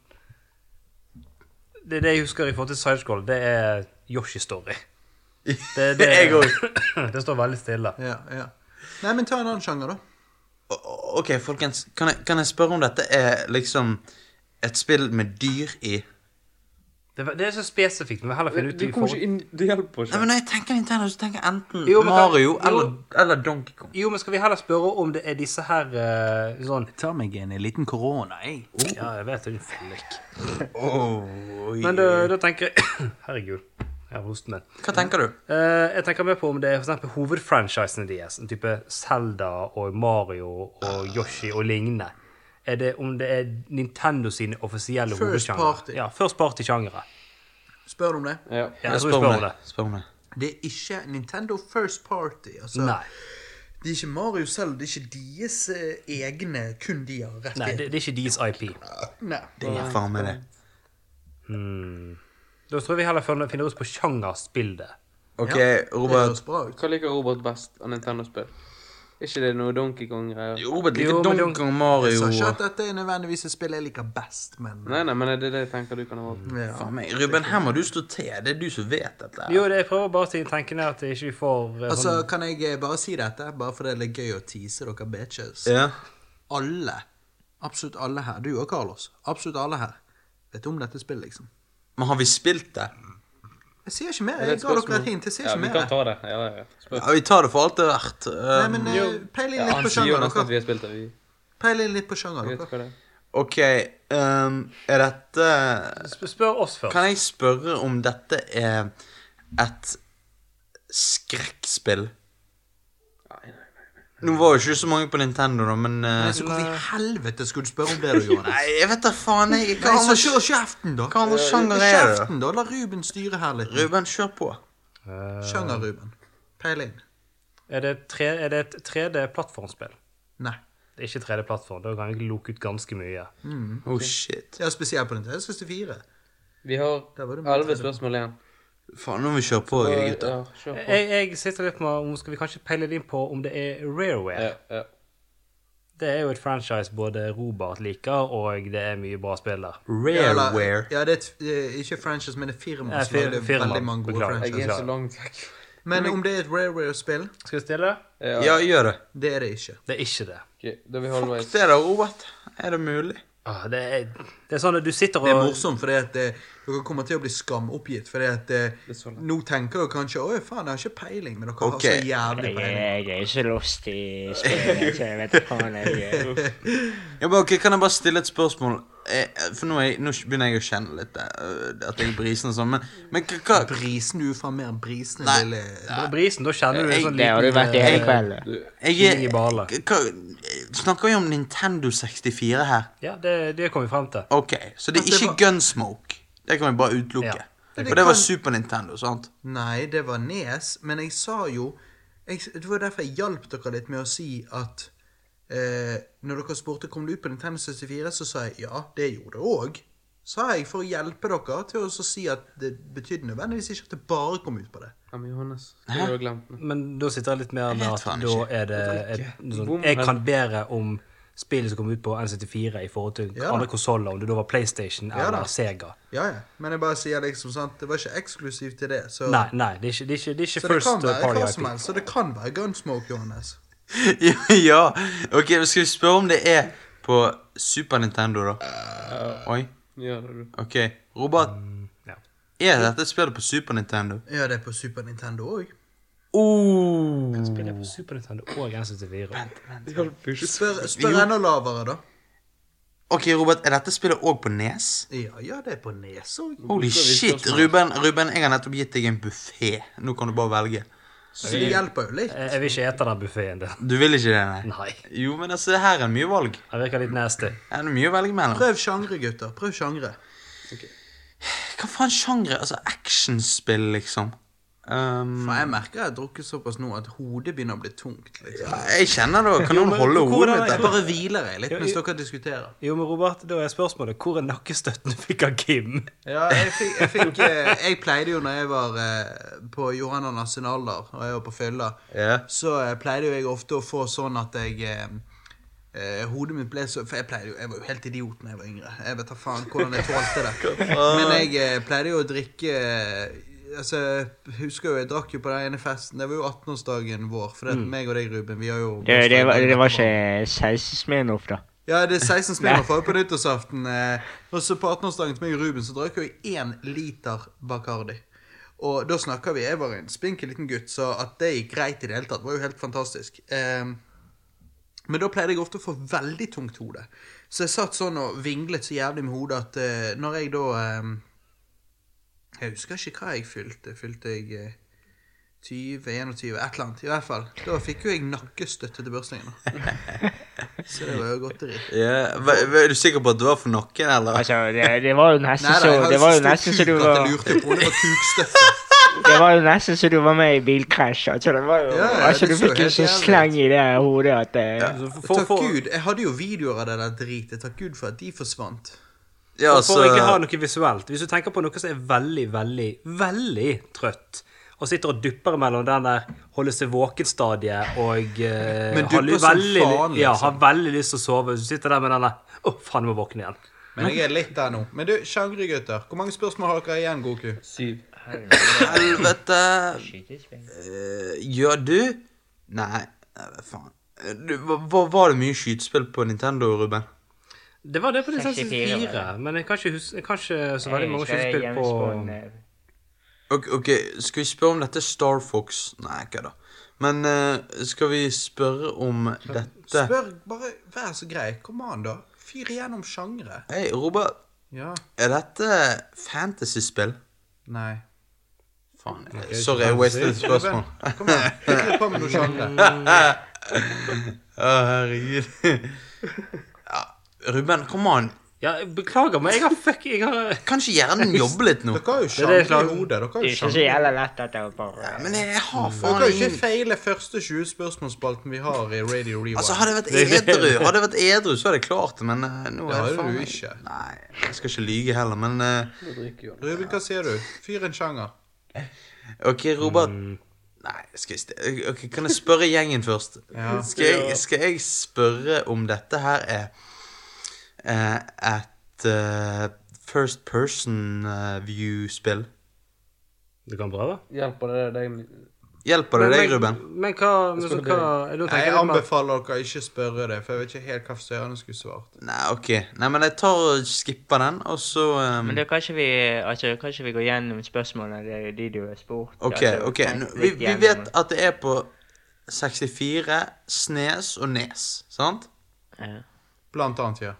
S6: Det, det jeg husker i forhold til sidescroll, det er Yoshi Story. Det, det,
S2: Jeg
S6: det står veldig stille.
S7: ja, ja. Nei, men ta en annen sjanger, da.
S2: O- OK, folkens. Kan jeg, kan jeg spørre om dette er liksom et spill med dyr i?
S6: Det, var- det er så spesifikt. Men vi heller finne ut i forhold-
S3: inn. Det hjelper
S2: Nei, men når jeg tenker Nintendo, så tenker jeg enten
S6: Jo, men kan-
S2: Mario
S6: jo.
S2: eller, eller Donkey Kong.
S6: Jo, men skal vi heller spørre om det er disse her eh, sånn
S7: Ta meg en liten korona, jeg.
S6: Ja, jeg vet det, du fyllik.
S2: Oi.
S6: Men da, da tenker jeg Herregud, jeg har hosten min.
S2: Hva tenker du?
S6: Eh, jeg tenker mer på om det er for eksempel
S7: Ah.
S6: hovedfranchisene deres. En type Zelda og Mario og Yoshi og lignende. er det om det er Nintendo sine offisielle
S7: First
S6: hovedsjangre.
S7: party.
S6: Ja, first party-sjangre.
S7: Spør du om det?
S3: Ja.
S6: Ja, jeg tror vi spør om det.
S2: Spør om det.
S7: Det er ikke Nintendo First Party. Altså,
S6: Nei,
S7: Det er ikke Mario selv, det er ikke deres eh, egne, kun de har rett
S6: nei det, det er ikke deres IP.
S7: Nei.
S2: Det er faen meg det.
S6: Da tror jeg vi heller finner finner oss på sjangerspillet.
S2: OK,
S7: Ja, Det
S2: Robert.
S7: høres bra ut.
S3: Hva liker Robert best av Nintendo-spill? Er ikke det noe Donkey Kong-greier?
S2: Robert
S6: Jo,
S2: liker
S6: men
S2: Donkey Kong
S7: Jeg
S2: Mario.
S7: sa ikke at dette er nødvendigvis et spill jeg liker best, men
S3: Nei, nei, men er det det jeg tenker du kan ha valgt?
S7: ja.
S2: Faen meg, Ruben, her må du stå til. Det er du som vet dette.
S6: Jo, det jeg prøver bare å tenke ned at ikke vi får eh,
S7: Altså,
S6: sånn
S7: Kan jeg eh, bare si dette, bare fordi det er gøy å tease dere bitches?
S2: Ja.
S7: Alle, absolutt alle her, du og Carlos, absolutt alle her, vet om dette spillet, liksom.
S2: Men har vi spilt det?
S7: Jeg sier ikke mer.
S3: Er det
S7: Jeg
S3: et
S7: ga dere
S3: spørsmål?
S7: et hint. Jeg sier
S3: Ja,
S7: ikke
S3: vi kan
S7: mer.
S3: ta det. Ja, ja, ja. Spør.
S2: Ja, vi tar det for alt det er verdt.
S7: Nei,
S2: Um,
S7: men eh, peil inn
S3: Ja,
S7: litt
S3: han
S7: på
S3: sier jo
S7: sjanger,
S3: nesten at vi
S7: dere.
S3: har spilt det. Vi
S7: Peil inn litt på sjanger,
S3: vet
S7: dere.
S3: hva det er.
S2: OK, um, er dette
S6: Sp- Spør oss først.
S2: Kan jeg spørre om dette er et skrekkspill? Nå var jo ikke så mange på Nintendo, da, men eh,
S7: Nei, så hvorfor i helvete skulle du spørre om det du gjorde?
S2: Nei, jeg vet da faen. Jeg, hva
S7: Nei, så
S2: andre
S7: kjør kjeften, da. Eh,
S2: hva andre sjanger er det? da?
S7: Kjeften, da. La Ruben styre her litt.
S2: Ruben, kjør på.
S7: Sjanger, Ruben. Peil inn.
S6: Er det, tre, er det et 3D-plattformspill?
S7: Nei.
S6: Det er ikke 3D-plattform. Da kan jeg loke ut ganske mye.
S2: Oh shit.
S7: Ja, spesielt på Nintendo 64.
S3: Vi har
S7: Der var det mye
S3: elleve spørsmål igjen.
S2: Faen, nå må vi kjøre på,
S3: Og,
S2: gutter.
S3: ja, kjør på.
S6: Jeg, jeg sitter litt med om skal vi kanskje peile det inn på om det er Rareware.
S3: Ja, ja.
S6: Det er jo et franchise både Robert liker, og det er mye bra spill der.
S7: Ja, eller-
S2: Rareware.
S7: Ja, det er et, eh, ikke franchise, men det er firma
S6: Ja,
S7: som har
S6: fir- firma,
S7: veldig mange gode
S6: beklager.
S3: Jeg
S7: franchises.
S3: er så langt vekk.
S7: Men om det er et Rareware-spill,
S6: Skal vi stille?
S3: Ja,
S2: Ja, gjør det.
S7: det er det ikke.
S6: Det er ikke det.
S3: ok, Da er vi
S2: Fuck
S3: halvveis.
S2: det da, Robert. Er det mulig?
S6: Ah, det, er, det er sånn at du sitter og
S7: Det er morsomt, fordi at eh, dere kommer til å bli skamoppgitt. Fordi at eh, nå tenker dere kanskje Å, faen, jeg har ikke peiling, men dere
S2: Ok.
S7: har altså- så jævlig
S5: Jeg,
S7: peiling.
S5: jeg er ikke lost i spillet, så jeg vet ikke faen jeg
S2: Ja, men ok, Kan jeg bare stille et spørsmål? Eh, For nå, er jeg, nå begynner jeg å kjenne litt eh, at jeg er brisen og sånn, men, men hva- hva
S7: Brisen du er faen mer enn brisen
S2: Nei.
S7: lille
S6: Brisen, da kjenner du en
S2: Jeg-
S6: sånn
S5: Det har du vært i hele
S6: eh,
S5: kvelden.
S2: Jeg er
S6: Ingen bale.
S2: hva, Snakker vi om Nintendo 64 her?
S6: Ja, det, det kom vi frem til.
S2: Ok, så det er
S7: Altså, det
S2: ikke Gunsmoke. Det kan vi bare utelukke.
S6: Ja.
S2: For det var Super Nintendo, sant?
S7: Nei, det var Nes, men jeg sa jo jeg, Det var derfor jeg hjalp dere litt med å si at eh, Når dere spurte kom det ut på Nintendo 64, så sa jeg ja, det gjorde det òg. Sa jeg for å hjelpe dere til å så si at det betydde nødvendigvis ikke at det bare kom ut på det.
S3: Ja, men Johannes, hva har du glemt nå?
S6: Men da sitter jeg litt mer med
S2: vet
S6: at
S2: faen
S6: da
S2: ikke.
S6: er det et,
S3: Bom,
S6: sånn, Jeg
S3: men-
S6: kan bedre om spillet som kom ut på N74 i forhold til
S7: Ja.
S6: andre konsoller, om det da var PlayStation
S7: Ja da.
S6: eller Sega.
S7: Ja, ja. Men jeg bare sier liksom sant, det var ikke eksklusivt til det. Så,
S6: Nei, nei, det er ikke, det er ikke, det er ikke
S7: så det
S6: first
S7: kan være
S6: party
S7: hva
S6: IP.
S7: som helst. Så det kan være Gunsmoke, Johannes.
S2: Ja, ja. Ok, men skal vi spørre om det er på Super Nintendo, da?
S7: Eh,
S2: Oi.
S3: Ja, det er du.
S2: Ok, Robert.
S6: ja.
S2: Er dette spillet på Super Nintendo?
S7: Ja, det er på Super Nintendo òg.
S2: Oh.
S6: Spiller på Super Nintendo og N74.
S7: Spør, spør enda lavere, da.
S2: Ok, Robert, er dette spillet òg på Nes?
S7: Ja, ja, det er på Nes òg.
S2: Holy
S3: Hvorfor er vi
S2: shit.
S3: spørsmål?
S2: Ruben, Ruben, jeg har nettopp gitt deg en buffé. Nå kan du bare velge.
S7: Så det hjelper jo litt.
S6: Jeg jeg vil ikke ete den buffeen din.
S2: Du vil ikke det, nei?
S6: Nei.
S2: Jo, men altså, her er det mye valg.
S6: Den virker litt nasty.
S2: Her er det mye å velge mellom.
S7: Prøv sjangre, gutter. Prøv sjangre.
S2: Hva faen sjangre? Altså actionspill, liksom. Um,
S7: For jeg merker jeg har drukket såpass nå at hodet begynner å bli tungt. liksom.
S2: jeg kjenner det. Kan noen holde hodet mitt?
S7: Jeg
S2: der?
S7: bare hviler jeg litt mens dere diskuterer.
S6: Jo, men Robert, da er spørsmålet hvor er nakkestøtten du fikk av Kim?
S7: Ja, jeg, fikk, jeg, fikk, eh, jeg pleide jo når jeg var eh, på Johanna Nasjonaler og jeg var på fylla,
S2: Ja.
S7: så eh, pleide jo jeg ofte å få sånn at jeg eh, eh, Hodet mitt ble så For jeg pleide jo, jeg var jo helt idiot da jeg var yngre. Jeg vet da faen hvordan jeg tålte det. Men jeg eh, pleide jo å drikke eh, Altså, jeg husker jo, Jeg drakk jo på den ene festen. Det var jo 18-årsdagen vår. For det at meg og deg, Ruben, vi har jo
S5: Det, det, var, det var ikke 16 Smirnoff, da.
S7: Ja, det er 16 spinner for på nyttårsaften. eh, Og så på 18-årsdagen til meg og Ruben så drakk jeg jo én liter Bacardi. Og da snakker vi Jeg var en spinkel liten gutt, så at det gikk greit i det hele tatt, var jo helt fantastisk. Ehm, men da pleide jeg ofte å få veldig tungt hode. Så jeg satt sånn og vinglet så jævlig med hodet at eh, når jeg da ehm, Jeg husker ikke hva jeg fylte. Fylte jeg eh, 20, 21, et eller annet. I hvert fall. Da fikk jo jeg nakkestøtte til bursdagen. da. Så det var jo godteri.
S2: Ja, hva- hva- Er du sikker på at det var for noen, eller?
S5: Altså, det, det var jo nesten
S7: Nei,
S5: så
S7: nei,
S5: Det var jo nesten så
S7: så
S5: du
S7: kuk at
S5: var
S7: jeg lurte på om det var kukstøffet.
S5: Det var jo nesten så du var med i bilkrasj. Altså, det var jo,
S7: Ja, ja,
S5: altså
S7: det
S5: du
S7: så
S5: fikk jo
S7: helt
S5: så
S7: jævlig
S5: sleng i det hodet at eh,
S6: Altså,
S7: Takk Gud, jeg hadde jo videoer av det der dritet. Takk Gud for at de forsvant.
S2: Ja,
S6: For å ikke ha
S2: altså,
S6: noe visuelt. Hvis du tenker på noe som er veldig, veldig, veldig trøtt, og sitter og dupper mellom den der holde seg våken-stadiet og eh,
S7: Men
S6: har
S7: dupper
S6: lyst-
S7: som
S6: veldig,
S7: faen,
S6: Ja,
S7: liksom.
S6: har veldig lyst til å sove. Hvis du sitter der med den der Å, faen, jeg må våkne igjen.
S7: Men jeg er litt der nå. Men du, sjangregutter, hvor mange spørsmål har dere igjen, Goku?
S3: Syv.
S2: helvete Eh, Gjør du? Nei, eh, faen. Eh, Du, hva- hva- var det mye skytespill på Nintendo, Ruben?
S6: Det var det på Nintendo
S5: 64
S6: 64, men jeg kan ikke huske jeg kan ikke så
S5: eh,
S6: veldig mange skytespill på
S2: Ok, ok, skal vi spørre om dette er Star Fox? Nei, hva da? Men eh, skal vi spørre om dette?
S7: Spør, bare vær så grei. Kom an, da. Fyr igjennom sjangre.
S2: Hei, Robert.
S7: Ja.
S2: Er dette fantasy-spill?
S7: Nei.
S2: Faen. eh, Sorry, jeg wasted et spørsmål.
S7: Kom an. Fyr på med noe sjangre.
S2: Å, herregud. Ja, Ruben, kom an.
S6: Ja, jeg beklager, men jeg har fuck Jeg har
S2: Kanskje hjernen jobber litt nå?
S6: det jeg
S7: Dere har jo sjangre
S6: klager
S7: i
S6: om.
S7: hodet.
S5: Det
S7: Dere har
S5: er
S7: jo
S5: ikke så
S7: sjangre.
S5: jævla lett at det var bare
S2: Men jeg har
S7: Dere
S2: faen
S7: Mm. kan jo ikke
S2: ingen
S7: feile første 20 spørsmålsspalten vi har i Radio Rewind.
S2: Altså, hadde jeg vært edru, hadde jeg vært edru, så hadde jeg klart det, men eh, nå
S7: Det
S2: er
S7: hadde
S2: faen
S7: du
S2: meg-
S7: ikke.
S2: Nei, jeg skal ikke lyge heller, men eh,
S7: Ruben, hva sier du? Fyr en sjanger.
S2: OK, Robert.
S7: Mm.
S2: Nei, skal jeg st ok, kan jeg spørre gjengen først?
S7: Ja.
S2: Skal, jeg, skal jeg spørre om dette her er eh, et eh, first person eh, view-spill?
S6: Du kan prøve.
S3: Hjelper det deg?
S2: Hjelper det deg, Ruben?
S6: Men hva, men så, hva jeg, nå tenker
S7: Jeg
S6: jeg litt mer-
S7: anbefaler dere ikke spørre det, for jeg vet ikke helt hva Søren skulle svart.
S2: Nei, OK. Nei, men jeg tar og skipper den, og så eh,
S3: Mm.
S5: Men da kan ikke vi, altså, kan ikke vi gå gjennom spørsmålene det er de du har spurt?
S2: OK.
S5: altså,
S2: ok.
S5: tenk
S2: Nå, vi,
S5: litt
S2: vi
S5: gjennom
S2: vet
S5: det.
S2: at det er på 64, Snes og Nes, sant?
S5: Ja.
S7: Blant annet, ja.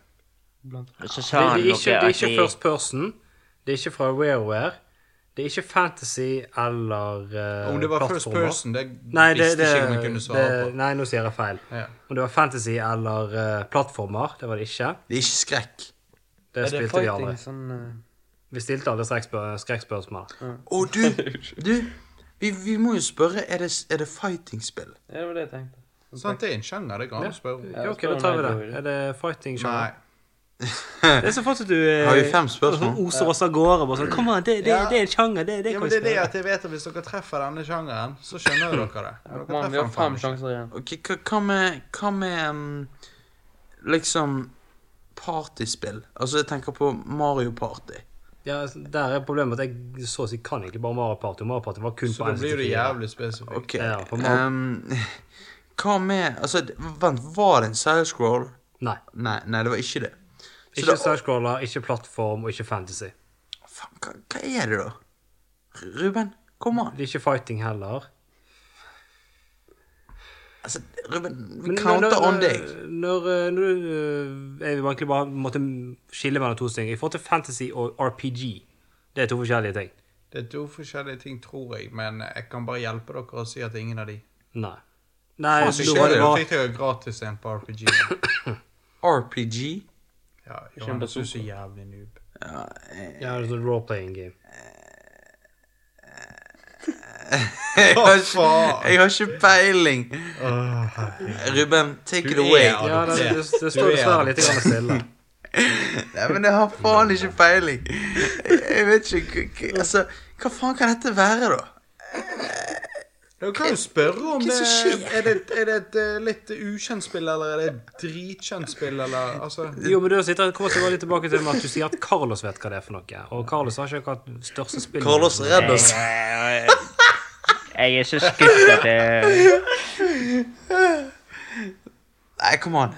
S5: Og så
S6: Det,
S5: sa han
S6: det, er ikke,
S5: noe
S6: det er
S5: at
S6: ikke
S5: vi
S6: first person. Det er ikke fra WarWare. Det er ikke fantasy eller eh,
S7: Om det var first
S6: plattformer.
S7: person, det
S6: Nei, det,
S7: visste
S6: det,
S7: ikke om jeg kunne svare
S6: det,
S7: på.
S6: nei, nå sier jeg feil.
S7: Ja.
S6: Om det var fantasy eller eh, plattformer, det var det ikke.
S2: Det er ikke skrekk.
S6: Det
S3: Er det
S6: spilte vi
S3: fighting
S6: aldri.
S3: sånn eh,
S6: Vi stilte aldri skrekkspør- skrekkspørsmål.
S2: Å, du! Du! Vi, vi må jo spørre Er det, er det fighting-spill?
S3: Ja, det var det jeg tenkte.
S7: Sant, det er en sjanger, det går an å spørre om.
S3: Ja,
S6: Ja, ok, da tar vi det. Er det fighting show?
S7: Nei.
S6: Det er så flott at du eh,
S2: Har vi fem spørsmål?
S5: Eh,
S6: oser oss av gårde. Bare sånn, Kom an, det, det,
S7: Ja.
S6: det er en sjanger. Det, det
S7: Ja,
S6: kan
S7: men
S6: vi
S7: det er det
S6: spille.
S7: at jeg vet at hvis dere treffer denne sjangeren, så skjønner jo dere det. Men
S3: Kom an, vi
S7: Dere
S3: har fem
S7: treffer den faen ikke.
S3: sjanser igjen.
S2: Ok, hva- hva med Hva med um, liksom partyspill? Altså, jeg tenker på Mario Party.
S6: Ja, altså, der er problemet at jeg så å si kan ikke bare Mario Party. Mario Party var kun
S7: Så
S6: på
S7: da blir
S6: 64.
S7: det jævlig spesifikt.
S2: Ok.
S6: Ja, for Mario-
S2: um, hva med Altså, d- vent, var det en sidescroll?
S6: Nei.
S2: Nei, nei, det var ikke det. Så
S6: Ikke
S2: det-
S6: sidescroller, ikke plattform og ikke fantasy.
S2: Faen, hva, hva er det, da? Ru- Ruben, kom an.
S6: Det er ikke fighting heller.
S2: Altså, Ruben, vi counter on deg.
S6: Når, eh, når, når øh, Jeg vil egentlig bare måtte skille mellom to ting. I forhold til fantasy og RPG. Det er to forskjellige ting.
S7: Det er to forskjellige ting, tror jeg, men jeg kan bare hjelpe dere å si at det er ingen av de.
S6: Nei. Nei,
S2: Faen, så
S6: nå
S2: skjer
S6: var
S7: Nå
S6: det bare
S7: fikk dere gratis en på RPG.
S2: RPG.
S7: Ja, Johannes, du er så jævlig noob.
S6: ja, det er sånn role-playing game.
S2: Jeg har,
S7: Hva
S2: ikke,
S7: faen?
S2: jeg har ikke peiling. Ruben, take it away.
S7: er-
S6: Ja, det, det,
S7: det-
S6: det
S7: du
S6: står
S7: er
S6: dessverre
S7: adoptert.
S6: litt grann stille.
S2: Nei, men jeg har faen ikke peiling. Jeg vet ikke hva- hva- Altså, hva faen kan dette være, da?
S7: Dere kan jo spørre om
S2: Hva
S7: det
S2: som skjer?
S7: Er det, er det et eh, litt ukjent spill, eller er det et dritkjent spill, eller altså
S6: Jo, men du sitter, kommer vi litt tilbake til med at du sier at Carlos vet hå det er for noe. Og Carlos har ikke akkurat største spill.
S2: Carlos, redd oss.
S5: Jeg, jeg er så skuffet at jeg,
S2: Nei, come on.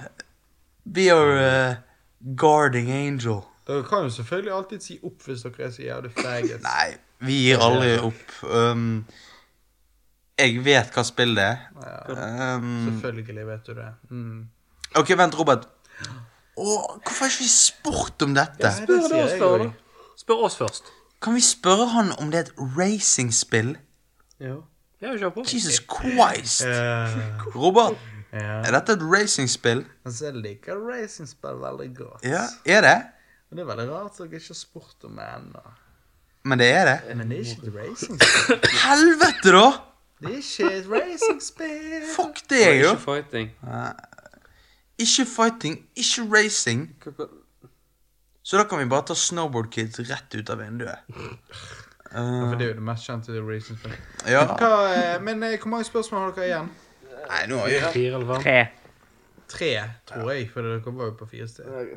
S2: Be our uh, guarding angel.
S7: Dere kan jo selvfølgelig alltid si opp hvis dere er så jævlig faggots.
S2: Nei, vi gir aldri opp. Um, jeg vet hva spill det er. Um,
S7: Selvfølgelig vet du det. Mm.
S2: ok, vent, Robert. Åh, hvorfor har ikke vi spurt om dette?
S7: Nei, det sier jeg jo.
S6: Spør oss først.
S2: Kan vi spørre han om det er et racingspill?
S6: Ja, kjør på.
S2: Jesus Christ! Robert,
S7: Ja.
S2: Er dette et racingspill?
S7: Altså, jeg liker racingspill veldig godt.
S2: Ja, er det?
S7: Men det er veldig rart at jeg ikke har spurt om det ennå.
S2: Men det er det.
S7: Men det er ikke et racingspill.
S2: Helvete, da!
S7: Det er ikke et racingspill.
S2: Fuck det, jo.
S3: Ikke fighting.
S2: Ikke fighting, ikke racing. Så da kan vi bare ta Snowboard Kids rett ut av vinduet.
S7: For det er jo det mest kjente racingspillet.
S2: Ja.
S7: Hva, eh, men eh, hvor mange spørsmål har dere igjen?
S2: Nei, nå har vi
S6: Fire, eller hva?
S5: Tre.
S7: Tre, tror jeg, for dere var jo på fire steder.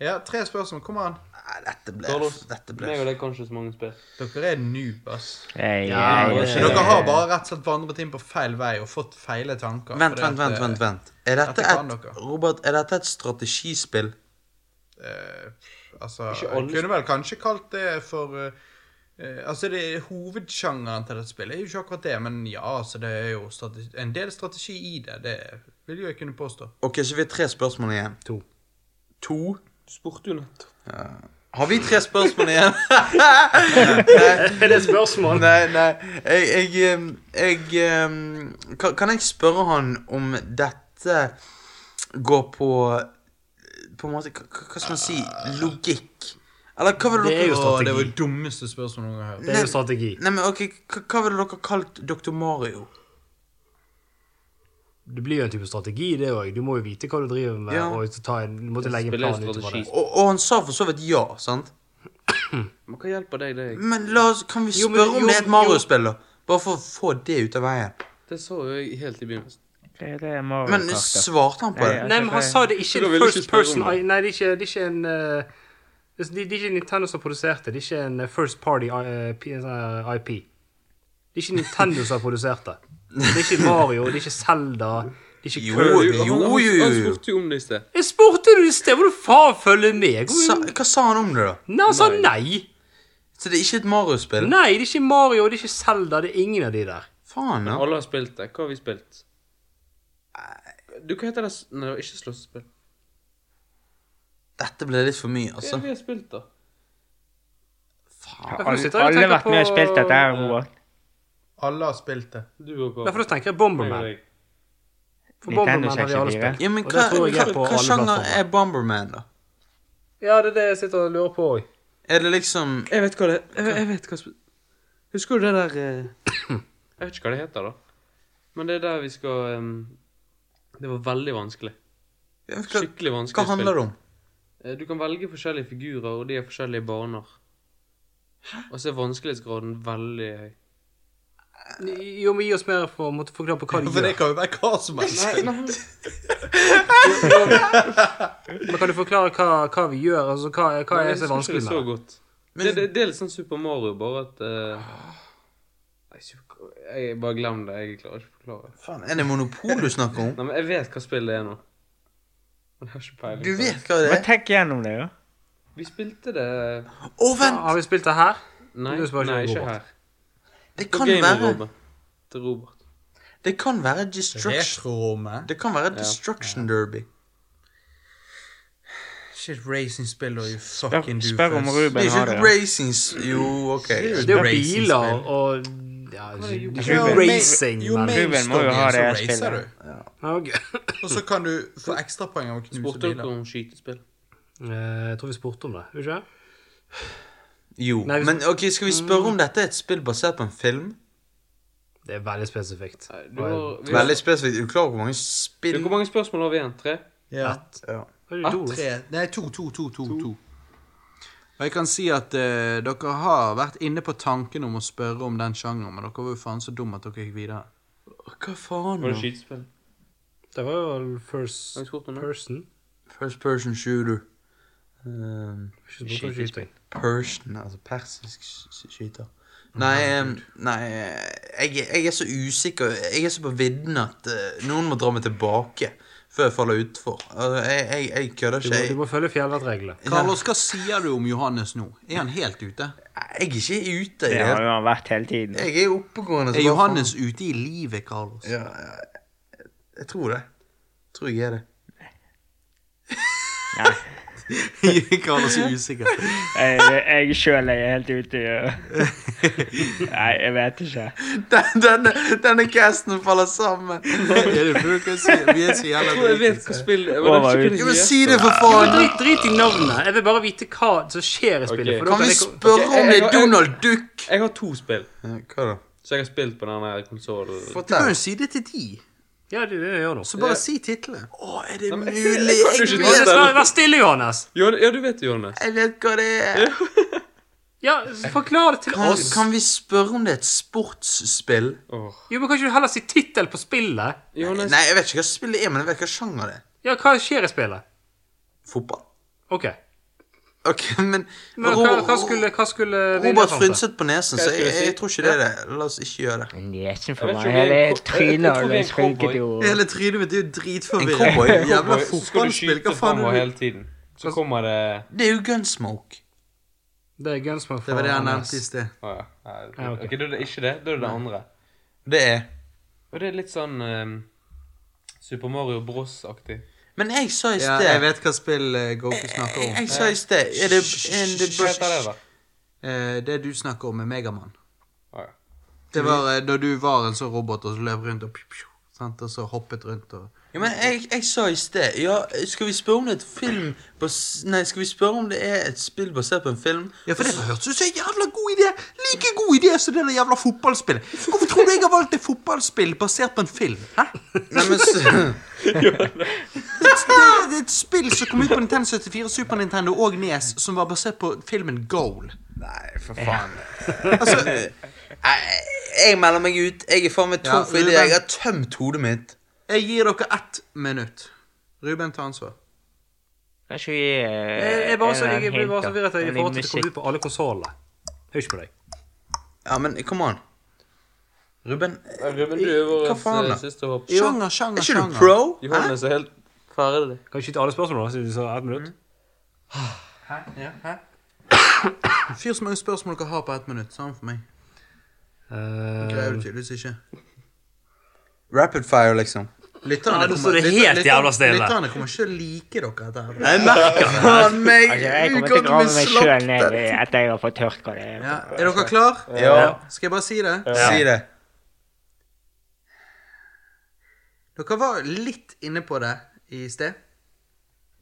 S7: Ja, tre spørsmål. Kom an.
S2: Nei, dette ble
S3: Carlos,
S2: Dette
S3: Meg
S2: ble
S3: og deg kan ikke så mange spill.
S7: Dere er noob, ass.
S5: Jeg,
S6: det
S5: jeg,
S6: er-
S7: Så
S5: jeg,
S7: dere har bare rett og slett vandret inn på feil vei og fått feile tanker.
S2: Vent,
S7: fordi
S2: vent, vent.
S7: at,
S2: vent,
S7: eh,
S2: vent. Er dette
S7: dette kan
S2: et
S7: dere.
S2: Robert, er dette et strategispill?
S7: eh, altså,
S3: Ikke
S7: jeg
S3: alle-
S7: kunne vel kanskje kalt det for eh, eh, Altså, det er hovedsjangeren til dette spillet er jo ikke akkurat det, men ja, altså, det er jo strategi, en del strategi i det. Det vil jo jeg kunne påstå.
S2: Ok, så vi har tre spørsmål igjen.
S6: To.
S2: To?
S3: Du spurte jo nettopp.
S2: Har vi tre spørsmål igjen?
S6: Er det et spørsmål?
S2: Nei, nei. Jeg, jeg, ehm, jeg ehm, kan, kan jeg spørre han om dette går på På en måte Hva, hva skal man si? Logikk? Eller hva ville
S6: Det
S2: dere
S6: er jo
S7: Å, det var
S6: strategi.
S7: det dummeste spørsmålet noen gang jeg har hørt.
S6: Det er jo strategi.
S2: Nei, men ok, hva, hva ville dere kalt Dr. Mario?
S6: Det blir jo en type strategi, det òg. Du må jo vite hva du driver med.
S2: Ja.
S6: Og ta en, du måtte legge en
S3: Spiller jo
S6: plan utover det.
S3: strategi.
S2: Og, og han sa for så vidt ja, sant?
S3: Men hva hjelper deg, det?
S2: Men la oss, kan vi
S6: Jo,
S2: spørre
S6: men- jo,
S2: om det er et
S6: jo.
S2: Mario-spill, da? Bare for å få det ut av veien.
S3: Det så jo jeg helt i begynnelsen.
S5: det er Mario
S2: Men
S5: Kart, da.
S2: svarte han på
S5: Ja,
S2: det?
S5: ja.
S6: Nei, men han sa det
S3: Så
S6: ikke
S3: da
S6: en
S3: vil du ikke
S6: first
S3: spørre om
S6: person
S3: det?
S6: Nei, det er ikke, det er ikke en eh, det er- det er ikke Nintendo som produserte. Det er ikke en eh, first party eh, P- eh, IP. Det er ikke Nintendo som har produsert det. Det er ikke Mario, det er ikke Zelda, det er ikke
S2: Jo,
S6: Kirby.
S2: jo,
S3: Han-
S2: jo, jo,
S3: Han
S2: jo.
S3: spurte jo om det i sted.
S6: Jeg spurte du i sted, må du faen følge med? Hvor-
S2: Sa, hva sa han om det, da?
S6: Nei, han sa nei.
S2: Så det er ikke et Mario-spill?
S6: Nei, det er ikke Mario, det er ikke Zelda, det er ingen av de der.
S2: Faen, da.
S3: Alle har spilt det. Hva har vi spilt? Du, hva heter det s- Nei, det var ikke slåssespill.
S2: Dette ble litt for mye,
S3: Hva er
S2: altså.
S3: det vi har spilt, da?
S5: Har
S6: Derfor
S5: alle,
S6: sitter jeg og
S5: alle
S6: tenker
S5: vært med og
S6: på,
S5: spilt dette her,
S3: eh,
S5: Robert?
S7: Alle har spilt det.
S3: Du og hva?
S6: Derfor tenker
S3: Meg
S6: jeg
S3: og
S6: Bomberman.
S3: deg.
S6: For
S5: Nintendo
S6: Bomberman har vi
S5: 64.
S6: alle spilt.
S2: Ja, men hva,
S6: Og det tror jeg
S2: hva,
S6: er på
S2: hva
S6: alle
S2: sjanger
S6: plattformer.
S2: er Bomberman, da?
S6: Ja, det er det jeg sitter og lurer på òg.
S2: Er det liksom
S3: Jeg vet hva det Jeg, jeg vet hva sp- Husker du det der eh, Jeg vet ikke hva det heter, da. Men det er der vi skal em, Det var veldig vanskelig.
S2: ja, hva,
S3: Skikkelig vanskelig
S2: hva handler det om?
S3: Eh, Du kan velge forskjellige figurer, og de har forskjellige baner. Og så er vanskelighetsgraden veldig høy.
S6: Jo, men gi oss mer for å måtte forklare på hva de
S7: For det
S6: gjør.
S7: kan jo være hva som helst.
S6: Men kan du forklare hva, hva vi gjør? Altså, hva, hva er det som er vanskelig
S3: med det?
S6: med det? Ah.
S3: Så godt. det, det, det er litt sånn Super Mario, bare at eh, jeg, ikke- jeg bare glem det. Jeg klarer ikke å forklare.
S2: Faen, er det Monopol du snakker om?
S3: Nei, men jeg vet hva spillet er nå. Men jeg har ikke peiling.
S2: Du
S3: på det.
S2: vet hva det
S5: Men
S2: er?
S5: tenk gjennom det, jo.
S3: Vi spilte det
S2: Å, vent!
S6: Har vi spilt det her?
S3: Nei,
S6: Du spør ikke
S3: nei
S6: om
S3: ikke
S6: Robert.
S3: her.
S2: Det
S3: På
S2: kan være
S3: gamerommet til Robert.
S2: Det kan være Destruction
S7: Retrorommet.
S2: Det kan være Destruction Derby.
S7: Shit, racingspill og you
S5: Spør,
S7: fucking
S5: spør om
S7: doofus.
S2: Det er
S5: Ruben
S2: ikke
S5: har det.
S2: et
S5: ja.
S2: racing s- Jo, OK.
S6: Det er jo
S7: Racing-spill.
S6: biler og ja, det
S5: Jo,
S6: er jo
S5: men-
S6: racing,
S7: Jo,
S6: men
S5: Ruben
S7: mainstorm
S5: må jo
S7: igjen,
S5: ha
S7: så
S5: det
S7: racer
S5: spillet.
S7: du.
S6: Ja, ok.
S7: Og så kan du få ekstrapoeng av å knuse
S3: Spurte dere
S7: biler.
S3: om skytespill?
S6: Eh, Jeg tror vi spurte om det. gjorde vi Ikke?
S2: Jo.
S6: Nei, hvis-
S2: Men OK, skal vi spørre om dette er et spill basert på en film?
S6: Det er veldig spesifikt.
S3: Nei, du har, vi har,
S2: Veldig spesifikt. Er du klar over hvor mange
S3: du,
S2: spill
S3: hvor mange spørsmål har vi igjen? Tre?
S7: Ja.
S2: ja.
S6: Hva er det du gjorde?
S7: Tre. Nei, to, to, to, to, to. Og jeg kan si at eh, dere har vært inne på tanken om å spørre om den sjangeren, men dere var jo faen så dumme at dere gikk videre.
S2: Hva faen?
S3: Var det
S2: nå?
S3: skytespill?
S6: Det var jo first
S3: Har vi spurt om det?
S6: person.
S2: First person shooter. Um,
S6: Ikke spurt om skyting.
S2: Persian, altså persisk sk- sk- skyter. Nei, em, nei jeg, jeg er så usikker. Jeg er så på vidden at eh, noen må dra meg tilbake før jeg faller utfor. Altså, jeg, jeg, jeg kødder
S6: Du
S2: ikke.
S6: må, du
S2: Jeg,
S6: må følge fjellvettreglene.
S7: Carlos, hva sier du om Johannes nå? Er han helt ute?
S2: jeg er ikke ute.
S5: Det
S2: Jeg,
S5: har
S2: er-
S5: jo han vært hele tiden.
S2: jeg er oppegående. så bare
S7: Er Johannes ute i livet, Carlos?
S2: faen. ja, ja, Jeg tror det. Jeg tror jeg er det.
S5: Nei.
S1: Karl er så usikker.
S5: Jeg, jeg sjøl er helt ute i Nei, jeg vet ikke.
S2: Den- Denne, denne casten faller sammen.
S1: Er det for dere sier? Vi er så jævla
S3: Jeg vet
S1: dritt.
S3: hva spill Jeg vet ikke hva det
S2: Ja, men
S3: heter.
S2: si det, for faen!
S6: Drit, drit i navnet. Jeg vil bare vite hva som skjer i spillet.
S3: Ok.
S6: For da
S2: Kan vi
S6: jeg-
S2: spørre om det er Donald Duck?
S3: Jeg har to spill
S2: Hva da?
S3: som jeg har spilt på den her konsollen.
S1: Du kan jo
S2: Fortell.
S1: si det til de.
S6: Ja, det, det gjør noe.
S1: Så bare si titlene.
S2: Å, er det
S3: men jeg-
S2: mulig?
S3: jeg kan jo
S2: Jeg
S3: ikke
S2: vet,
S3: ta det.
S6: Vær stille, Johannes!
S3: Jon- Ja, du vet det, Johannes.
S2: jeg vet hva det er.
S6: Ja, Forklar det til
S2: Kan,
S6: oss.
S2: kan vi spørre om det er et sportsspill?
S3: Åh.
S6: Jo, men Kan ikke du heller si tittel på spillet?
S3: Johannes,
S2: Nei, jeg vet ikke hva spill det er, men jeg vet hva sjanger det er.
S6: Ja, hva skjer i spillet?
S2: Fotball?
S6: OK.
S2: Ok, men,
S6: Men hva, hva skulle, hva skulle vi
S2: Robert
S6: lese om det?
S2: frynset på nesen, så
S3: Hva
S2: jeg,
S3: skulle jeg si?
S2: jeg tror ikke det er det. La oss ikke gjøre det.
S5: Nesen
S3: Jeg
S5: for
S3: vet ikke
S5: meg.
S3: om vi er en ko- jeg-
S5: Hele
S3: jeg
S5: trynet
S3: tror vi er en
S5: hans rynket
S3: cowboy.
S5: jo.
S1: Hele trynet mitt er jo
S2: En cowboy.
S1: dritforvirret. Jævla
S3: så skal du
S1: fotballspill. Hva
S3: skyte
S1: faen
S3: framover
S1: er det?
S3: hele tiden. Så kommer det
S2: Det er jo Gunsmoke.
S6: Det er Gunsman for
S1: Det var det jeg
S6: Anders.
S1: nevnte i sted.
S3: Å ja. Nei,
S6: Ja, ok.
S3: ok, da er det ikke det. Da er det det andre.
S2: Det er
S3: Og det er litt sånn ehm, Super Mario Bros-aktig.
S2: Men jeg sa i
S1: Ja,
S2: sted
S1: jeg
S2: jeg,
S1: vet hva spill eh, Goku snakker om.
S2: jeg sa i sted Er det, er det
S3: Hva heter det, da?
S1: Eh, Det du snakker om, er Megamann.
S3: Å ja.
S1: Det var eh, da du var en sånn robot og så løp rundt og pju, pju, sant? Og så hoppet rundt og
S2: ja, men jeg, jeg sa i sted Ja, skal vi spørre om det er et film bas- Nei, skal vi spørre om det er et spill basert på en film?
S1: Ja, for det hørtes ut som en jævla god idé! Like god idé som det der jævla fotballspillet. Hvorfor tror du jeg har valgt et fotballspill basert på en film? Hæ?
S2: Nei, men så,
S1: Det er et spill som kom ut på Nintendo 74, Super Nintendo og Nes, som var basert på filmen Goal.
S2: Nei, for faen. Altså Nei, Jeg melder meg ut. Jeg er faen meg tom
S1: Ja,
S2: for ideer.
S1: Ruben.
S2: Jeg har tømt hodet mitt.
S1: Jeg gir dere ett minutt. Ruben, ta ansvar.
S5: Kanskje vi eh,
S6: Jeg jeg er bare så, jeg, jeg blir bare så
S5: virret
S6: forvirret i forhold til at det kommer ut på alle konsollene. Hører ikke på deg.
S2: Ja, men come on. Ruben,
S3: Ja, Ruben, du er vår
S2: Hva faen,
S3: eh,
S2: da?
S3: siste håp.
S1: Sjanger,
S2: er
S1: sjanger,
S2: ikke du
S1: sjanger.
S2: pro?
S3: Johannes er helt ferdig.
S6: Kan ikke ta alle spørsmålene, siden du sa ett minutt?
S1: Fyr så mange spørsmål dere har på ett minutt. Samme for meg.
S6: Eh,
S1: Greier du tydeligvis ikke.
S2: Rapid fire, liksom.
S1: Lytterne
S6: Ja, nå står det
S1: lytter-
S6: helt
S1: lytter-
S6: jævla stille.
S1: Lytterne kommer ikke til å like dere etter her.
S2: Jeg merker faen meg!
S5: Altså, jeg kommer til å grave meg sjøl ned i- etter jeg har fått hørt hva det er.
S1: Ja, er dere klar?
S2: Ja,
S1: Skal jeg bare si det?
S2: si det.
S1: Dere var litt inne på det i sted.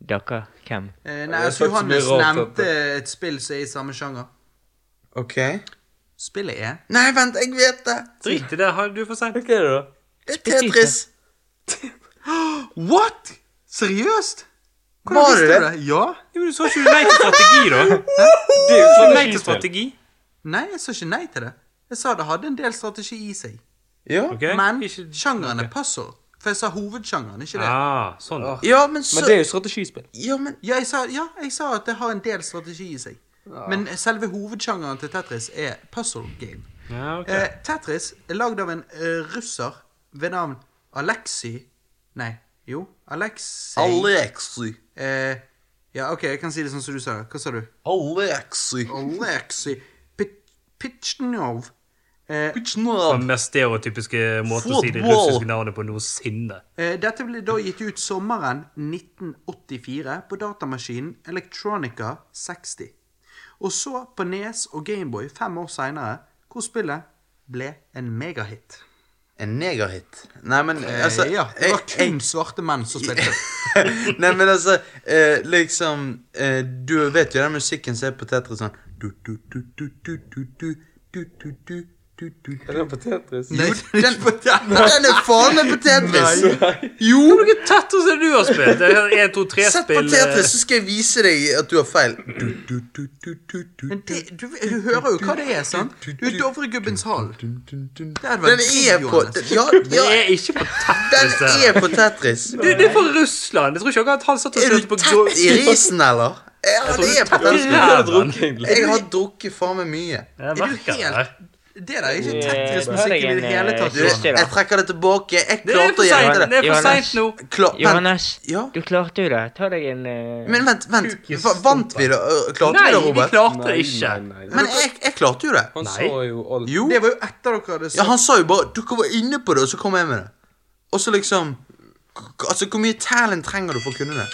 S5: Dere, hvem?
S1: Eh,
S3: det
S1: Nei,
S3: er
S1: altså,
S3: faktisk
S1: Johannes
S3: mye rart at
S1: nevnte et spill som er i samme sjanger.
S2: Ok.
S1: Spillet er
S2: Nei, vent, jeg vet det.
S6: drit i det, har du er for seint.
S3: Hva er det, da?
S2: Det er Tetris.
S1: What?! Seriøst?!
S2: Var det
S1: visste
S2: det?
S1: du Ja.
S6: Jo, men du sa ikke nei til strategi, da.
S3: Det er jo
S6: Du sa
S3: sånn
S6: nei til
S3: skytespill.
S6: strategi.
S1: Nei, jeg sa ikke nei til det. Jeg sa det hadde en del strategi i seg.
S2: Ja.
S6: ok?
S1: Men
S6: Ikke-
S1: sjangeren er passord. For jeg sa hovedsjangeren, ikke det?
S6: Ah, sånn. da.
S2: ja, men
S3: Men det
S2: så
S3: er jo strategispill.
S2: Ja, men
S1: Ja, jeg sa, ja, jeg sa at det har en del strategi i seg.
S2: Ah.
S1: Men selve hovedsjangeren til Tetris er puzzle game.
S6: Ja, ok.
S1: Eh, Tetris er lagd av en eh, russer ved navn Alexi Nei, jo, Alexei
S2: Alexi.
S1: eh, Ja, OK, jeg kan si det sånn som du sa. Hva sa du?
S2: Alexi.
S1: Alexi Pitsjnov. Eh,
S6: På
S2: Bitchnov.
S6: den mest stereotypiske måten å si det russiske navnet på noensinne.
S1: eh, dette ble da gitt ut sommeren 1984 på datamaskinen Electronica 60. Og så på Nes og Gameboy fem år seinere, hvor spillet ble en megahit.
S2: En negerhit. Nei, men
S1: Eh,
S2: altså
S1: ja, det var
S2: jeg-
S1: kun svarte menn som spilte.
S2: jeg- Nei, men altså eh, Liksom eh, Du vet jo den musikken som er på Tetris sånn du, du, du, du, du, du, du, du, du, du, du, du,
S3: Er det på Tetris?
S1: Nei,
S2: Den, den er faen meg på Tetris!
S6: Jo, noe Tetris er det du har spilt? Det er 1, 2, 3
S2: Sett på
S6: spill eh,
S2: Tetris, så skal jeg vise deg at du har feil. Du, du, du, du, du, du,
S1: Men det, du, du hører jo hva det er, sant? Du er Dovregubbens hall.
S2: du, du, du.
S1: Det hadde
S2: Den
S1: vært
S2: er
S1: digg,
S2: på
S1: Johannes.
S2: den, Ja,
S6: Det
S2: ja,
S6: er ikke på Tetris.
S2: den
S6: det.
S2: er på Tetris.
S6: Du, det er fra Russland. Jeg tror ikke at han satt og
S2: Er
S6: spilte
S2: du
S6: på
S2: tett i risen, eller? Ja, det er på Tetris.
S3: Jeg har drukket, egentlig.
S2: Jeg har drukket faen meg mye.
S6: Jeg
S1: Er du
S6: merker det.
S1: helt Det der er ikke
S5: Eh,
S1: Tetris-musikk i
S5: hører jeg
S1: det
S5: en,
S1: hele
S5: eh,
S1: tatt.
S2: Du,
S1: Johannes.
S5: kiste, da?
S2: jeg trekker det tilbake. Jeg
S6: Det er
S2: klarte
S6: for
S2: å
S6: seint.
S2: gjøre det.
S6: Det er for
S5: Johannes.
S6: seint nå.
S2: Klar, men,
S5: Johannes,
S2: Ja?
S5: du klarte jo det. Ta deg en eh,
S2: men vent, vent. Va- Vant vi det? Ø, Klarte
S6: Nei,
S2: vi det,
S6: vi
S2: Robert?
S6: klarte det ikke.
S3: nei, nei.
S2: Men jeg, jeg klarte jo det.
S3: Han
S6: Nei.
S3: så jo alt.
S2: Jo.
S1: Det var jo etter dere hadde
S2: Ja,
S1: sagt
S2: han sa jo bare 'dere var inne på det', og så kom jeg med det. Og så liksom k- Altså, hvor mye talent trenger du for å kunne det?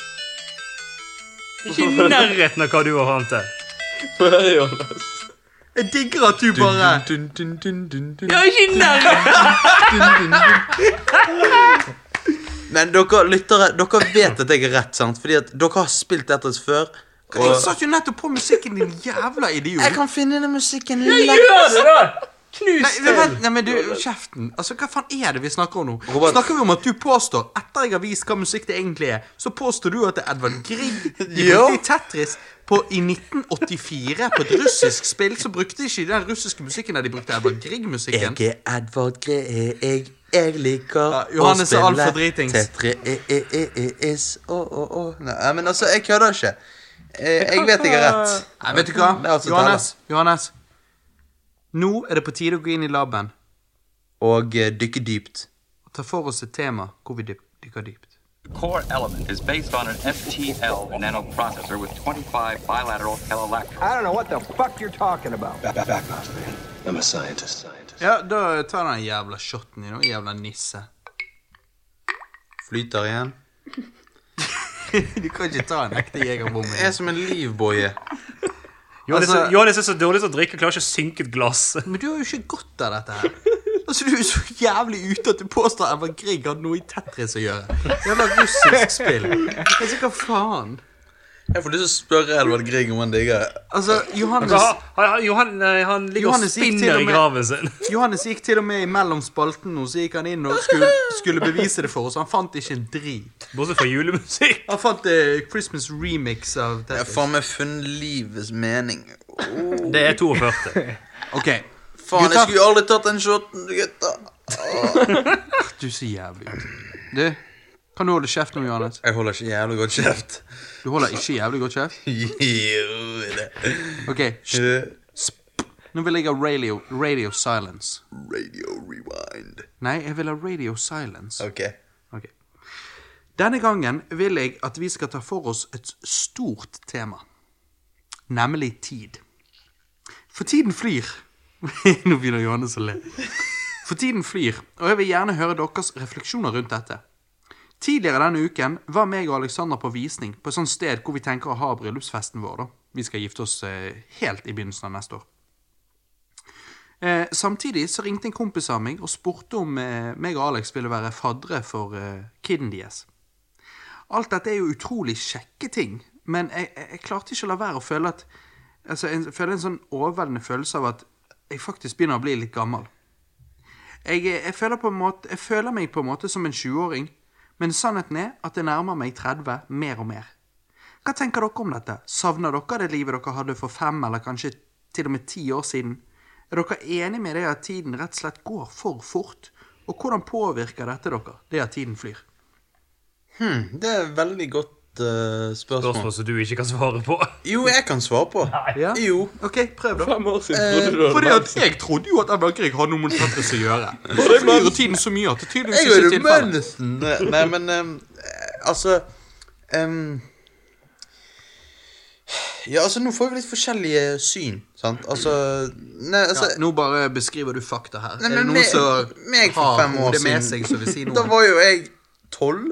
S6: Ikke i nærheten av hva du har fram til.
S3: Få høre, Jonas.
S7: Jeg digger at du bare
S2: Dun, dun, dun, dun, dun.
S6: Ja, ikke i nærheten!
S2: Men dere lyttere, dere vet at jeg er rett, sant? Fordi at dere har spilt dette før.
S7: Jeg satt jo nettopp på musikken, din jævla
S2: Jeg
S7: idiot.
S2: kan finne denne musikken
S6: Gjør det, da!
S7: Nei,
S6: Knus
S7: men vent, nei, men du, kjeften. Altså, Hva faen er det vi snakker om nå?
S2: Robert.
S7: Snakker vi om at du påstår, etter jeg har vist hva musikk det egentlig er, så påstår du at det er Edvard Grieg de
S2: Ja.
S7: brukte i Tetris på, i 1984 på et russisk spill, så brukte de ikke den russiske musikken der de brukte Edvard Grieg-musikken.
S2: Jeg er Edvard Gree, jeg, jeg liker
S7: Ja, Johannes er alt for dritings.
S2: E, Tetris Å, å, å. Nei, men altså, jeg kødder ikke. Jeg, jeg vet jeg har rett.
S7: Nei, vet du hva?
S2: Det er altså alt som
S7: Johannes, Johannes. Nå er det på tide å gå inn i laben
S2: Og eh, dykke dypt.
S7: og ta for oss et tema hvor vi dyp- dykker dypt.
S8: Core Element is based on an FTL nanoprocessor with 25 bilateral electrons.
S9: I don't know what the fuck you're talking about.
S10: I'm a scientist. Scientist.
S7: Ja, da tar den jævla shotten din, og jævla nisse.
S2: Flyter igjen.
S7: Du kan ikke ta en ekte jegerbombe.
S2: Jeg er som en livboje.
S6: Johannes
S7: Altså-
S6: Johannes er så dårlig til å drikke, klarer ikke å synke et glass.
S7: Men du har jo ikke godt av dette her. Altså, Du er så jævlig ute at du påstår at Edvard Grieg hadde noe i Tetris å gjøre. Jævla russisk spill. Altså, hva faen?
S2: Jeg får lyst til å spørre Edvard Grieg om han digger det.
S7: Altså, Johannes,
S6: Han, han, Johan, nei, han ligger
S7: Johannes
S6: og
S7: gikk til og
S6: spinner i
S7: med-
S6: graven sin.
S7: Johannes gikk til og med imellom spalten nå, så gikk han inn og skulle, skulle bevise det for oss. Han fant ikke en drit.
S6: Bortsett fra julemusikk.
S7: Han fant eh, Christmas remix
S2: Jeg
S7: av
S2: har
S7: Tetris.
S2: faen meg funnet livets mening.
S6: Det er 42.
S7: Ok,
S2: Faen, jeg
S7: Gutta.
S2: skulle jo aldri tatt den shoten, gutta.
S7: du er så jævlig ute. Du, kan du holde kjeft nå, Johannes?
S2: Jeg holder ikke jævlig godt kjeft.
S7: Du holder ikke jævlig godt kjeft?
S2: Jo, det. Eh,
S7: Ok, hysj. Nå vil jeg ha radio, radio silence.
S2: Radio rewind.
S7: Nei, jeg vil ha radio silence.
S2: Ok.
S7: Ok. Denne gangen vil jeg at vi skal ta for oss et stort tema. Nemlig tid. For tiden flyr. Nå begynner Johannes å le. For tiden flyr, og jeg vil gjerne høre deres refleksjoner rundt dette. Tidligere denne uken var meg og Alexander på visning på et sånt sted hvor vi tenker å ha bryllupsfesten vår. da. Vi skal gifte oss eh, helt i begynnelsen av neste år. Eh, samtidig så ringte en kompis av meg og spurte om eh, meg og Alex ville være faddere for eh, kiden deres. Alt dette er jo utrolig kjekke ting, men jeg, jeg, jeg klarte ikke å la være å føle at altså, Jeg føler en sånn overveldende følelse av at jeg faktisk begynner å bli litt gammel. Jeg, eh, jeg, føler, på en måte, jeg føler meg på en måte som en 20-åring, men sannheten er at jeg nærmer meg 30 mer og mer. Hva tenker dere om dette? Savner dere det livet dere hadde for fem eller kanskje til og med ti år siden? Er dere enige med det at tiden rett og slett går for fort? Og hvordan påvirker dette dere, det at tiden flyr?
S2: Hmm, Det er et veldig godt eh, spørsmål.
S6: Spørsmål som du ikke kan svare på.
S2: Jo, jeg kan svare på.
S7: Ja?
S2: Jo.
S7: Ok, prøv da.
S3: Fem år siden trodde du
S7: Fordi
S3: hadde
S7: at jeg trodde jo at Edvard Grieg hadde noe med Tetris å gjøre. Så flyr jo tiden så mye at det tydeligvis
S2: Jeg
S7: ikke
S2: er
S7: er
S2: jo
S7: tilfellet.
S2: Mønnesen. Nei, men ehm, altså ehm, Ja, altså, nå får vi litt forskjellige syn, sant? Altså Nei,
S7: Ja,
S2: altså
S7: nå bare beskriver du fakta her.
S2: Nei,
S7: er det
S2: men
S7: noen
S2: meg- meg
S7: som
S2: for
S7: har
S2: fem år
S7: hodet med
S2: siden.
S7: seg som vil si
S2: Da
S7: noe?
S2: var jo jeg tolv.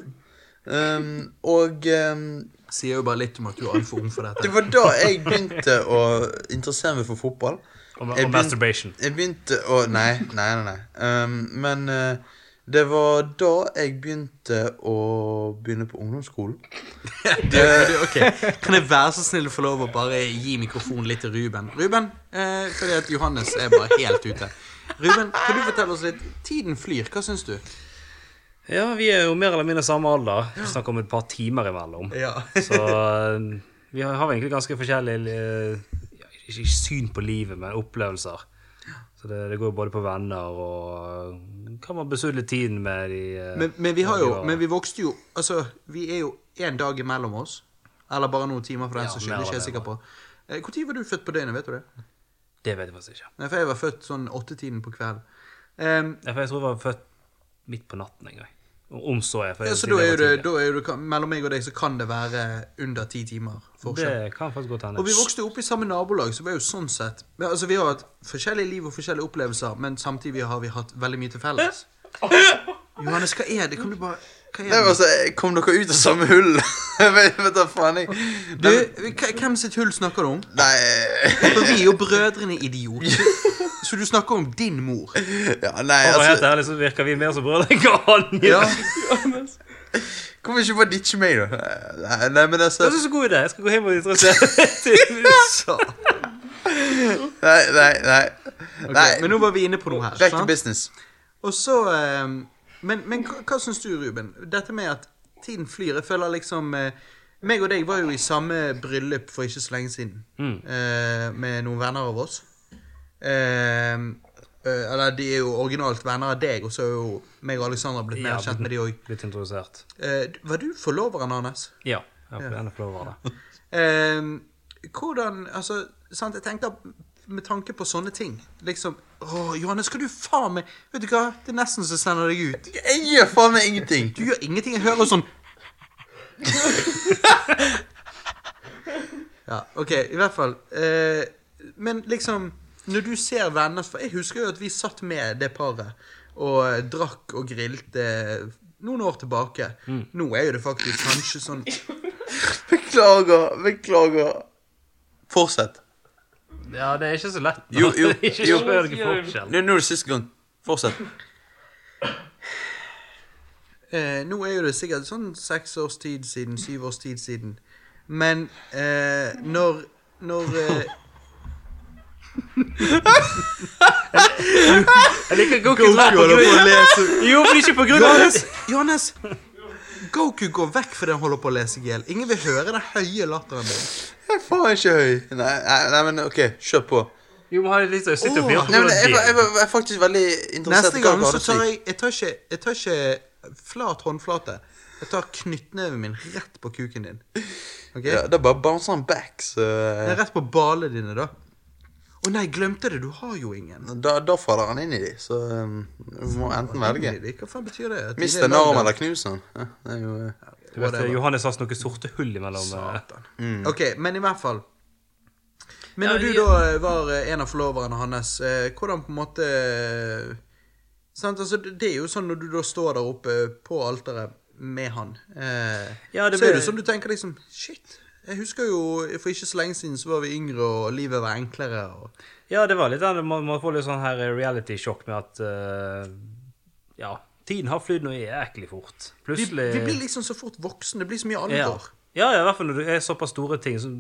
S2: ehm, og ehm,
S7: Sier jo bare litt om at du er altfor ung for
S2: det
S7: dette.
S2: var da jeg begynte å interessere meg for fotball.
S6: Om,
S2: Jeg
S6: om
S2: begyn-
S6: masturbation.
S2: Jeg begynte å Nei, nei, nei. nei. Um, men eh, det var da jeg begynte å begynne på ungdomsskolen. Eh,
S7: Ok, Kan jeg være så snill å få lov å bare gi mikrofonen litt til Ruben? Ruben, eh, fordi at Johannes er bare helt ute. Ruben, kan du fortelle oss litt? Tiden flyr, hva syns du?
S6: Ja, vi er jo mer eller mindre samme alder. Vi snakker om et par timer imellom.
S7: Ja.
S6: Så eh, vi har har egentlig ganske forskjellig eh, ja, Ikke ikke syn på livet, men opplevelser. Så det, det går jo både på venner og eh, Kan man besudle tiden med de eh,
S7: Men, men vi har jo
S6: ja,
S7: Men vi vokste jo Altså, vi er jo én dag imellom oss. Eller bare noen timer, for den
S6: Ja,
S7: som
S6: mer
S7: skyld. Ikke jeg
S6: eller
S7: er sikker på. Når var du født på døgnet, vet du det?
S6: Det vet jeg faktisk ikke.
S7: Nei, For jeg var født sånn åttetiden på kvelden. Um,
S6: Ja, for Jeg tror jeg var født midt på natten en gang. Om så er. for jeg
S7: ja, så
S6: siden
S7: da er
S6: jeg
S7: jo
S6: var
S7: det,
S6: tidlig.
S7: da er jo det kan- Mellom meg og deg så kan det være under ti timer forskjell.
S6: Det kan faktisk godt hende.
S7: Og vi vokste opp i samme nabolag, så vi er jo sånn sett men, Altså, vi har hatt forskjellige liv og forskjellige opplevelser, men samtidig har vi hatt veldig mye til felles.
S2: Johannes, hva er det? Kan du bare hva
S1: Nei,
S2: er
S1: men
S2: det?
S1: altså, Kom dere ut av samme hull? vet, vet da faen jeg.
S2: Du, hva- hvem sitt hull snakker du om?
S1: Nei
S2: For vi er jo brødrene idioter. Så du snakker om din mor.
S1: ja, Nei,
S6: For å være helt
S1: altså.
S6: ærlig så virker vi mer som brødre enn hva han gjør.
S1: Kom ikke bare ditche meg, da. Nei, nei men altså
S6: Det er så god idé. Jeg skal gå hjem og introdusere
S1: Nei, nei, nei. nei.
S2: Men nå var vi inne på noe her.
S1: Back to
S2: sant?
S1: business.
S2: Og så eh, Men, men hva, hva syns du, Ruben? Dette med at tiden flyr. Jeg føler liksom eh, meg og deg var jo i samme bryllup for ikke så lenge siden. Eh, med noen venner av oss. Eh, eh, eller de er jo originalt venner av deg, og så er jo meg og Alexandra blitt mer
S6: Ja,
S2: kjent med de òg.
S6: Blitt introdusert.
S2: var du forloveren hans?
S6: Ja. Jeg får gjerne få lov å være det.
S2: Eh, hvordan Altså, sant, jeg tenkte at med tanke på sånne ting Liksom Å, Johannes, skal du faen meg Vet du hva, det er nesten så jeg sender deg ut.
S1: Jeg gjør faen meg ingenting.
S2: Du gjør ingenting. Jeg hører sånn Ja, OK, i hvert fall. Eh, men liksom Når du ser venner For jeg husker jo at vi satt med det paret og eh, drakk og grilte noen år tilbake. Nå er jo det faktisk kanskje sånn
S1: Beklager, beklager. Fortsett.
S6: Ja, det er ikke så lett.
S1: Jo, jo,
S6: Ikke
S1: jo.
S6: spør dere forskjell.
S1: Nå nå er det siste gang. Fortsett.
S2: eh, Nå er jo det sikkert sånn seks års tid siden, syv års tid siden. Men eh, når Når eh,
S6: Jeg liker Goku som er på grunn. Jo, men ikke på grunn av det.
S2: Johannes! Johannes! Goku går vekk fordi han holder på å lese GL. Ingen vil høre den høye latteren din.
S1: Jeg er faen ikke høy. Nei, nei, nei, men OK, kjør på.
S6: Jo, men han er litt sånn- sitter
S2: Åh,
S6: og blir på
S1: Nei, men
S6: grunn
S1: jeg, jeg,
S6: av
S1: var- jeg,
S6: det.
S1: var- jeg er faktisk veldig interessert i
S2: Neste
S1: hva
S2: gang
S1: du
S2: så
S1: hadde å
S2: tar
S1: si.
S2: jeg Jeg tar ikke, jeg tar ikke flat håndflate. Jeg tar knyttneven min rett på kuken din. Ok?
S1: Ja, da bare bouncer han back, så
S2: Nei, Rett på balene dine, da. Å nei, glemte det. Du har jo ingen.
S1: Da, da faller han inn i de, så um, du må enten velge.
S2: Hva faen betyr det? At de
S1: Mist
S2: er
S1: en arm
S2: lagd av-
S1: eller knus han. Ja, det er jo eh,
S6: Du vet, Johannes har noen sorte hull imellom. eh,
S2: Satan. Ok, men i hvert fall. Men
S6: Ja,
S2: når du
S6: ja.
S2: da eh, var eh, en av forloverne hans, eh, hvordan på en måte eh, sant? Altså, det det er jo sånn når du da står der oppe på alteret med han, eh,
S6: Ja, det
S2: så
S6: ble-
S2: er det sånn du tenker liksom Shit. Jeg husker jo for ikke så lenge siden så var vi yngre, og livet var enklere. Og...
S6: Ja, det var litt den Man, man får litt sånn her reality-sjokk med at eh, Ja, tiden har flydd noe jæklig fort.
S2: Vi,
S6: Plutselig
S2: vi blir liksom så fort voksne. Det blir så mye
S6: ja.
S2: alvor.
S6: Ja, ja, i hvert fall når det er såpass store ting som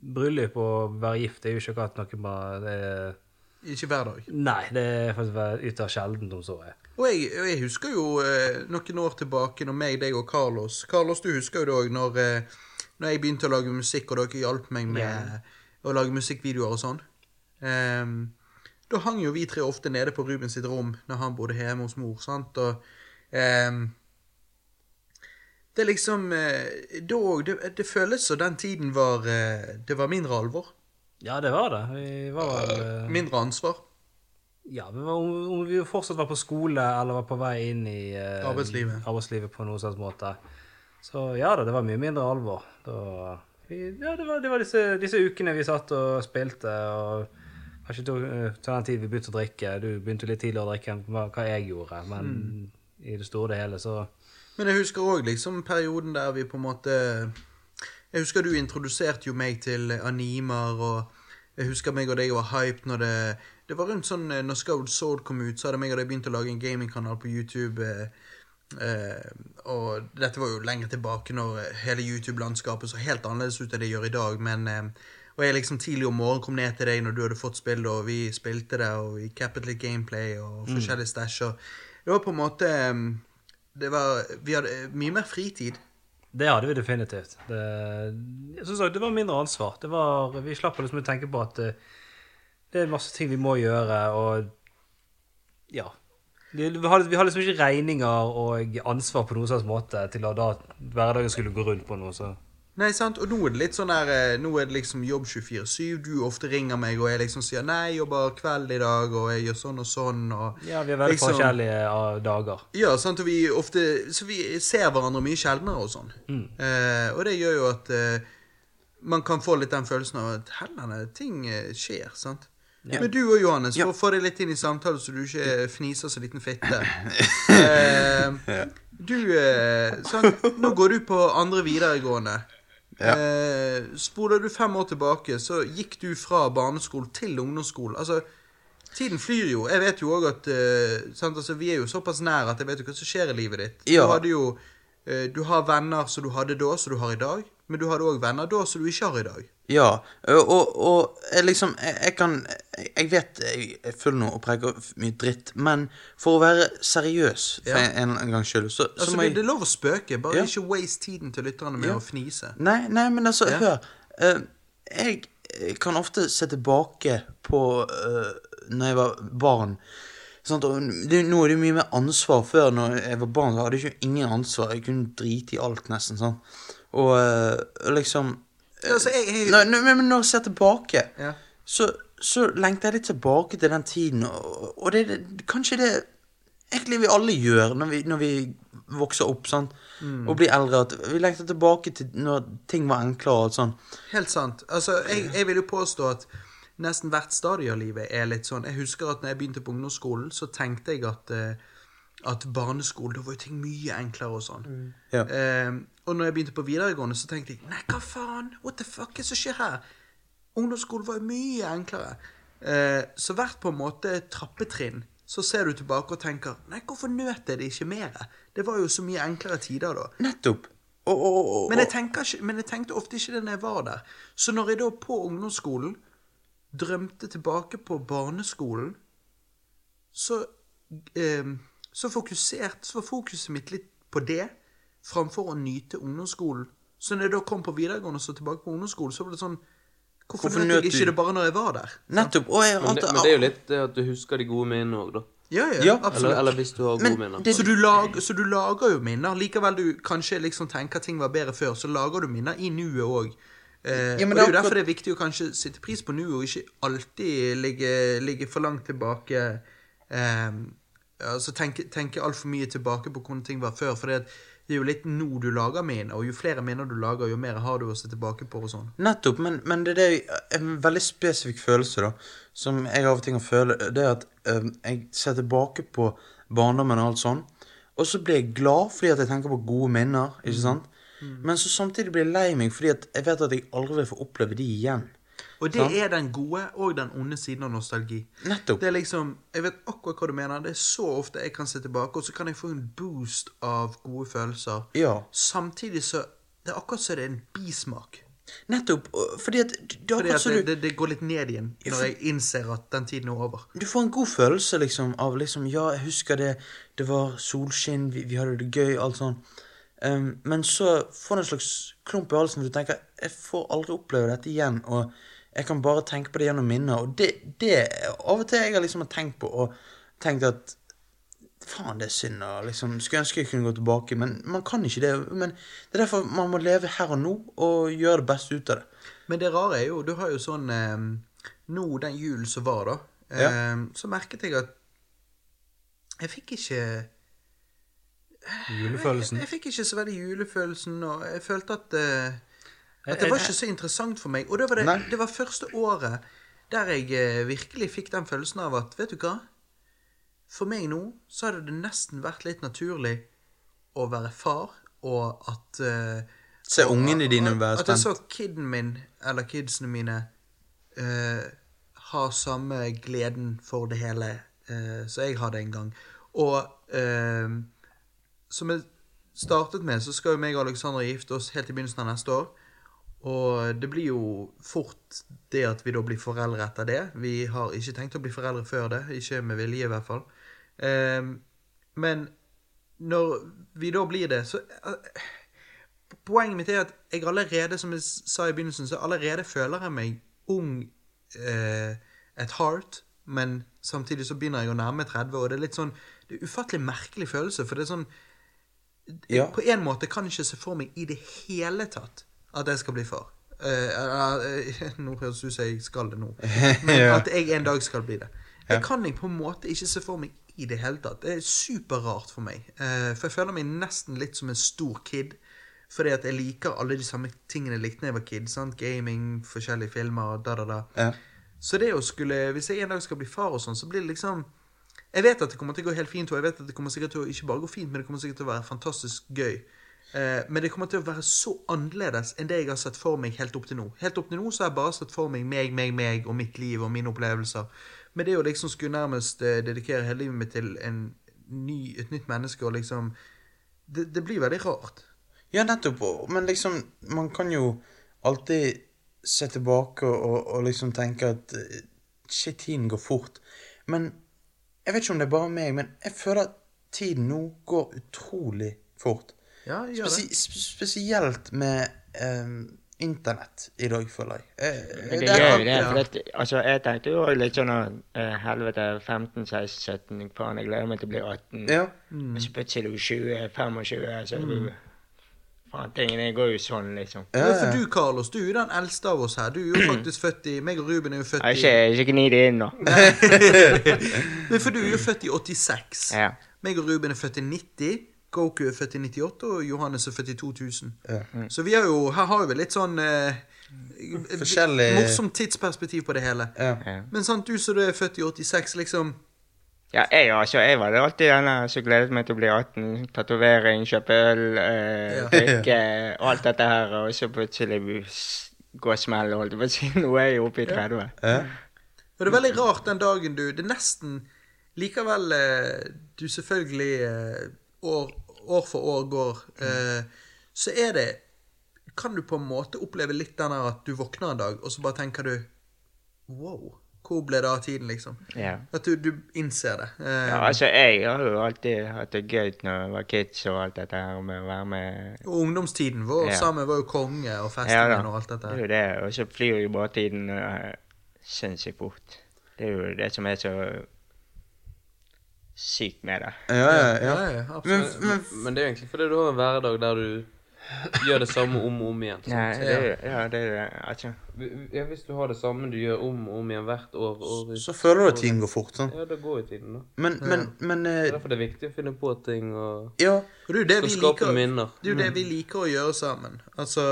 S6: bryllup og være gift. Det er jo ikke akkurat noe bare det er,
S2: Ikke hver dag.
S6: Nei, det er faktisk bare ytterst sjeldent om så er.
S2: Og jeg, og jeg husker jo eh, noen år tilbake når meg, deg og Carlos Carlos, du husker jo det òg, når, eh, når jeg begynte å lage musikk, og dere hjalp meg med å lage musikkvideoer og sånn. Ehm, da hang jo vi tre ofte nede på Ruben sitt rom når han bodde hjemme hos mor. sant? Og ehm, Det er liksom eh, Da òg det, det føles som den tiden var eh, Det var mindre alvor.
S6: Ja, det var det. Vi var vel eh,
S2: Mindre ansvar.
S6: Ja, men hva om, om vi fortsatt var på skole eller var på vei inn i eh,
S2: Arbeidslivet.
S6: arbeidslivet på noen slags måte. Så ja da, det var mye mindre alvor. Da, vi, ja, det var, det var disse, disse ukene vi satt og spilte og kanskje tok, eh, til den tid vi begynte å drikke. Du begynte litt tidligere å drikke enn hva hva jeg gjorde, men
S2: Mm.
S6: i det store og det hele så
S2: Men jeg husker òg liksom perioden der vi på en måte Jeg husker du introduserte jo meg til animer, og jeg husker meg og deg var hyped når det Det var rundt sånn eh, når Scowed Sword kom ut, så hadde meg og deg begynt å lage en gamingkanal på YouTube. Eh, eh, og dette var jo lenger tilbake når eh, hele YouTube-landskapet så helt annerledes ut enn det gjør i dag, men eh, og jeg liksom tidlig om morgenen kom ned til deg når du hadde fått spillet, og vi spilte det, og vi cappet litt gameplay og forskjellige stæsj, og det var på en måte eh, det var, vi hadde eh, mye mer fritid.
S6: Det hadde vi definitivt. Det, som sagt, det var mindre ansvar. Det var, vi slapp å liksom tenke på at eh, det er masse ting vi må gjøre, og ja. Vi vi har, vi har liksom ikke regninger og ansvar på noen slags måte til at da hverdagen skulle gå rundt på noe. Så.
S2: Nei, sant? Og nå er det litt sånn der eh, Nå er det liksom jobb 24-7. Du ofte ringer meg, og jeg liksom sier 'nei, jobber kveld i dag', og jeg gjør sånn og sånn, og
S6: Ja, vi er veldig
S2: Liksom-
S6: forskjellige ah, dager.
S2: Ja, sant? Og vi ofte Så vi ser hverandre mye sjeldnere og sånn. Eh, og det gjør jo at eh, man kan få litt den følelsen av at hellene ting eh, skjer, sant.
S7: Men du og Johannes, for å få deg litt inn i samtalen så du ikke fniser så liten fitte eh, Du eh, sant? Nå går du på andre videregående.
S2: Ja.
S7: Eh, spoler du fem år tilbake, så gikk du fra barneskole til ungdomsskole. Altså, tiden flyr jo. Jeg vet jo òg at eh, sant? Altså, Vi er jo såpass nær at jeg vet jo hva som skjer i livet ditt.
S2: Ja.
S7: Du, hadde jo, eh, du har venner som du hadde da, som du har i dag. Men du hadde òg venner da som du ikke har i dag.
S2: Ja, og, og jeg liksom jeg, jeg kan jeg- Jeg vet jeg er full nå og preker mye dritt, men for å være seriøs for
S7: Ja.
S2: en, en gangs skyld, så, så
S7: Altså,
S2: må jeg
S7: Det er lov å spøke, bare
S2: Ja.
S7: ikke waste tiden til lytterne med
S2: Ja.
S7: å fnise.
S2: Nei, nei, men altså, hør. eh, jeg eh, kan ofte se tilbake på uh, når jeg var barn. Sånn, at det, nå er det jo mye mer ansvar. Før, når jeg var barn, så hadde jeg ikke ingen ansvar. Jeg kunne drite i alt, nesten. sånn. Og eh, liksom
S7: Altså, jeg, jeg,
S2: Nei, nei, men men når jeg ser tilbake,
S7: Ja.
S2: så, så lengter jeg litt tilbake til den tiden. Og, og det er kanskje det egentlig vi alle gjør når vi, når vi vokser opp sant?
S7: Mm.
S2: og blir eldre. At vi lengter tilbake til når ting var enklere. og alt sånn.
S7: Helt sant. Altså, jeg, jeg vil jo påstå at nesten hvert stadie av livet er litt sånn. Jeg husker at når jeg begynte på ungdomsskolen, så tenkte jeg at, eh, at barneskole, da var jo ting mye enklere og sånn.
S2: Ja.
S7: Eh, og når jeg begynte på videregående, så tenkte jeg Nei, hva faen? What the fuck er det som skjer her? Ungdomsskolen var jo mye enklere. Eh, så hvert på en måte trappetrinn så ser du tilbake og tenker Nei, hvorfor nøt jeg det ikke mer? Det var jo så mye enklere tider da.
S2: Nettopp. Og, og, og,
S7: Men jeg, tenker ikke, men jeg tenkte ofte ikke det når jeg var der. Så når jeg da på ungdomsskolen drømte tilbake på barneskolen, så, eh, så, fokusert, så var fokuset mitt litt på det, framfor å nyte ungdomsskolen. Så når jeg da kom på videregående og så tilbake på ungdomsskolen, så var det sånn Hvorfor,
S2: Hvorfor
S7: nøt
S2: nøt
S7: jeg ikke
S2: du-
S7: det bare når jeg var der?
S2: nettopp. Og jeg
S3: Men det, men det er jo litt det at du husker de gode minnene òg, da.
S7: Ja, ja,
S2: Ja,
S7: absolutt.
S3: Eller, eller hvis du har gode
S2: Men
S3: minner.
S2: det-
S7: så, du lag, så du lager jo minner. Likevel du kanskje liksom tenker at ting var bedre før, så lager du minner i nuet òg. Eh,
S2: Ja, men det
S7: og
S2: er
S7: det er jo
S2: akkurat-
S7: derfor det er viktig å kanskje sette pris på nuet, og ikke alltid ligge, ligge for langt tilbake eh, Altså tenke, tenke altfor mye tilbake på hvordan ting var før. For det er jo litt nå du lager minner, og jo flere minner du lager, jo mer har du å se tilbake på. og sånn
S2: Nettopp, men, men det er det, en veldig spesifikk følelse da, som jeg av og til kan føle, det er at øhm, jeg ser tilbake på barndommen og alt sånn, og så blir jeg glad fordi at jeg tenker på gode minner, ikke sant? Men så samtidig blir jeg lei meg fordi at jeg vet at jeg aldri får oppleve de igjen.
S7: Og det
S2: Sant.
S7: er den gode og den onde siden av nostalgi.
S2: Sånn. Nettopp.
S7: Det er liksom, Jeg vet akkurat hva du mener. Det er så ofte jeg kan se tilbake, og så kan jeg få en boost av gode følelser.
S2: Ja.
S7: Samtidig så Det er akkurat som det er en bismak.
S2: Nettopp, og- fordi at, det er
S7: Fordi
S2: akkurat
S7: at
S2: som
S7: det,
S2: du,
S7: det, det går litt ned igjen
S2: Ja,
S7: når
S2: for-
S7: jeg innser at den tiden er over.
S2: du får en god følelse liksom, av liksom, ja, jeg husker det, det var solskinn, vi, vi hadde det gøy, alt sånn. Ehm, men så får du en slags klump i halsen, for du tenker, jeg får aldri oppleve dette igjen, og jeg kan bare tenke på det gjennom minner, og det, det er av og til jeg har liksom tenkt på, og tenkt at, faen det er synd, og liksom, skulle ønske jeg kunne gå tilbake, men man kan ikke det, men det er derfor man må leve her og nå, og gjøre det beste ut av det.
S7: Men det rare er jo Du har jo sånn eh, Nå den julen som var, da, eh, så merket jeg at jeg fikk ikke
S6: Julefølelsen.
S7: Jeg, jeg fikk ikke så veldig julefølelsen, og jeg følte at, eh, at det
S6: jeg-
S7: var ikke så interessant for meg. Og det var, det,
S2: Nei.
S7: det var første året der jeg eh, virkelig fikk den følelsen av at, vet du hva? For meg nå så hadde det nesten vært litt naturlig å være far, og at eh,
S2: Se ungene dine være
S7: at jeg
S2: spent.
S7: så kiden min, eller kidsene mine, eh, ha samme gleden for det hele eh, som jeg hadde en gang. Og eh, som jeg startet med, så skal jo meg og Alexander gifte oss helt i begynnelsen av neste år. Og det blir jo fort det at vi da blir foreldre etter det. Vi har ikke tenkt å bli foreldre før det. Ikke med vilje, i hvert fall. Eh, men når vi da blir det, så eh, poenget mitt er at jeg allerede, som jeg s- sa i begynnelsen, så allerede føler jeg meg ung eh, at heart, men samtidig så begynner jeg å nærme 30, og det er litt sånn Det er ufattelig merkelig følelse, for det er sånn
S2: Ja.
S7: På en måte kan jeg ikke se for meg i det hele tatt at jeg skal bli far. Eh, eh, eh, nå høres det ut som jeg skal det nå, men
S2: Ja.
S7: at jeg en dag skal bli det. Det kan jeg på en måte ikke se for meg i det hele tatt. Det er superrart for meg. Eh, for jeg føler meg nesten litt som en stor kid. Fordi at jeg liker alle de samme tingene jeg likte da jeg var kid. Sant? Gaming, forskjellige filmer, da, da, da.
S2: Ja.
S7: Så det å skulle Hvis jeg en dag skal bli far og sånn, så blir det liksom Jeg vet at det kommer til å gå helt fint, og jeg vet at det kommer sikkert til å ikke bare gå fint, men det kommer sikkert til å være fantastisk gøy. Eh, men det kommer til å være så annerledes enn det jeg har sett for meg helt opp til nå. Helt opp til nå så har jeg bare sett for meg meg, meg, meg og mitt liv og mine opplevelser. Men det å liksom skulle nærmest eh, dedikere hele livet mitt til en ny, et nytt menneske og liksom det, det blir veldig rart.
S2: Ja, nettopp. og- Men liksom, man kan jo alltid se tilbake og, og liksom tenke at eh, shit, tiden går fort. Men jeg vet ikke om det er bare meg, men jeg føler at tiden nå går utrolig fort.
S7: Ja, jeg gjør det.
S2: Spesi sp- spesielt med eh, internett i dag, føler jeg. Eh,
S5: Men
S2: det er
S5: det gjør jo
S2: alt-
S5: det.
S7: ja.
S5: For at, altså, jeg tenkte jo også litt sånn at eh, helvete, 15-16-17, faen, jeg gleder meg til å bli 18.
S2: Ja.
S5: Og så plutselig er du 20-25, så er du Faen, tingene går jo sånn, liksom.
S2: Ja,
S7: Ja, for
S2: ja.
S7: du, Carlos, du er jo den eldste av oss her. Du er jo faktisk født i Meg og Ruben er jo født
S5: Ja,
S7: i
S5: Ikke, ikke gni det inn, da.
S7: Men for du er jo født i 86.
S5: Ja.
S7: Meg og Ruben er født i 90. Goku er født i 98, og Johannes er født i 2000. Så vi har jo, her har vi litt sånn eh,
S2: Forskjellig-
S7: Morsomt tidsperspektiv på det hele.
S2: Ja.
S7: Men sant, du som er født i 86, liksom
S5: Ja, jeg, altså, jeg var det alltid den der som gledet meg til å bli 18. Tatovering, kjøpe øl, eh,
S7: Ja.
S5: drikke, og alt dette her. Og så plutselig s- gå og smell, holdt jeg på å si. Nå er jeg oppe i 30.
S2: Ja.
S7: Og det er veldig rart den dagen du Det er nesten Likevel eh, Du selvfølgelig eh, år, år for år går eh, Så er det Kan du på en måte oppleve litt den her at du våkner en dag Og så bare tenker du Wow, hvor ble det av tiden liksom
S5: Ja.
S7: At du, du innser det eh,
S5: Ja, altså, jeg har jo alltid hatt det gøy når jeg var kids og alt dette her med å være med
S7: Og ungdomstiden vår
S5: Ja.
S7: sammen var jo konge
S5: Ja
S7: Og festingen
S5: da.
S7: og alt
S5: Det
S7: dette
S5: er jo det, og så flyr jo bare tiden eh, sinnssykt fort. Det er jo det som er så sykt med det.
S2: Ja, ja, ja.
S7: ja, ja,
S2: Men,
S7: absolutt
S2: men
S3: Men det er jo egentlig fordi du har en hverdag der du gjør det samme om og om igjen. sant?
S5: Nei, det er jo ja, det, er det, altså.
S3: Vi- Ja, hvis du har det samme du gjør om og om igjen hvert år, år ut.
S2: så føler du at tiden går fort, sånn.
S3: Ja, da går jo tiden, da.
S2: Men, men, men
S3: Det er
S2: eh,
S3: derfor det er viktig å finne på ting og
S2: Ja.
S7: Og det er jo det
S3: Skal
S7: vi
S3: skape
S7: liker
S3: minner.
S7: Det er jo det vi liker å gjøre sammen. Altså,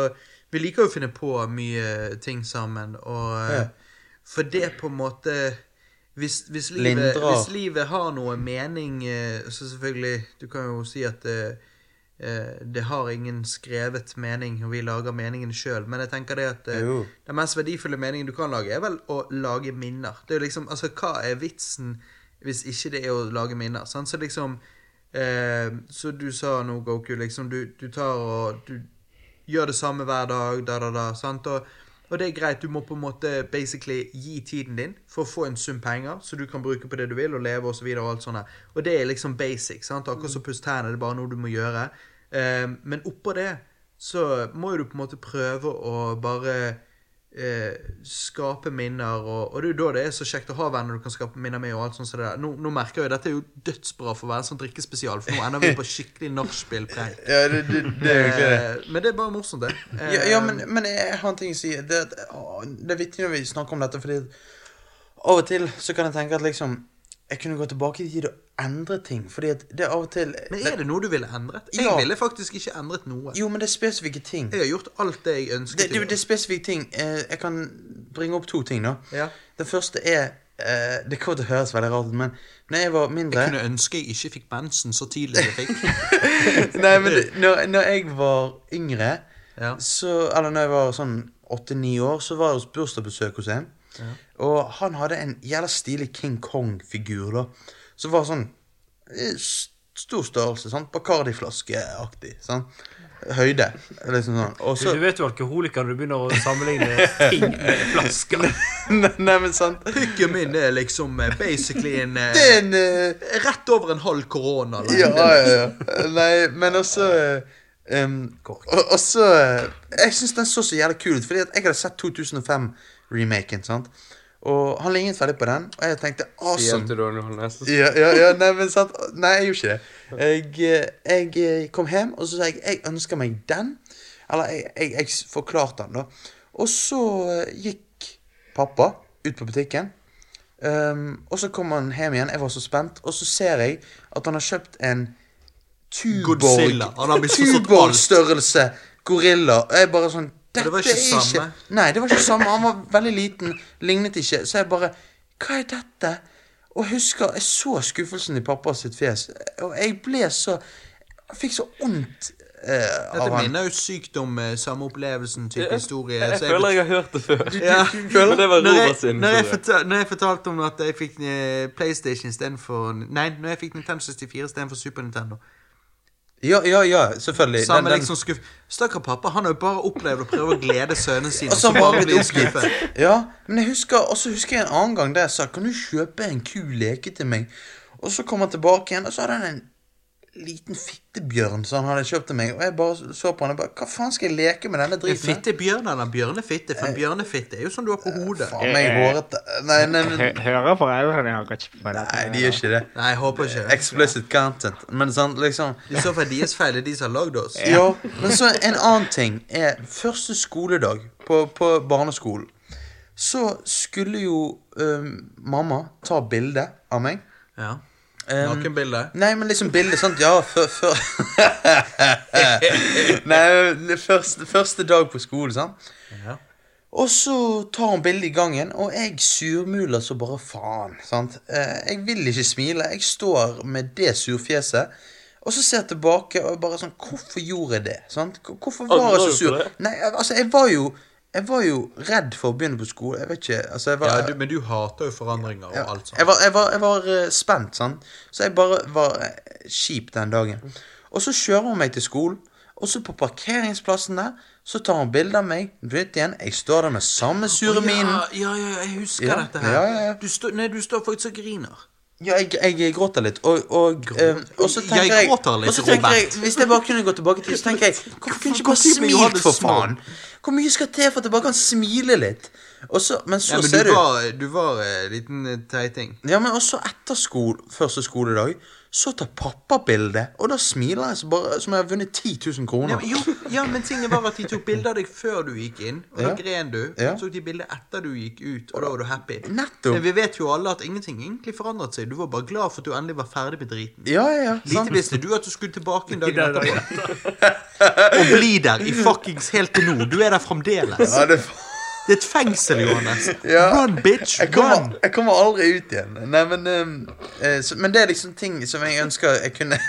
S7: vi liker jo å finne på mye ting sammen, og eh, For det på en måte Hvis, hvis, livet,
S2: Lindrer.
S7: hvis livet har noe mening, eh, så selvfølgelig Du kan jo si at eh, eh, det har ingen skrevet mening, og vi lager meningen sjøl. Men jeg tenker det at eh,
S2: Jo.
S7: den mest verdifulle meningen du kan lage, er vel å lage minner. Det er jo liksom, altså, Hva er vitsen hvis ikke det er å lage minner? Sant? Så liksom eh, Så du sa nå, Goku, liksom du, du tar og du gjør det samme hver dag, da, da, da. Sant? Og, og det er greit. Du må på en måte basically gi tiden din for å få en sum penger, så du kan bruke på det du vil, og leve osv. Og, så videre og alt sånt. der. Og det er liksom basic. sant? Akkurat
S2: Mm.
S7: som pusse tennene, det er bare noe du må gjøre. Eh, men oppå det så må jo du på en måte prøve å bare eh, skape minner, og, og det er jo da det er så kjekt å ha venner du kan skape minner med. og alt sånt som det der. Nå, nå merker jeg jo, Dette er jo dødsbra for å være en sånn drikkespesial, for nå ender vi på skikkelig nachspiel-preik.
S2: ja det, det, det er jo ikke Ehm, det.
S7: Eh, men det er bare morsomt, det. Eh,
S2: Ja, ja men, men jeg har en ting å si. Det, er at, å, det er viktig når vi snakker om dette, fordi av og til så kan jeg tenke at liksom Jeg kunne gå tilbake i tid og endre ting, fordi at det er av og til
S7: men er det noe du ville endret? Jeg
S2: Ja.
S7: ville faktisk ikke endret noe.
S2: Jo, men det er spesifikke ting.
S7: Jeg har gjort alt det jeg ønsket.
S2: Det, det, det er spesifikke ting. Eh, Jeg kan bringe opp to ting, da.
S7: Ja.
S2: Det første er eh, Det kommer til å høres veldig rart ut, men når jeg var mindre
S7: jeg kunne ønske jeg ikke fikk mensen så tidlig som jeg fikk.
S2: Nei, men det- når, når jeg var yngre,
S7: Ja.
S2: så, eller når jeg var sånn åtte-ni år, så var det hos bursdagsbesøk hos en. Og han hadde en jævla stilig King Kong-figur, da. Som var sånn eh, s- stor størrelse, sånn Bacardi-flaskeaktig. Sånn. Høyde. Liksom sånn. Og så
S6: Du vet jo alkoholiker når du begynner å sammenligne ting med flasker.
S2: Nei, nei, men sant.
S7: Pikken min er liksom eh, basically en eh,
S2: Det er en eh,
S7: Rett over en halv korona. eller?
S2: Ja, ja, ja. Nei, men også eh, um, og, og så eh, Jeg syns den så så jævlig kul ut, fordi at jeg hadde sett 2005-remaken. sant? Og han lignet veldig på den, og jeg tenkte
S3: Hjelp
S2: awesome.
S3: til Ronny Holnes.
S2: Ja, ja, ja, nei, men sant Nei, jeg gjorde ikke det. Jeg, eh, jeg eh, kom hjem, og så sa jeg jeg ønsker meg den. Eller jeg, jeg, jeg forklarte den, da. Og så eh, gikk pappa ut på butikken. Um, og så kom han hjem igjen, jeg var så spent, og så ser jeg at han har kjøpt en Tuborg-
S7: Godzilla. Han har misforstått alt.
S2: Tuborg-størrelse gorilla. Og jeg bare sånn
S7: det var ikke
S2: Dette er
S7: samme.
S2: Nei, det var ikke samme. Han var veldig liten, lignet ikke. Så jeg bare Hva er dette? Og jeg husker jeg så skuffelsen i pappa sitt fjes, og jeg ble så Jeg fikk så vondt eh,
S7: Dette
S2: av han.
S7: minner jo sykt om eh, samme opplevelsen type historie.
S3: Jeg
S7: så
S3: føler jeg har hørt det før.
S7: Ja.
S3: Men det var
S7: Når jeg,
S3: Robert sin
S7: når, jeg
S3: historie.
S7: fortal, når jeg fortalte om at jeg fikk eh, PlayStation istedenfor Nei, når jeg fikk Nintendo 64 istedenfor Super Nintendo
S2: Ja, ja, ja, selvfølgelig. Den-
S7: Samme
S2: den-
S7: liksom skuff... Stakkar pappa, han har jo bare opplevd å prøve å glede sønnene sine.
S2: Og så
S7: som
S2: var
S7: bare
S2: vi
S7: blir
S2: oppgitt.
S7: skuffet.
S2: Ja, men jeg husker, og så husker jeg en annen gang der jeg sa Kan du kjøpe en kul leke til meg? Og så kom han tilbake igjen, og så hadde han en liten fittebjørn som han hadde kjøpt til meg. Og jeg bare så på han og bare Hva faen skal jeg leke med denne
S7: En
S2: driten? her?
S7: fitte bjørn eller bjørnefitte? For en bjørnefitte er jo sånn du har på hodet.
S2: Faen meg hårete. Nei, nei, nei,
S5: Hø- Hører foreldrene har gått på dette?
S2: nei, de gjør ikke det.
S7: Nei, jeg håper ikke.
S2: Explicit content. Men sånn, liksom
S7: I så fall er deres feil, det er de som har lagd oss.
S2: Jo, men så en annen ting er Første skoledag på, på barneskolen Så skulle jo øhm, mamma ta bilde av meg
S7: Ja. Nakenbilde.
S2: Nei, men liksom bilde, sant? Ja, før, før. Nei, det første, første dag på skolen, sant?
S7: Ja.
S2: Og så tar hun bilde i gangen, og jeg surmuler så bare faen, sant? Eh, Jeg vil ikke smile, jeg står med det surfjeset, og så ser jeg tilbake og bare sånn, hvorfor gjorde jeg det, sant? Hvor- Hvorfor var jeg
S3: Angrer
S2: så
S3: du på
S2: sur?
S3: det?
S2: Nei, altså, jeg var jo, jeg var jo redd for å begynne på skolen, jeg vet ikke, altså, jeg var...
S7: Ja, du, men du hater jo forandringer og alt sånt.
S2: Jeg var, jeg var, jeg var eh, spent, sant? så jeg bare var eh, kjip den dagen. Og så kjører hun meg til skolen, og så på parkeringsplassen der, så tar hun bilde av meg. Du vet igjen, jeg står der med samme sure minen.
S7: Ja, ja, ja, jeg husker
S2: Ja,
S7: dette her.
S2: ja, ja, ja.
S7: Du, stå, nei, du står faktisk og griner.
S2: Ja, jeg, jeg gråter litt, og, og, eh, og så tenker
S7: Jeg
S2: jeg,
S7: gråter litt,
S2: og så tenker jeg
S7: Robert.
S2: Hvis jeg bare kunne gå tilbake til så tenker jeg Hvorfor kunne jeg ikke bare
S7: Hvorfor kunne jeg
S2: smilt,
S7: ikke
S2: for
S7: bare
S2: faen? Hvor mye skal til for at jeg bare kan smile litt? Og så, men så
S7: Ja, men du
S2: ser du
S7: var, du var eh, liten eh, teiting.
S2: Ja, men også etter skole, første skoledag Så tar pappa bildet Og da smiler jeg så bare, som om jeg har vunnet 10 000 kroner
S7: Ja, men, jo, ja, men tingen var at de tok bilde av deg før du gikk inn, og da
S2: Ja.
S7: gren du.
S2: Ja.
S7: Så tok de bilde etter du gikk ut, og da var du happy.
S2: Nettopp.
S7: Men vi vet jo alle at ingenting egentlig forandret seg. Du var bare glad for at du endelig var ferdig med driten.
S2: Ja, ja, ja sant?
S7: Lite visste du at du skulle tilbake en dag
S6: Det er da-
S7: etterpå og bli der i fuckings helt til nå. Du er der fremdeles.
S2: ja, det,
S7: Det er et fengsel, Johannes.
S2: Ja.
S7: Run, bitch.
S2: jeg,
S7: Run.
S2: kommer, jeg kommer aldri ut igjen Nei, men ehm, eh, så, Men det er liksom ting som jeg ønsker Jeg kunne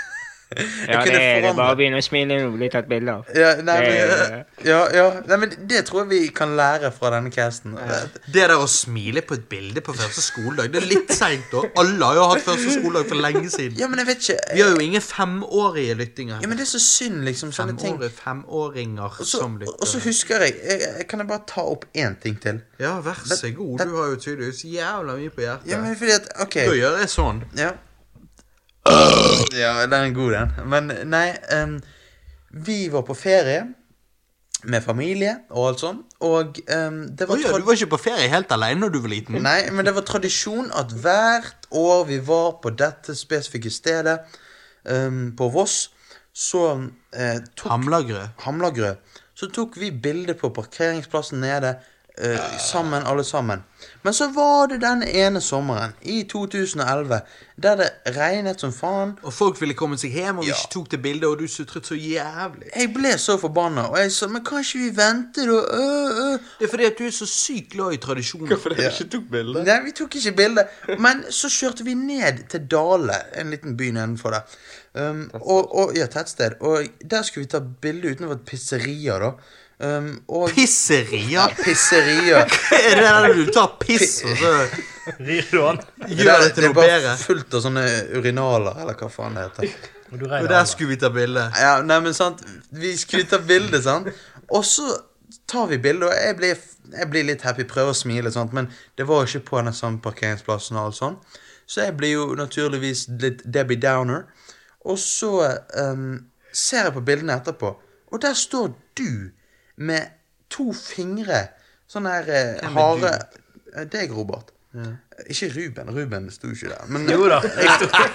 S5: Ja, det
S2: kunne
S5: er det.
S2: forandre.
S5: Bare begynn å smile nå. Bli tatt bilde av.
S2: ja, nei, men,
S5: Det-
S2: ja, ja, nei, men det tror jeg vi kan lære fra denne casten
S7: Det der å smile på et bilde på første skoledag, det er litt seint da. Alle har jo hatt første skoledag for lenge siden.
S2: Ja, men jeg vet ikke
S7: Vi har jo ingen femårige lyttinger.
S2: Ja, men det er så synd liksom Sånne ting
S7: Femårige femåringer
S2: Og så-
S7: som
S2: Og
S5: eh.
S2: så
S7: lytter.
S2: husker jeg, jeg, jeg Kan jeg bare ta opp en ting til?
S7: Ja, vær så god. Du har jo tydeligvis jævla mye på hjertet.
S2: Ja, men fordi at, ok
S7: Da gjør jeg sånn.
S2: Ja. ja, den er god, den. Men nei em, Vi var på ferie med familie og alt sånn, og em, det
S7: Å
S2: var
S7: ja,
S2: trad-
S7: du var ikke på ferie helt alene da du var liten.
S2: Nei, men det var tradisjon at hvert år vi var på dette spesifikke stedet, em, på Voss, så eh, tok
S7: Hamlagrø.
S2: Hamlagrø. Så tok vi bilde på parkeringsplassen nede. eh, sammen, alle sammen. Men så var det den ene sommeren, i 2011, der det regnet som faen.
S7: Og folk ville komme seg hjem, og vi
S2: Ja.
S7: ikke tok det bildet, og du sutret så jævlig.
S2: Jeg ble så forbanna, og jeg sa men kan ikke vi vente, da? Øh, øh.
S7: Det er fordi at du er så sykt glad i tradisjoner.
S3: Hvorfor dere ikke tok bilde?
S2: Nei, vi tok ikke bilde. Men så kjørte vi ned til Dale, en liten by nedenfor der. Um, og, og, ja, tettsted. Og der skulle vi ta bilde utenfor et pizzeria, da. Um, og
S7: Pisserier.
S2: Pizzeria.
S7: Er det der du tar piss, og så
S6: Rir du han?
S7: gjør det til
S2: er
S7: noe
S2: bare
S7: bedre?
S2: fullt av sånne urinaler, eller hva faen det heter.
S6: Og du
S7: Og
S6: regner
S7: der
S6: han, da.
S7: skulle vi ta bilde.
S2: Ja, nei, men sant. Vi skulle ta bilde, sant. Og så tar vi bilde, og jeg blir, jeg blir litt happy, prøver å smile, sant. Men det var jo ikke på den samme parkeringsplassen og alt sånn. Så jeg blir jo naturligvis litt Debbie Downer. Og så ehm, ser jeg på bildene etterpå, og der står du med to fingre sånn her eh, harde Eh, Deg, Robert. Ikke Ruben. Ruben sto ikke der. Men, jo da.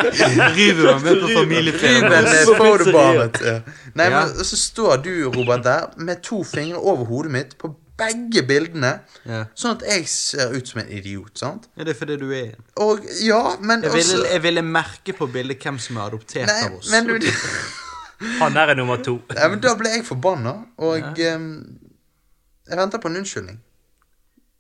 S7: River meg med på familieferie.
S2: Ruben
S3: Også
S2: eh, Fodebaret. Ja. Nei,
S7: Ja.
S2: men så står du, Robert, der med to fingre over hodet mitt på begge bildene.
S7: Ja.
S2: Sånn at jeg ser ut som en idiot, sant?
S7: Ja, det er fordi du er en.
S2: Og ja, men
S7: Jeg ville,
S2: også
S7: jeg ville merke på bildet hvem som er adoptert
S2: Nei,
S7: av oss.
S2: men, du,
S6: Han der er nummer to.
S2: nei, men da ble jeg forbanna, og em, Jeg venter på en unnskyldning.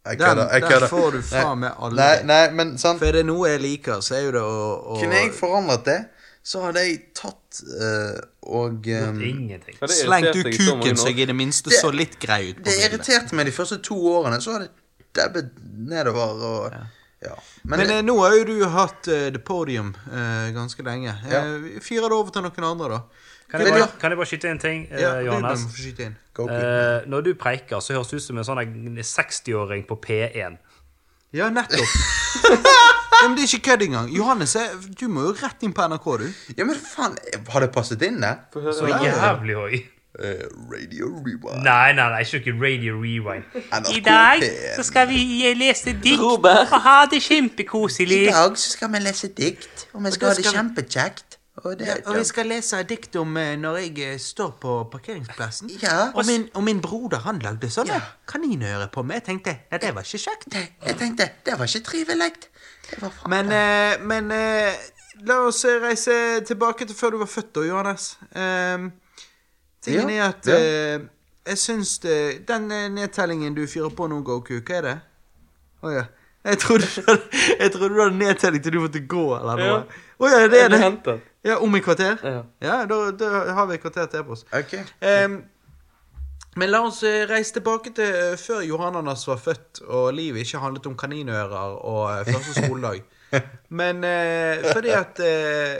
S2: Jeg
S7: Den,
S2: kødder, jeg
S7: den
S2: kødder.
S7: får du
S2: Nei,
S7: faen meg alle.
S2: Nei, nei, men sant
S7: For er det noe jeg liker, så er jo det å, å
S2: Kunne jeg forandret det, så hadde jeg tatt eh, og eh,
S6: Ingenting.
S3: For det
S7: Slengt ut
S3: irriterte jeg så mange
S7: kuken så
S3: år.
S7: jeg i det minste
S2: Det-
S7: så litt grei ut på
S2: Det
S7: bildet.
S2: irriterte meg de første to årene. Så hadde jeg dabbet nedover og Ja. Men,
S7: Men eh, nå har jo du hatt eh, The Podium eh, ganske lenge.
S2: Ja.
S7: Eh, Fyr det over til noen andre, da.
S6: Kan jeg bare, kan jeg bare skyte en ting, eh,
S7: Ja, Ruben
S6: Johannes?
S7: må få skyte inn.
S2: Go Pete.
S6: Eh, når du preiker, så høres du ut som en sånn der 60-åring på P1.
S7: Ja, nettopp. ja, men det er ikke kødd engang. Johannes, eh, du må jo rett inn på NRK, du.
S2: Ja, men faen, har det passet inn, det?
S6: Så jævlig høy.
S2: Eh, Radio Rewind.
S6: Nei, nei, nei, ikke noe Radio Rewind.
S2: NRK P1.
S6: skal vi lese dikt
S3: Robert.
S6: og ha det kjempekoselig.
S2: I dag så skal vi lese dikt, og vi skal ha
S7: da
S2: det
S7: skal vi-
S2: kjempekjekt. Og det
S7: Og vi skal lese et dikt om eh, når jeg eh, står på parkeringsplassen.
S2: Ja.
S7: Og, min, og min broder han lagde sånne kaninører på meg. Jeg tenkte nei, det var ikke kjekt.
S2: Nei, Jeg tenkte, det var ikke trivelig. Det var faen
S7: Men, eh, men eh, la oss eh, reise tilbake til før du var født, da, Johannes. Um, tingen
S2: Ja,
S7: er at
S2: ja.
S7: eh, jeg syns det, den eh, nedtellingen du fyrer på nå, Goku, hva er det? Å ja. Jeg trodde, du hadde- jeg trodde du hadde nedtelling til du måtte gå, eller noe.
S3: Ja.
S7: Å ja, det
S3: Er
S7: er
S3: det
S7: det.
S3: hentet?
S7: Ja, om et kvarter?
S3: Ja.
S7: Ja, da, da har vi et kvarter til på oss.
S2: Ok.
S7: Ehm, men la oss eh, reise tilbake til eh, før Johananas var født og livet ikke handlet om kaninører og eh, første skoledag. Men eh, fordi at eh,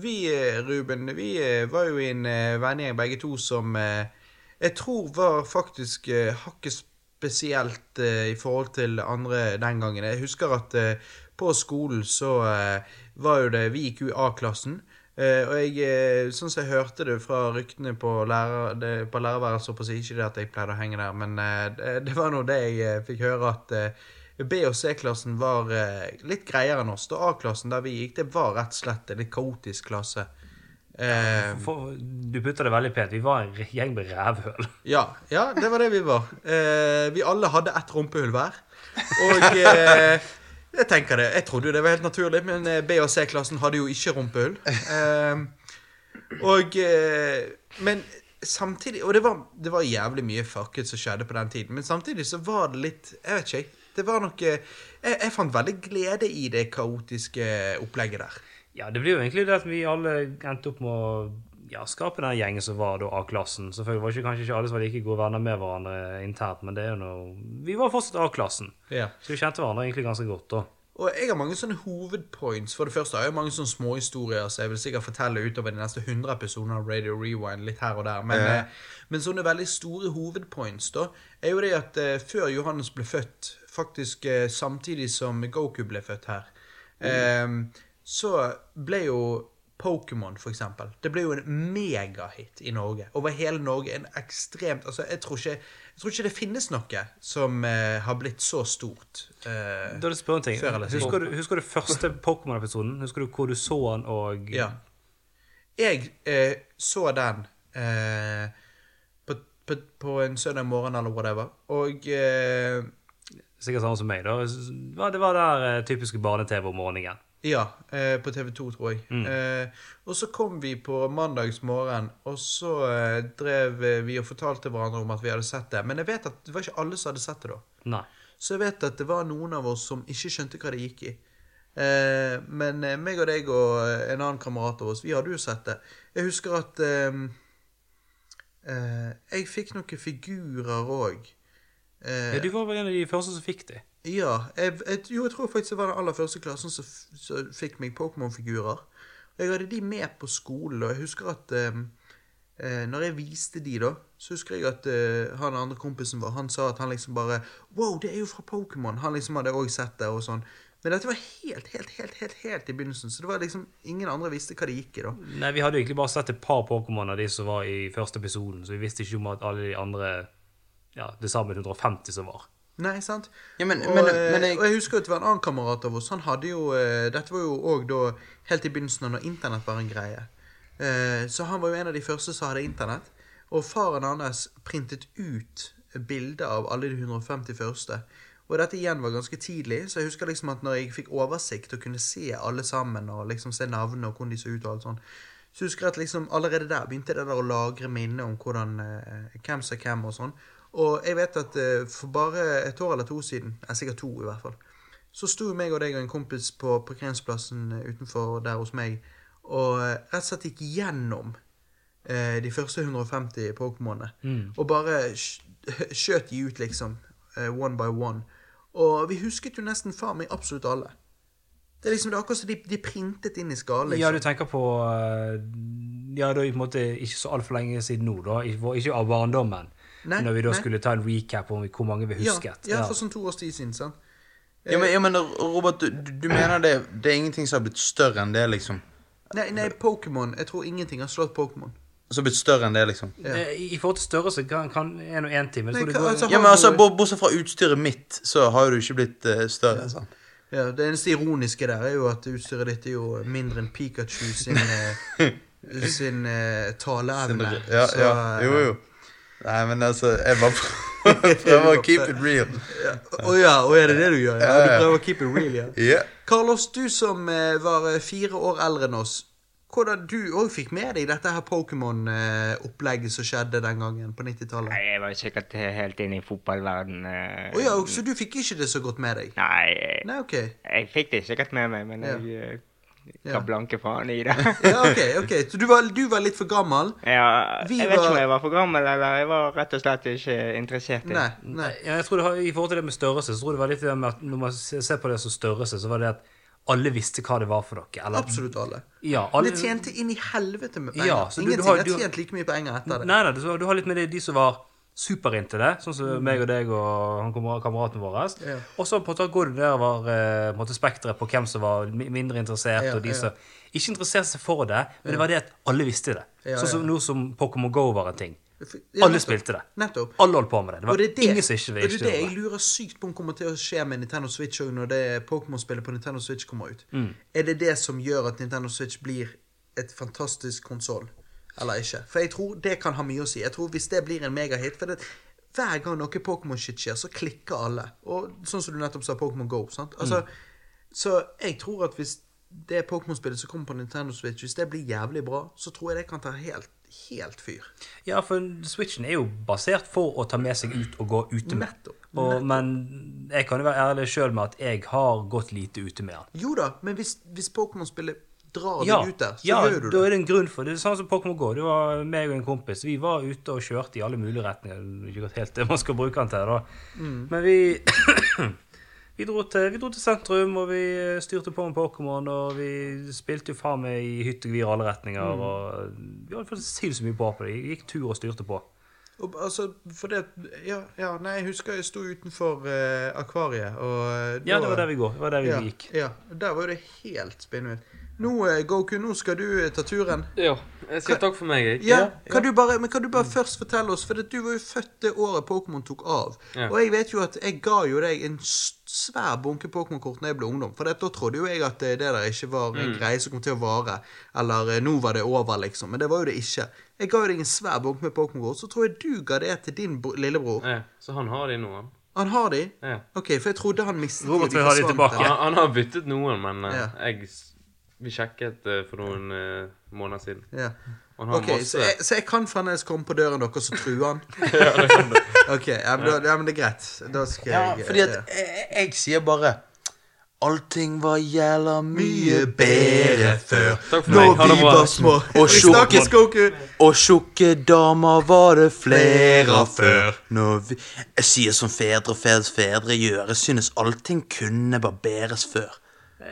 S7: vi, eh, Ruben, vi eh, var jo i en eh, vennegjeng begge to som eh, jeg tror var faktisk eh, hakket spesielt eh, i forhold til andre den gangen. Jeg husker at eh, på skolen så eh, var jo det Vi gikk jo i A-klassen. Eh, og jeg, eh, sånn som jeg hørte det fra ryktene på, lærer, det, på lærerværelset, holdt på å si, ikke det at jeg pleide å henge der, men eh, det, det var nå det jeg eh, fikk høre at eh, B- og C-klassen var eh, litt greiere enn oss. Da A-klassen der vi gikk, det var rett og slett en litt kaotisk klasse. Eh,
S6: For, du putter det veldig pent. Vi var en gjeng med rævhøl.
S7: ja, ja, det var det vi var. Eh, vi alle hadde ett rumpehull hver. Og eh, jeg tenker det, jeg trodde jo det var helt naturlig, men eh, B- og C-klassen hadde jo ikke rumpehull. Eh, og eh, Men samtidig Og det var, det var jævlig mye fucket som skjedde på den tiden, men samtidig så var det litt Jeg vet ikke, jeg. Det var noe jeg, jeg fant veldig glede i det kaotiske opplegget der.
S6: Ja, det blir jo egentlig det at vi alle endte opp med å ja, skape den gjengen som var da A-klassen. Selvfølgelig var ikke, kanskje ikke alle som var like gode venner med hverandre internt, men det er jo noe Vi var fortsatt A-klassen,
S7: Ja.
S6: så vi kjente hverandre egentlig ganske godt da.
S7: Og jeg har mange sånne hovedpoints. For det første har jeg mange sånne småhistorier som jeg vil sikkert fortelle utover de neste 100 episodene av Radio Rewind. litt her og der. Men, eh, men sånne veldig store hovedpoints da, er jo det at eh, før Johannes ble født, faktisk eh, samtidig som Goku ble født her, eh, så ble jo Pokémon, for eksempel. Det ble jo en megahit i Norge. Over hele Norge. En ekstremt Altså, jeg tror ikke, jeg tror ikke det finnes noe som eh, har blitt så stort. Eh,
S6: Da vil jeg spørre en ting.
S7: Før eller siden.
S6: Husker du, husker du første Pokémon-episoden? Husker du hvor du så han og
S7: Ja. Jeg eh, så den eh, på, på, på en søndag morgen eller whatever, og eh,
S6: Sikkert samme som meg, da. Ja, Det var der eh, typiske barne-TV om morgenen. Mm.
S7: Ja, eh, på TV 2, tror jeg. Eh, og så kom vi på mandagsmorgen, og så eh, drev vi og fortalte hverandre om at vi hadde sett det. Men jeg vet at det var ikke alle som hadde sett det da.
S6: Nei.
S7: Så jeg vet at det var noen av oss som ikke skjønte hva det gikk i. Eh, men eh, meg og deg og eh, en annen kamerat av oss, vi hadde jo sett det. Jeg husker at eh, eh, jeg fikk noen figurer òg. Eh.
S6: Ja, du var vel en av de første som fikk de.
S7: Ja, jeg, jeg, jo, jeg tror faktisk det var den aller første klassen som, f- som fikk meg Pokémon-figurer. Og jeg hadde de med på skolen, og jeg husker at eh, eh, Når jeg viste de, da, så husker jeg at eh, han andre kompisen vår han sa at han liksom bare Wow, det er jo fra Pokémon! Han liksom hadde òg sett det og sånn. Men dette var helt, helt, helt, helt, helt i begynnelsen, så det var liksom ingen andre visste hva det gikk i, da.
S6: Nei, Vi hadde jo egentlig bare sett et par Pokémon av de som var i første episoden, så vi visste ikke om at alle de andre Ja, det sammen 150 som var.
S7: Nei, sant?
S2: Ja, men-
S7: og,
S2: men-
S7: eh,
S2: men jeg-
S7: og jeg husker at det var en annen kamerat av oss. Han hadde jo eh, Dette var jo òg da helt i begynnelsen av når internett var en greie. Eh, så han var jo en av de første som hadde internett. Og faren hans printet ut bilder av alle de 150 første. Og dette igjen var ganske tidlig, så jeg husker liksom at når jeg fikk oversikt og kunne se alle sammen, og liksom se navnene og hvordan de så ut og alt sånn, så husker jeg at liksom allerede der begynte det der å lagre minnet om hvordan, eh, hvem som er hvem og sånn. Og jeg vet at eh, for bare et år eller to siden, eh, sikkert to i hvert fall, så sto jo meg og deg og en kompis på parkeringsplassen eh, utenfor der hos meg, og eh, rett og slett gikk gjennom eh, de første 150 Pokémonene.
S6: Mm.
S7: Og bare skj- skjøt de ut, liksom. eh, one by one. Og vi husket jo nesten faen meg absolutt alle. Det er liksom det er akkurat som de, de printet inn i
S6: Ja,
S7: skallen. Liksom.
S6: du tenker på eh, Ja, da i på en måte ikke så altfor lenge siden nå, da. Ikke, vår- ikke av barndommen.
S7: Nei,
S6: når vi da
S7: nei.
S6: skulle ta en recap om hvor mange vi husket.
S7: Ja, ja, for sånn to års tid siden. sant?
S2: Ja, men, ja, men Robert, du, du du mener det, det er ingenting som har blitt større enn det, liksom?
S7: Nei, nei Pokémon. Jeg tror ingenting har slått Pokémon.
S2: Som har blitt større enn det, liksom?
S6: Eh, I i forhold til størrelse kan, kan en og en time.
S7: Nei,
S6: Så det
S7: hva-
S6: går,
S7: altså,
S2: Ja,
S7: har
S2: men altså,
S7: du-
S2: bo- Bortsett fra utstyret mitt, så har jo du ikke blitt eh, større. sant?
S7: Ja, det eneste ironiske der er jo at utstyret ditt er jo mindre enn Pikachu sin, eh, sin eh, taleevne.
S2: Ja,
S7: Så,
S2: ja,
S7: eh,
S2: jo, jo. Nei, men altså, jeg bare prøver- prøver å keep it real.
S7: Å ja, å, er det det du gjør? Ja,
S2: Ja,
S7: du
S2: ja.
S7: prøver å keep it real, ja.
S2: Ja.
S7: Carlos, du som eh, var eh, fire år eldre enn oss. Hvordan du òg fikk med deg dette her Pokémon-opplegget som skjedde den gangen på 90-tallet?
S5: Nei, jeg var jo sikkert helt inne i fotballverdenen. eh.
S7: Å ja, så du fikk ikke det så godt med deg?
S5: Nei, jeg-
S7: Nei, OK.
S5: jeg fikk det sikkert med meg, men
S7: Ja.
S5: jeg eh,
S7: Ja.
S5: ga blanke faen i det.
S7: Ja, ok, ok. Så du var, du var litt for gammel?
S5: Ja,
S7: Vi
S5: jeg vet ikke
S7: var-
S5: om jeg var for gammel, eller jeg var rett og slett ikke interessert i
S7: Nei. nei.
S6: Ja, jeg tror det har, I forhold til det med størrelse, så tror jeg det var litt det med at når man se- ser på det som størrelse, så var det at alle visste hva det var for dere. Eller,
S7: Absolutt alle.
S6: Ja,
S7: Men
S6: alle,
S7: det tjente inn i helvete med penger.
S6: Ja, så du- du
S7: Ingenting
S6: har-
S7: har,
S6: du-
S7: tjent like mye penger etter det.
S6: Nei, nei, du, du har litt med de, de som var super inntil det, sånn som meg og deg og han kamera- kameraten vår.
S7: Ja.
S6: Og så på en måte går du nedover eh, på en måte spekteret på hvem som var mi- mindre interessert,
S7: Ja,
S6: og de
S7: ja.
S6: som ikke interesserte seg for det, men det var det at alle visste det.
S7: Ja,
S6: sånn som
S7: ja.
S6: nå som Pokémon Go var en ting.
S7: Ja,
S6: Alle
S7: nettopp.
S6: spilte det.
S7: Nettopp.
S6: Alle holdt på med det. Det var
S7: Og det er det,
S6: ingen som ikke
S7: og
S6: visste
S7: det, er det jeg lurer sykt på om kommer til å skje med Nintendo Switch også når det Pokémon-spillet på Nintendo Switch kommer ut.
S6: Mm.
S7: Er det det som gjør at Nintendo Switch blir et fantastisk konsoll, eller ikke? For jeg tror det kan ha mye å si. Jeg tror Hvis det blir en megahit for det, Hver gang noe Pokémon-shit skjer, så klikker alle. Og Sånn som du nettopp sa, Pokémon Go.
S6: Mm.
S7: sant? Altså, Så jeg tror at hvis det Pokémon-spillet som kommer på Nintendo Switch, hvis det blir jævlig bra, så tror jeg det kan ta helt, helt fyr.
S6: Ja, for Switchen er jo basert for å ta med seg ut og gå ute med.
S7: Nettopp,
S6: Og, men jeg kan jo være ærlig sjøl med at jeg har gått lite ute med den.
S7: Jo da, men hvis, hvis Pokémon-spillet drar
S6: Ja,
S7: deg ut der, så
S6: ja
S7: gjør
S6: da
S7: du det.
S6: er det en grunn for det. Det er sånn som Pokémon GO. Det var meg og en kompis. Vi var ute og kjørte i alle mulige retninger. Det er Ikke godt helt det man skal bruke den til, da.
S7: Mm.
S6: Men vi vi dro, til, vi dro til sentrum, og vi eh, styrte på med Pokémon. Og vi spilte jo faen meg i hyttegevir i alle retninger. Og vi holdt sinnssykt mye på på det. Vi gikk tur og styrte på.
S7: Og, altså, for det ja, ja, nei, jeg husker jeg sto utenfor eh, akvariet, og eh,
S6: Ja,
S7: da-
S6: det var der vi går. Det var der vi
S7: ja,
S6: gikk.
S7: Ja, der var jo det helt spinnvilt. Nå, eh, Goku, nå skal du eh, ta turen.
S3: Ja. Jeg sier takk for meg, jeg.
S7: Ja, kan du bare, men kan du bare først fortelle oss, for det- du var jo født det året Pokémon tok av.
S3: Ja.
S7: Og jeg vet jo at jeg ga jo deg en s- svær bunke Pokémon-kort da jeg ble ungdom, for det- da trodde jo jeg at det det der ikke var
S3: Mm.
S7: en greie som kom til å vare, eller eh, nå var det over, liksom, men det var jo det ikke. Jeg ga jo deg en svær bunke med Pokémon-kort, så tror jeg du ga det til din bro lillebror.
S3: Ja, så han har de nå, han.
S7: Han har de?
S3: Ja.
S7: Ok, for jeg trodde han mistet
S6: Robert
S7: de,
S6: vil
S7: liksom.
S6: ha de
S7: forsvant,
S6: tilbake.
S7: eller?
S3: Han, han har byttet noen, men eh,
S7: Ja.
S3: jeg s- vi sjekket eh, for noen eh, måneder siden.
S7: Ja.
S3: Han har
S7: Ok, så
S3: masse
S7: jeg, så jeg kan fremdeles komme på døren deres og så true han? Ok, ja, men, da, ja, men det er greit. Da skal
S2: Ja,
S7: jeg
S2: fordi at
S7: ja.
S2: jeg, jeg- jeg sier bare Allting var jævla mye bedre før.
S3: Takk for
S7: Når
S3: meg. Ha det
S7: vi
S3: bra.
S7: var små.
S2: liksom Og
S7: Vi
S2: sjokk-
S7: snakkes, Goku.
S2: Og tjukke damer var det flere av før. Når vi Jeg sier som fedre og fedres fedre gjør. Jeg synes allting kunne barberes før.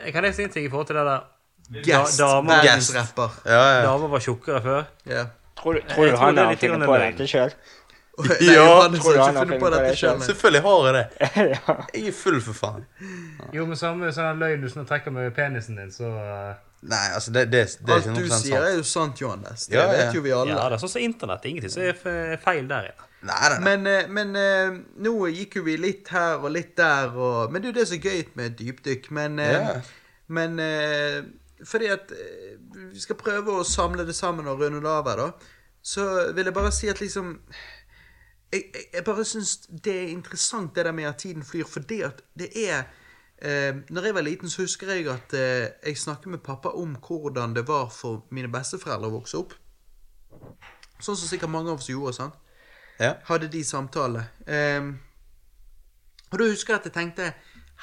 S6: Jeg kan jeg si en ting i forhold til det der
S7: Gjest.
S6: Da- damer-
S7: Verdensrapper.
S6: damer var tjukkere før?
S7: Ja.
S5: Tror, du-
S6: Jeg
S5: tror du
S6: tror
S5: han
S6: det er
S5: har
S6: litt
S5: funnet
S6: grann
S5: på
S6: løgn.
S5: dette sjøl?
S7: Nei, Johannes
S5: tror du han
S7: har ikke
S5: har
S7: funnet på
S5: funnet på
S7: dette
S5: det
S7: selv. nei.
S2: Selvfølgelig har jeg det.
S5: ja.
S2: Jeg er full, for faen.
S6: Jo, men samme sånn løgn du sånn trekker med penisen din, så eh,
S2: Nei, altså, det, det, det er sånn
S7: Alt
S2: 100
S7: du
S2: sant.
S7: sier, er jo sant, Johannes. Det
S2: Ja, ja.
S7: vet jo vi alle.
S6: Ja, det er sånn som internett. Ingenting som er fe- feil der inne.
S2: Nei, nei, nei.
S7: Men, eh, men eh, nå gikk jo vi litt her og litt der, og, men det er jo det som er gøy med dypdykk. Men, eh,
S2: Ja.
S7: men eh, fordi at eh, vi skal prøve å samle det sammen og runde det av her, da. Så vil jeg bare si at liksom Jeg, jeg, jeg bare syns det er interessant det der med at tiden flyr, fordi at det er eh, Når jeg var liten, så husker jeg at eh, jeg snakket med pappa om hvordan det var for mine besteforeldre å vokse opp. Sånn som sikkert mange av oss gjorde, sant?
S2: Ja.
S7: Hadde de samtale. Ehm, og da husker jeg at jeg tenkte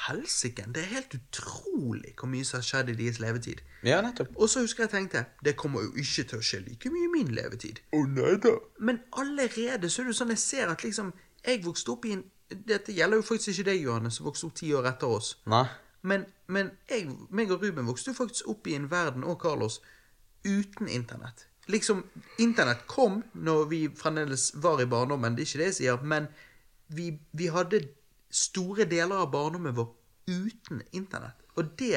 S7: Helsike, det er helt utrolig hvor mye som har skjedd i deres levetid.
S2: Ja, nettopp.
S7: Og så husker jeg tenkte det kommer jo ikke til å skje like mye i min levetid.
S2: Å nei da.
S7: Men allerede så er det jo sånn jeg ser at liksom Jeg vokste opp i en Dette gjelder jo faktisk ikke deg, Johanne, som vokste opp ti år etter oss.
S2: Nei.
S7: Men, men jeg, meg og Ruben vokste jo faktisk opp i en verden, og Carlos, uten internett. Liksom, internett kom når vi fremdeles var i barndommen, det er ikke det jeg sier, men vi, vi hadde store deler av barndommen vår uten internett. Og det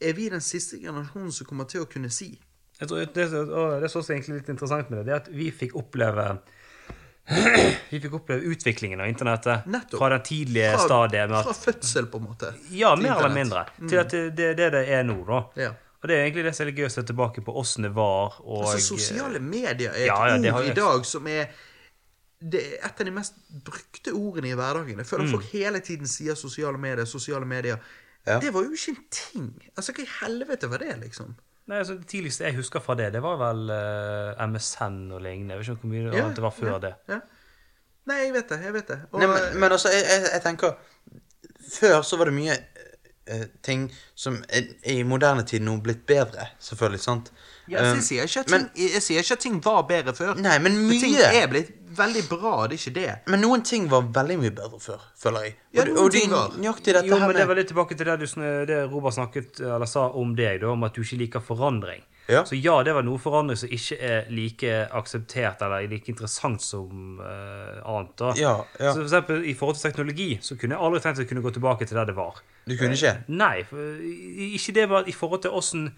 S7: er vi den siste generasjonen som kommer til å kunne si.
S6: Jeg tror det, og det som også er egentlig litt interessant med det, det er at vi fikk oppleve vi fikk oppleve utviklingen av internettet
S7: Nettopp.
S6: fra den tidlige
S7: Fra-
S6: stadiet med
S7: Fra
S6: at
S7: fødsel, på en måte.
S6: Ja, mer eller
S7: Internett. Mm.
S6: mindre. Til at det det er det det er nå, da.
S7: Ja.
S6: Og det er egentlig det som er litt gøy å se tilbake på åssen det var. Og,
S7: Altså, sosiale medier er et
S6: Ja, ja, det har
S7: ord i
S6: jeg-
S7: dag som er det er et av de mest brukte ordene i hverdagen. Jeg føler
S2: Mm.
S7: at folk hele tiden sier sosiale medier, sosiale medier. Det var jo ikke en ting. Altså, Hva i helvete var det, liksom?
S6: Nei, altså, Det tidligste jeg husker fra det, det var vel eh, MSN og lignende. Jeg vet ikke hvor mye
S7: Ja,
S6: annet det var før
S7: ja.
S6: det.
S7: Ja. Nei, jeg vet det. jeg vet det. Og,
S2: Nei, men, men altså, jeg, jeg, jeg tenker Før så var det mye eh, ting som er, i moderne tid nå blitt bedre, selvfølgelig, sant?
S7: Ja, altså,
S2: Um,
S7: jeg, sier ikke at ting,
S2: men-
S7: jeg sier ikke at ting var bedre før.
S2: Nei, men
S7: For ting
S2: mye.
S7: er blitt veldig bra, det er ikke det.
S2: Men noen ting var veldig mye bedre før, føler jeg.
S7: Ja,
S2: Og-
S7: noen
S2: og
S7: ting var.
S2: nøyaktig dette
S6: Jo,
S2: her
S6: men
S2: med
S6: det var litt tilbake til det, du, sn- det Robert snakket, eller sa om deg, da, om at du ikke liker forandring.
S2: Ja.
S6: Så ja, det var noe forandring som ikke er like akseptert eller like interessant som eh, annet. da.
S2: Ja, ja.
S6: Så for eksempel, I forhold til teknologi så kunne jeg aldri tenkt å kunne gå tilbake til der det var. Eh,
S2: Du kunne ikke?
S6: Nei, for, i- ikke det bare i forhold til åssen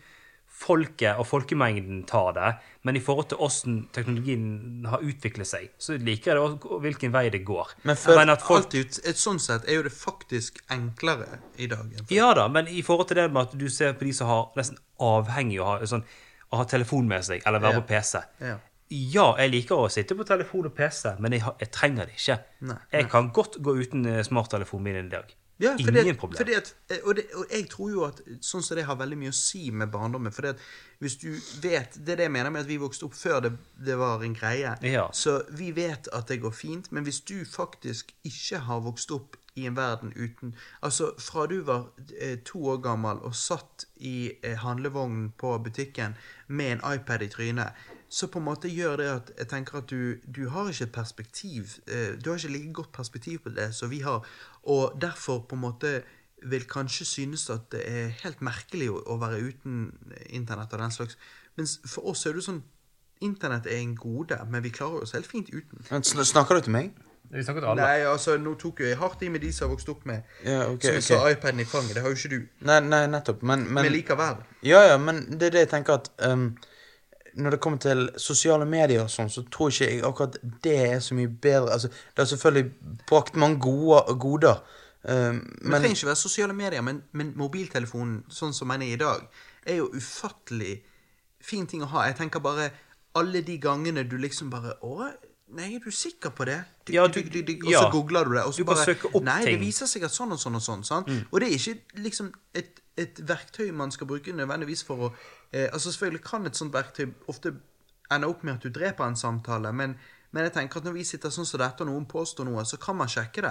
S6: folket og folkemengden tar det, men i forhold til åssen teknologien har utviklet seg, så liker jeg det også hvilken vei det går.
S2: Men før-
S6: at folk
S7: Alt i ut- et sånn sett er jo det faktisk enklere i dag. enn før.
S6: Ja da, men i forhold til det med at du ser på de som har nesten avhengig av å ha, sånn, å ha telefon med seg, eller være
S7: Ja.
S6: på PC.
S7: Ja.
S6: Ja, jeg liker å sitte på telefon og PC, men jeg, har- jeg trenger det ikke.
S7: Nei,
S6: Jeg kan godt gå uten eh, smarttelefonen min i dag.
S7: Ja, fordi
S6: Ingen
S7: at,
S6: problem.
S7: Fordi at, eh, og, det, og jeg tror jo at sånn som det har veldig mye å si med barndommen. Fordi at hvis du vet, Det er det jeg mener med at vi vokste opp før det, det var en greie.
S6: Ja.
S7: Så vi vet at det går fint, men hvis du faktisk ikke har vokst opp i en verden uten Altså, fra du var eh, to år gammel og satt i eh, handlevognen på butikken med en iPad i trynet, så på en måte gjør det at jeg tenker at du, du har ikke et perspektiv eh, Du har ikke like godt perspektiv på det som vi har, og derfor på en måte vil kanskje synes at det er helt merkelig å, å være uten internett og den slags. Mens for oss er det jo sånn Internett er en gode, men vi klarer oss helt fint uten.
S2: Men sn- Snakker du til meg?
S6: Vi snakket alle.
S7: Nei, altså, nå tok jo jeg hardt i med de som har vokst opp med
S2: Ja, ok,
S7: Som
S2: ok.
S7: jeg sa, iPaden i fanget. Det har jo ikke du.
S2: Nei, nei nettopp. Men, men
S7: Men likevel.
S2: Ja, ja, men det er det jeg tenker at ehm, Når det kommer til sosiale medier og sånn, så tror ikke jeg akkurat det er så mye bedre. Altså, det har selvfølgelig brakt mange gode, goder, ehm,
S7: Men, det
S2: men
S7: trenger ikke være sosiale medier, men, men mobiltelefonen, sånn som den er i dag, er jo ufattelig fin ting å ha. Jeg tenker bare alle de gangene du liksom bare Å, nei, er du sikker på det? Du,
S6: Ja,
S7: du,
S6: du-
S7: du, du, og
S6: ja.
S7: så googler du det, og
S6: Du
S7: så
S6: kan
S7: bare
S6: søke opp
S7: Nei, det
S6: ting. Mm.
S7: viser seg at sånn og sånn og sånn. sant? Og det er ikke liksom et, et verktøy man skal bruke nødvendigvis for å eh, Altså, selvfølgelig kan et sånt verktøy ofte ende opp med at du dreper en samtale, men, men jeg tenker at når vi sitter sånn som dette, og noen påstår noe, så kan man sjekke det.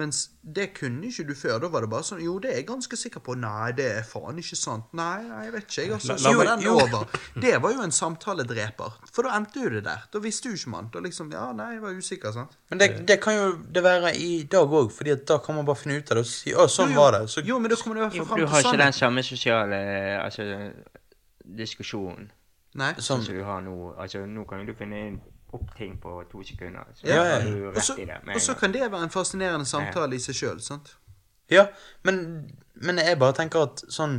S7: Mens det kunne ikke du før. Da var det bare sånn Jo, det er jeg ganske sikker på. Nei, det er faen ikke sant. Nei, nei jeg vet ikke. Jeg, altså, så
S6: la
S7: jo,
S6: meg-
S7: den
S6: jo.
S7: over. Det var jo en samtaledreper. For da endte jo det der. Da visste jo ikke man. Da liksom Ja, nei, jeg var usikker, sant.
S2: Men det, det kan jo det være i dag òg, Fordi at da kan man bare finne ut av det og si å, sånn
S7: Jo,
S2: var det. Så,
S7: jo, men da kommer du i hvert
S5: Jo, for du
S7: fall fram til sånn,
S5: har ikke den
S7: sannheten.
S5: samme sosiale altså, diskusjonen
S7: Nei.
S2: sånn,
S5: som du har nå. Altså, nå kan jo du finne opp ting på to sekunder. Så
S2: Ja, ja.
S5: har du
S7: Og så-
S5: rett i det. med
S7: Og så
S5: en gang.
S7: kan det være en fascinerende samtale i seg sjøl, sant?
S2: ja, men, men jeg bare tenker at sånn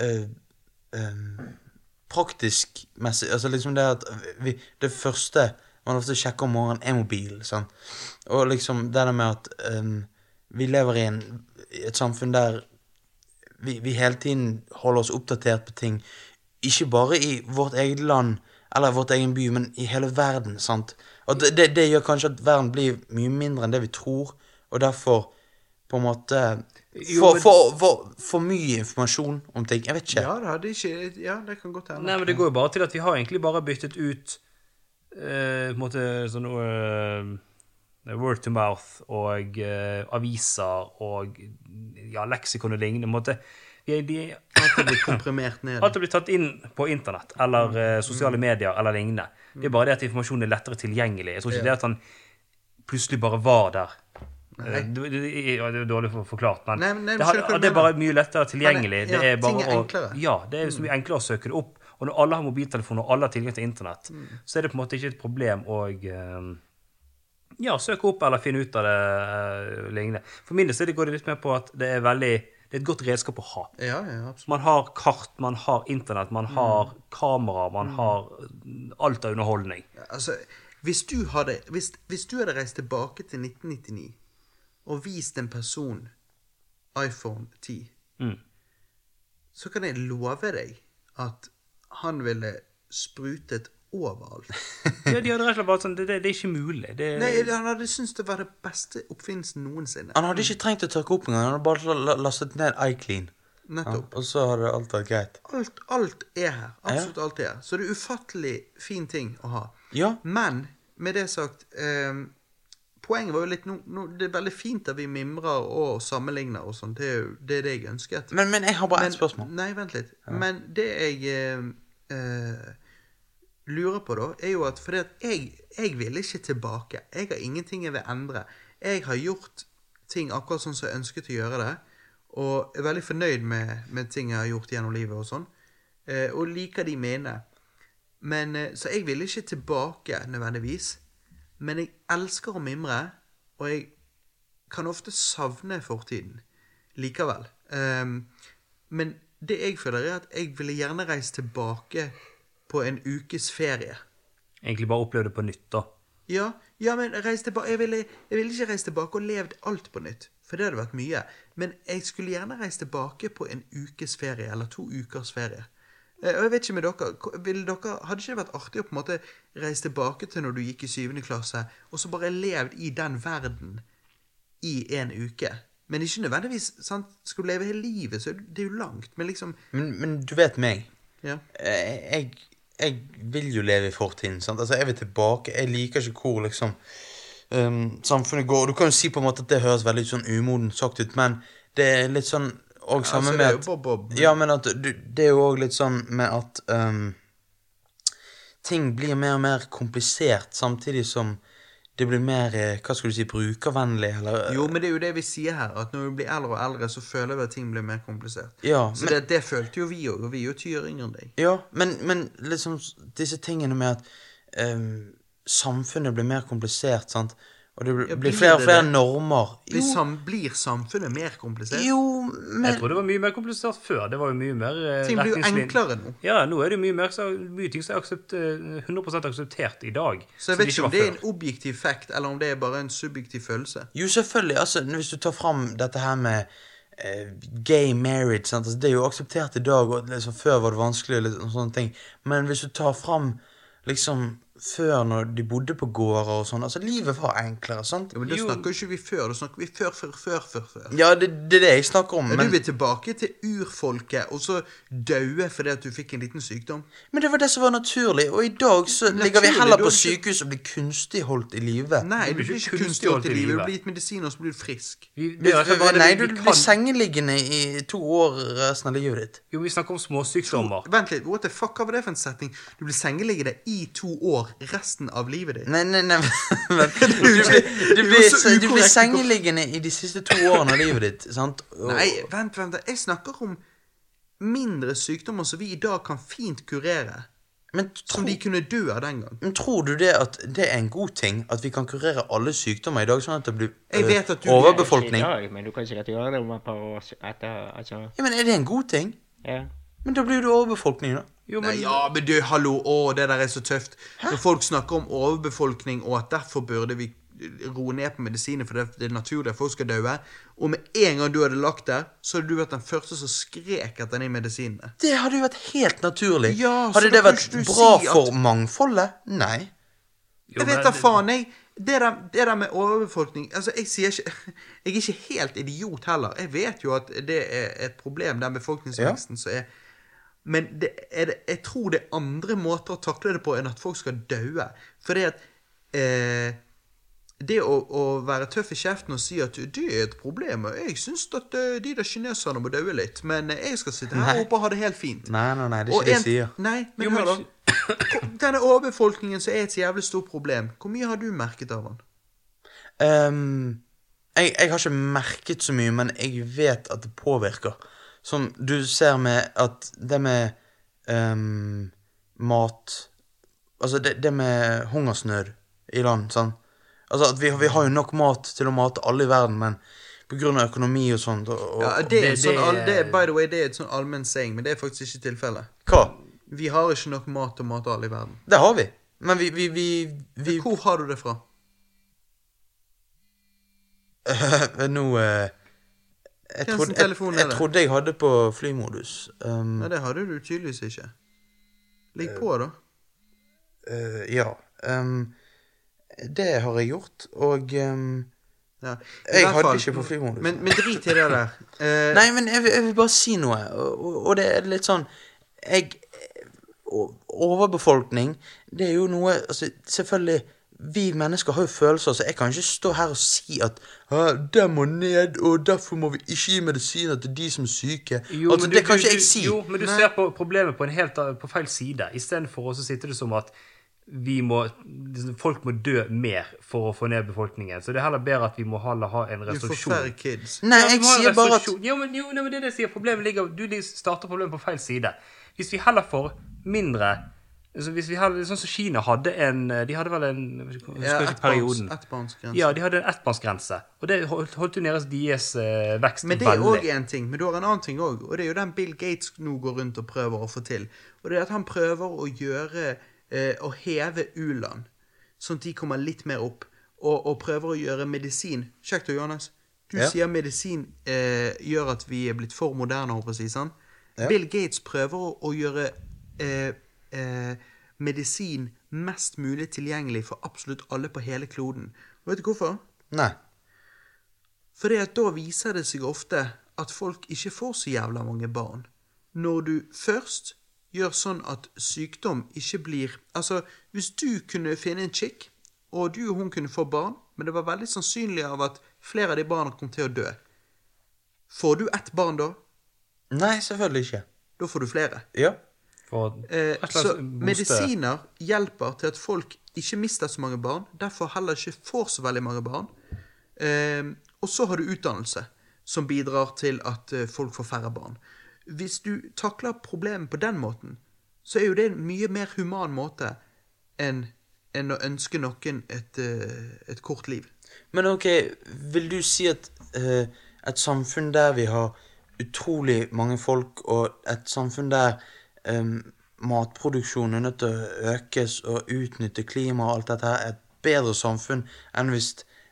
S2: eh, eh, Praktisk messig Altså liksom det at vi, det første man ofte sjekker om morgenen, er mobilen. sant? Og liksom det der med at eh, vi lever i en, i et samfunn der vi, vi hele tiden holder oss oppdatert på ting. Ikke bare i vårt eget land eller vårt egen by, men i hele verden. sant? Og det, det, det gjør kanskje at verden blir mye mindre enn det vi tror, og derfor på en måte For, for, for, for mye informasjon om ting. Jeg vet ikke.
S7: Ja da, det er ikke Ja, det kan godt hende.
S6: Nei, men det går jo bare til at vi har egentlig bare byttet ut eh, på en måte sånn eh, word to mouth og eh, aviser og ja, leksikon og lignende. på en måte. De, de,
S7: Alt er blitt komprimert ned. Mm.
S6: alt er blitt tatt inn på internett eller eh, sosiale medier eller lignende. Det er bare det at informasjonen er lettere tilgjengelig. Jeg tror ikke det at han plutselig bare var der. Eh, Det, det, ja, det er dårlig for- forklart, men
S7: Nei, men- nei,
S6: det,
S7: men
S6: har,
S7: skjønner hva du
S6: det er bare
S7: mener.
S6: mye lettere tilgjengelig.
S7: Men det- ja,
S6: det er bare
S7: ting er
S6: å-
S7: enklere. Mm.
S6: Ja, det er så mye enklere å søke det opp. Og når alle har mobiltelefon og alle har tilgang til internett,
S7: Mm.
S6: så er det på en måte ikke et problem å eh, ja, søk opp eller finn ut av det eh, lignende. For min del så er det- går det litt mer på at det er veldig det er et godt redskap å ha.
S7: Ja, ja, absolutt.
S6: Man har kart, man har internett, man
S7: Mm.
S6: har kamera, man har alt av underholdning.
S7: Altså, hvis du hadde, hvis, hvis du hadde reist tilbake til 1999 og vist en person iPhone 10,
S6: Mm.
S7: så kan jeg love deg at han ville sprutet overalt.
S6: Ja, de hadde rett og slett bare sånn, det, det, det er ikke mulig. Det,
S7: Nei, han hadde syntes det var det beste oppfinnelsen noensinne.
S2: Han hadde ikke trengt å tørke opp engang. Han hadde bare la- la- lastet ned iClean. Ja,
S7: Nettopp.
S2: og så hadde alt vært greit.
S7: Alt, alt er her. Absolutt alt er her. Så det er ufattelig fin ting å ha.
S2: Ja.
S7: Men med det sagt eh, Poenget var jo litt no, no, Det er veldig fint at vi mimrer og sammenligner og sånn. Det er jo det, er det jeg ønsket.
S2: Men, men jeg har bare
S7: Men-
S2: ett spørsmål.
S7: Nei, vent litt. Men det jeg eh, eh, lurer på, da, er jo at fordi at jeg, jeg vil ikke tilbake. Jeg har ingenting jeg vil endre. Jeg har gjort ting akkurat sånn som jeg ønsket å gjøre det, og er veldig fornøyd med, med ting jeg har gjort gjennom livet og sånn, eh, og liker de mine. Men, eh, så jeg vil ikke tilbake nødvendigvis, men jeg elsker å mimre, og jeg kan ofte savne fortiden likevel. Ehm, men det jeg føler, er at jeg ville gjerne reist tilbake på en ukes ferie.
S6: Egentlig bare opplevd det på nytt, da.
S7: Ja, ja men reis tilbake jeg ville, jeg ville ikke reist tilbake og levd alt på nytt. For det hadde vært mye. Men jeg skulle gjerne reist tilbake på en ukes ferie, eller to ukers ferie. Eh, Og jeg vet ikke med dere, ko- ville dere Hadde ikke det vært artig å på en måte reise tilbake til når du gikk i syvende klasse, og så bare levd i den verden i en uke? Men ikke nødvendigvis sant? Skal du leve hele livet, så det er jo langt. Men liksom
S2: Men, men du vet meg.
S7: Ja.
S2: Eh, Jeg, jeg vil jo leve i fortiden. sant? Altså, Jeg vil tilbake. Jeg liker ikke hvor liksom um, samfunnet går. Du kan jo si på en måte at det høres veldig sånn umodent sagt ut, men det er litt sånn og samme
S7: altså, det
S2: med
S7: er
S2: at-
S7: jo bare Bob.
S2: Ja, men at du, det er jo òg litt sånn med at ehm, Ting blir mer og mer komplisert, samtidig som det blir mer eh, Hva skal du si brukervennlig, eller
S7: Jo, men det er jo det vi sier her, at når vi blir eldre og eldre, så føler vi at ting blir mer komplisert.
S2: Ja,
S7: så
S2: men,
S7: det, det følte jo vi òg, og vi er jo ti år yngre enn deg.
S2: ja, men, men liksom s- disse tingene med at ehm, samfunnet blir mer komplisert, sant, og det blir,
S7: Ja,
S2: blir
S7: blir
S2: flere og
S7: det
S2: flere
S7: det?
S2: normer
S7: Blir,
S2: Jo,
S7: sam, blir samfunnet mer komplisert?
S2: jo,
S6: Jeg
S2: men
S6: tror det var mye mer komplisert før. Det var jo mye mer eh,
S7: Ting blir jo
S6: retningslin-
S7: enklere nå.
S6: Ja, nå er det jo mye, mer, så, mye ting som er aksept, eh, 100 akseptert i dag.
S7: Så
S6: som
S7: jeg vet
S6: det var
S7: ikke om det er
S6: før.
S7: en objektiv fact, eller om det er bare en subjektiv følelse.
S2: Jo, selvfølgelig. altså, Hvis du tar fram dette her med eh, gay marriage sant? Altså, Det er jo akseptert i dag, og liksom, før var det vanskelig. og Liksom, sånne ting. Men hvis du tar fram liksom, før, når de bodde på gårder og sånn altså, Livet var enklere, sant?
S7: Jo, men Det snakker jo ikke vi før. Da snakker vi før, før, før, før. før.
S2: Ja, det, det er det jeg snakker om.
S7: Men, du
S2: Men,
S7: vil tilbake til urfolket, og så daue fordi at du fikk en liten sykdom?
S2: men det var det som var naturlig. Og i dag så ligger vi
S7: Naturlig,
S2: heller
S7: da
S2: på
S7: er det ikke-
S2: sykehus og blir kunstig holdt i live.
S7: Nei, du
S6: blir ikke
S7: blir ikke kunstig
S6: kunstig
S7: holdt i
S6: til
S7: livet. Du
S6: livet.
S7: blir gitt medisiner, og så blir du frisk.
S6: Vi, det er rett og slett bare det
S2: Nei,
S6: vi-
S2: du
S6: vi
S2: blir
S6: kan-
S2: sengeliggende i to år resten av livet ditt.
S6: Jo, vi snakker om småsykdommer.
S7: Vent litt, what the fuck, hva var det for en setning? Du blir sengeliggende i to år resten av livet ditt.
S2: Nei, nei, nei men, du, blir- du,
S7: Det er jo så
S2: blir, du blir
S7: ukorrekt.
S2: sengeliggende i de siste to årene av livet ditt, sant? Og-
S7: Nei, vent, vent, jeg snakker om mindre sykdommer som vi i dag kan fint kurere.
S2: men,
S7: Som
S2: tro,
S7: de kunne dø av den gang.
S2: men tror du det at det er en god ting at vi kan kurere alle sykdommer i dag, sånn at det blir
S7: Jeg
S2: øh,
S7: vet at du-
S2: overbefolkning?
S5: Ikke i dag, men du kan sikkert gjøre det om et par år s- etter altså,
S2: Ja, men er det en god ting?
S5: ja.
S2: Men da blir det overbefolkning, da.
S6: Jo, men,
S7: Nei, ja, men du, hallo, å, det der er så tøft. Når folk snakker om overbefolkning og at derfor burde vi roe ned på medisiner, for det det er naturlig at folk skal dø, og med en gang du hadde lagt der, så hadde du vært den første som skrek etter de medisinene.
S2: Det hadde jo vært helt naturlig.
S7: Ja, så
S2: hadde det
S7: da kan
S2: vært
S7: ikke du
S2: bra
S7: si at-
S2: for mangfoldet? Nei.
S6: jo,
S7: Jeg vet
S6: men-
S7: da faen, jeg. Det der, det der med overbefolkning altså Jeg sier ikke, jeg er ikke helt idiot heller. Jeg vet jo at det er et problem, den befolkningsveksten som er Men det er det, jeg tror det er andre måter å takle det på enn at folk skal daue. For det at eh, Det å, å være tøff i kjeften og si at det er et problem og Jeg syns at eh, de der kineserne må daue litt, men eh, jeg skal sitte her oppe og ha det helt fint.
S2: Nei, nei, nei, det er ikke det jeg sier.
S7: Nei, men hør, da. Hvor- Denne overbefolkningen som er et jævlig stort problem, hvor mye har du merket av den?
S2: Ehm, jeg, jeg har ikke merket så mye, men jeg vet at det påvirker. Som du ser med at det med ehm, mat Altså det, det med hungersnød i land, sant. Altså at vi, har- vi har jo nok mat til å mate alle i verden, men pga. økonomi og sånt og, og,
S7: Ja, det, er en
S1: det-
S7: sånn,
S1: det
S7: all-
S1: er-
S7: det, er- by the way, det er et sånn allmenn saying, men det er faktisk ikke tilfellet.
S2: Hva?
S7: Vi har ikke nok mat til å mate alle i verden.
S2: Det har vi. Men vi, vi, vi, vi
S7: Hvor har du det fra?
S2: Nå eh, jeg,
S7: Hvem
S2: trodde,
S7: sin
S2: jeg,
S7: telefon er
S2: jeg
S7: det?
S2: trodde jeg hadde på flymodus. Ehm,
S7: Nei, det hadde du tydeligvis ikke. Ligg på, da.
S2: Eh, ja. ehm, det har jeg gjort, og ehm,
S7: Ja. I
S2: jeg
S7: hvert
S2: hadde
S7: fall-
S2: ikke på flymodus.
S7: Men, men drit i det der. Eh,
S2: Nei, men jeg, vil- jeg vil bare si noe, og, og- og det er litt sånn Jeg o- Overbefolkning, det er jo noe altså, Selvfølgelig, vi mennesker har jo følelser, så jeg kan ikke stå her og si at «Hæ, det må ned, og derfor må vi ikke gi medisiner til de som er syke. altså,
S6: men
S2: det
S6: du-
S2: kan
S6: du-
S2: ikke jeg
S6: du-
S2: si.
S6: Jo, men du ser på problemet på, en helt, annen- på feil side. Istedenfor å så sitter det som at vi må, liksom, folk må dø mer for å få ned befolkningen. Så det er heller bedre at vi må heller ha en
S7: Du
S6: restriksjon.
S7: forferder kids.
S2: Nei,
S6: Ja,
S2: jeg
S6: vi må ha
S2: sier bare at
S6: restriksjon. Jo, men, jo, nei, men det er det jeg sier. Problemet ligger Du li- starter problemet på feil side. Hvis vi heller får mindre altså hvis vi heller, Sånn som Kina hadde en De hadde vel en jeg husker
S7: Ja,
S6: ikke perioden.
S7: ettbarns- ettbarnsgrense.
S6: Ja, de hadde en ettbarnsgrense. Og det holdt, holdt jo deres deres eh, vekst
S7: Men det er òg
S6: veldig.
S7: en ting. Men du har en annen ting òg. Og det er jo den Bill Gates nå går rundt og prøver å få til. Og det er at han prøver å gjøre eh, Å heve u-land, sånn at de kommer litt mer opp. Og, og prøver å gjøre medisin Sjekk det, Johannes. Du
S2: Ja.
S7: sier medisin eh, gjør at vi er blitt for moderne, håper jeg å si. sant? Bill Gates prøver å, å gjøre eh, eh, medisin mest mulig tilgjengelig for absolutt alle på hele kloden. Og vet du hvorfor?
S2: Nei.
S7: Fordi at da viser det seg ofte at folk ikke får så jævla mange barn. Når du først gjør sånn at sykdom ikke blir Altså, hvis du kunne finne en chick, og du og hun kunne få barn, men det var veldig sannsynlig av at flere av de barna kom til å dø. Får du ett barn da,
S2: Nei, selvfølgelig ikke.
S7: da får du flere.
S2: Ja.
S6: For,
S7: Eh,
S6: rett og slett
S7: så
S6: booste-
S7: medisiner hjelper til at folk ikke mister så mange barn, derfor heller ikke får så veldig mange barn. Eh, og så har du utdannelse, som bidrar til at eh, folk får færre barn. Hvis du takler problemet på den måten, så er jo det en mye mer human måte enn enn å ønske noen et, eh, et kort liv.
S2: Men ok, vil du si at eh, et samfunn der vi har utrolig mange folk, og et samfunn der em, matproduksjonen er nødt til å økes og utnytte klima og alt dette her, er et bedre samfunn enn hvis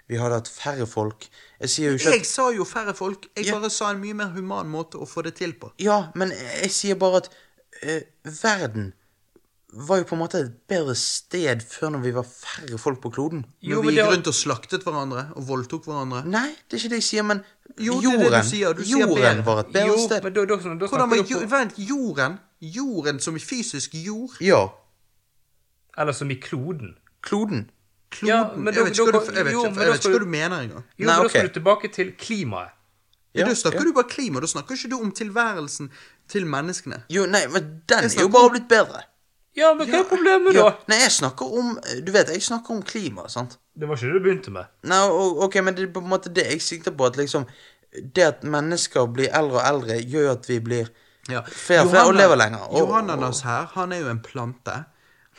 S2: vi hadde hatt færre folk? Jeg sier jo ikke
S7: Jeg
S2: at
S7: sa jo færre folk, jeg
S2: Ja.
S7: bare sa en mye mer human måte å få det til på.
S2: Ja, men jeg sier bare at eh, verden var jo på en måte et bedre sted før når vi var færre folk på kloden.
S7: Når
S6: Jo, men
S7: vi
S6: det
S7: gikk
S6: har-
S7: rundt og slaktet hverandre og voldtok hverandre.
S2: Nei, det er ikke det jeg sier, men
S7: Jo, det er det du
S2: jorden,
S7: sier, du sier bedre.
S2: jorden var et bedre
S6: Jo,
S2: sted.
S6: men da, da, da,
S7: Hvordan
S6: snakker
S7: var
S6: du
S7: jo,
S6: på,
S7: vent, jorden? Jorden som i fysisk jord?
S2: Ja,
S6: Eller som i kloden.
S2: kloden.
S7: Kloden?
S6: Ja, men da-
S7: jeg vet ikke hva
S6: da-
S7: du, jeg vet
S6: jo,
S7: ikke,
S6: men
S7: jeg
S6: da
S7: vet ikke
S6: skal
S7: hva
S6: du-
S7: du mener engang.
S6: Jo,
S2: Nei,
S6: men Da
S2: ok.
S6: skal du tilbake til klimaet.
S7: Ja, da snakker du bare klima, da snakker ikke du om tilværelsen til menneskene.
S2: Jo, nei, men den
S7: Jeg
S2: er jo
S7: snakker
S2: bare blitt bedre.
S6: Ja, men hva er problemet,
S2: Ja,
S6: da?
S2: nei, jeg snakker om Du vet, jeg snakker om klima, sant?
S6: Det var ikke det du begynte med.
S2: Nei, og, ok, men det er på en måte det jeg sikter på, at liksom Det at mennesker blir eldre og eldre, gjør jo at vi blir
S7: Ja.
S2: flere og flere og lever lenger. Og,
S7: Johananas her, han er jo en plante.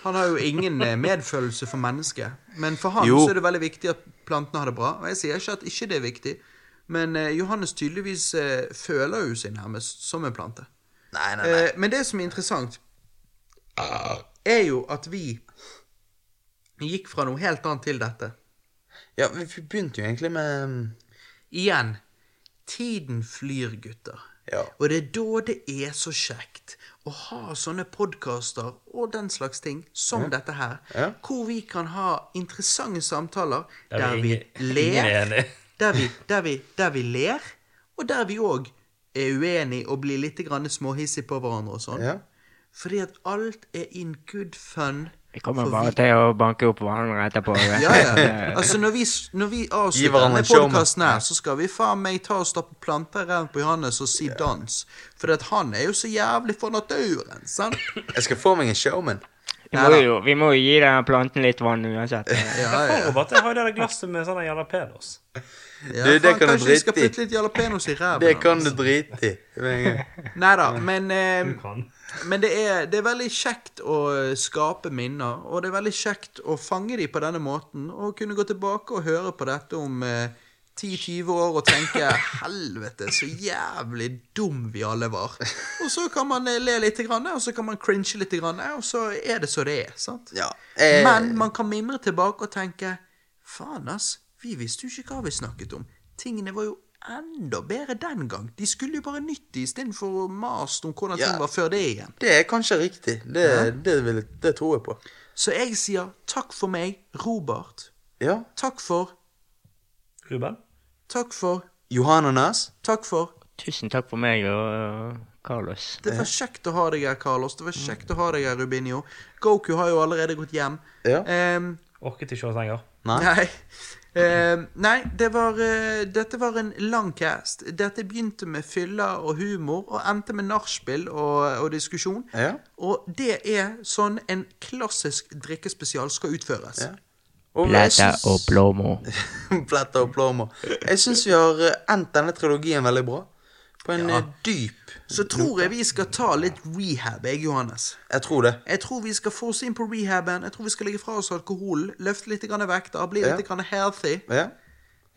S7: Han har jo ingen eh, medfølelse for mennesket. Men for han
S2: Jo.
S7: så er det veldig viktig at plantene har det bra. Og jeg sier ikke at ikke det er viktig, men eh, Johannes tydeligvis eh, føler jo seg nærmest som en plante.
S2: Nei, nei, nei. Ah.
S7: Eh, men det som er interessant, er jo at vi gikk fra noe helt annet til dette.
S2: Ja, vi vi begynte jo egentlig med mm,
S7: Igjen. Tiden flyr, gutter.
S2: Ja.
S7: Og det er da det er så kjekt å ha sånne podkaster og den slags ting som dette her,
S2: Ja.
S7: hvor vi kan ha interessante samtaler der,
S6: vi
S7: vi
S6: ingen-
S7: ler,
S6: ingen er enig.
S7: der, vi, der, vi, der vi ler, og der vi òg er uenig og blir litt grann småhissig på hverandre og sånn.
S2: Ja.
S7: Fordi at alt er in good fun.
S5: Vi kommer
S7: For
S5: bare
S7: vi-
S5: til å banke opp hverandre etterpå. vet
S7: Ja, ja.
S5: du.
S7: Altså, når vi, når vi avslutter
S2: hverandre
S7: denne
S2: en showman.
S7: podkasten her, så skal vi faen meg ta og stappe planter rundt på Johannes og si dans. For at han er jo så jævlig for naturen, sant?
S2: Jeg skal få meg en showman.
S5: Vi må jo, vi må jo gi den planten litt vann uansett.
S7: Ja, ja.
S6: Robert, jeg har jo det der glasset med sånne jalapeños.
S7: ja
S2: Du, det
S7: faen,
S2: kan du
S7: kanskje vi skal altså.
S2: drite i.
S7: putte litt jalapeños i ræven?
S2: Det kan du drite i. med en gang.
S7: Nei da, men, eh,
S6: Kan.
S7: men det, er, det er veldig kjekt å eh, skape minner. Og det er veldig kjekt å fange dem på denne måten. Og kunne gå tilbake og høre på dette om eh, 10-20 år og tenke 'helvete, så jævlig dum vi alle var'. Og så kan man eh, le litt, grann, og så kan man cringe litt, grann, og så er det så det er. sant?
S2: Ja, eh,
S7: Men man kan mimre tilbake og tenke 'faen, ass, vi visste jo ikke hva vi snakket om'. Tingene var jo enda bedre den gang. De skulle jo bare nytt de istedenfor å mase om hvordan
S2: Ja.
S7: ting var før det igjen.
S2: Det er kanskje riktig. Det, det, vil, det tror jeg på.
S7: Så jeg sier takk for meg, Robert.
S2: Ja.
S7: Takk for,
S6: Ruben?
S7: takk for,
S2: Johannes?
S7: takk for.
S5: Tusen takk for meg og øh, Carlos.
S7: Det var kjekt å ha deg her, Carlos. Det var kjekt å ha deg her, Rubinho. Goku har jo allerede gått hjem.
S2: Ja.
S7: Ehm,
S6: Orket ikke å henge.
S2: Nei.
S7: Nei. Eh, nei, det var, eh, dette var en lang cast. Dette begynte med fylla og humor, og endte med nachspiel og, og diskusjon.
S2: Ja.
S7: Og det er sånn en klassisk drikkespesial skal utføres.
S2: Og jeg
S5: Blæta
S2: syns-
S5: og blåmo.
S2: Pletter og plommer. Jeg syns vi har eh, endt denne trilogien veldig bra. På en eh, dyp
S7: Så tror jeg vi skal ta litt rehab, jeg, Johannes.
S2: Jeg tror det.
S7: Jeg tror vi skal få oss inn på rehaben. Jeg tror vi skal legge fra oss alkoholen, løfte litt grann vekter, bli
S2: Ja.
S7: litt grann healthy.
S2: Ja.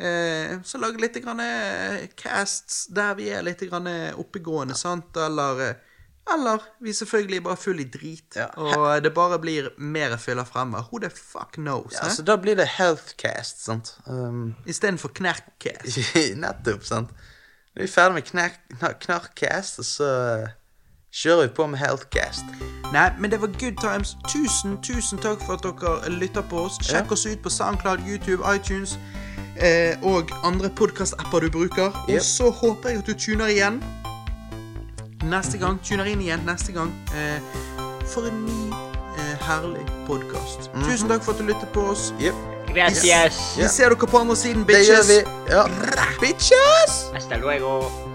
S7: Eh, så lage litt grann eh, casts der vi er litt grann eh, oppegående, sant? Eller, eh, eller vi er selvfølgelig bare full i drit,
S2: Ja.
S7: og det bare blir mer fyller fremover. Who the fuck knows?
S2: Ja, altså-
S7: eh?
S2: så da blir det healthcast, sant. Um,
S7: Istedenfor knerkcast.
S2: nettopp, sant. Når vi er ferdig med knark, knar- knarkcast, og så eh, kjører vi på med healthcast.
S7: Nei, men det var good times. Tusen, tusen takk for at dere lytter på oss. Sjekk oss ut på SoundCloud, YouTube, iTunes eh, og andre podkast-apper du bruker.
S2: Yep.
S7: Og så håper jeg at du tuner igjen neste gang. Tuner inn igjen neste gang. Eh, for en ny, eh, herlig podkast.
S2: Mhm.
S7: Tusen takk for at du lytter på oss.
S2: Jep.
S5: Gracias.
S7: Vi ser dere på andre siden,
S2: Det gjør
S7: bitches.
S2: vi. Ja. Bitches!
S5: Hasta luego.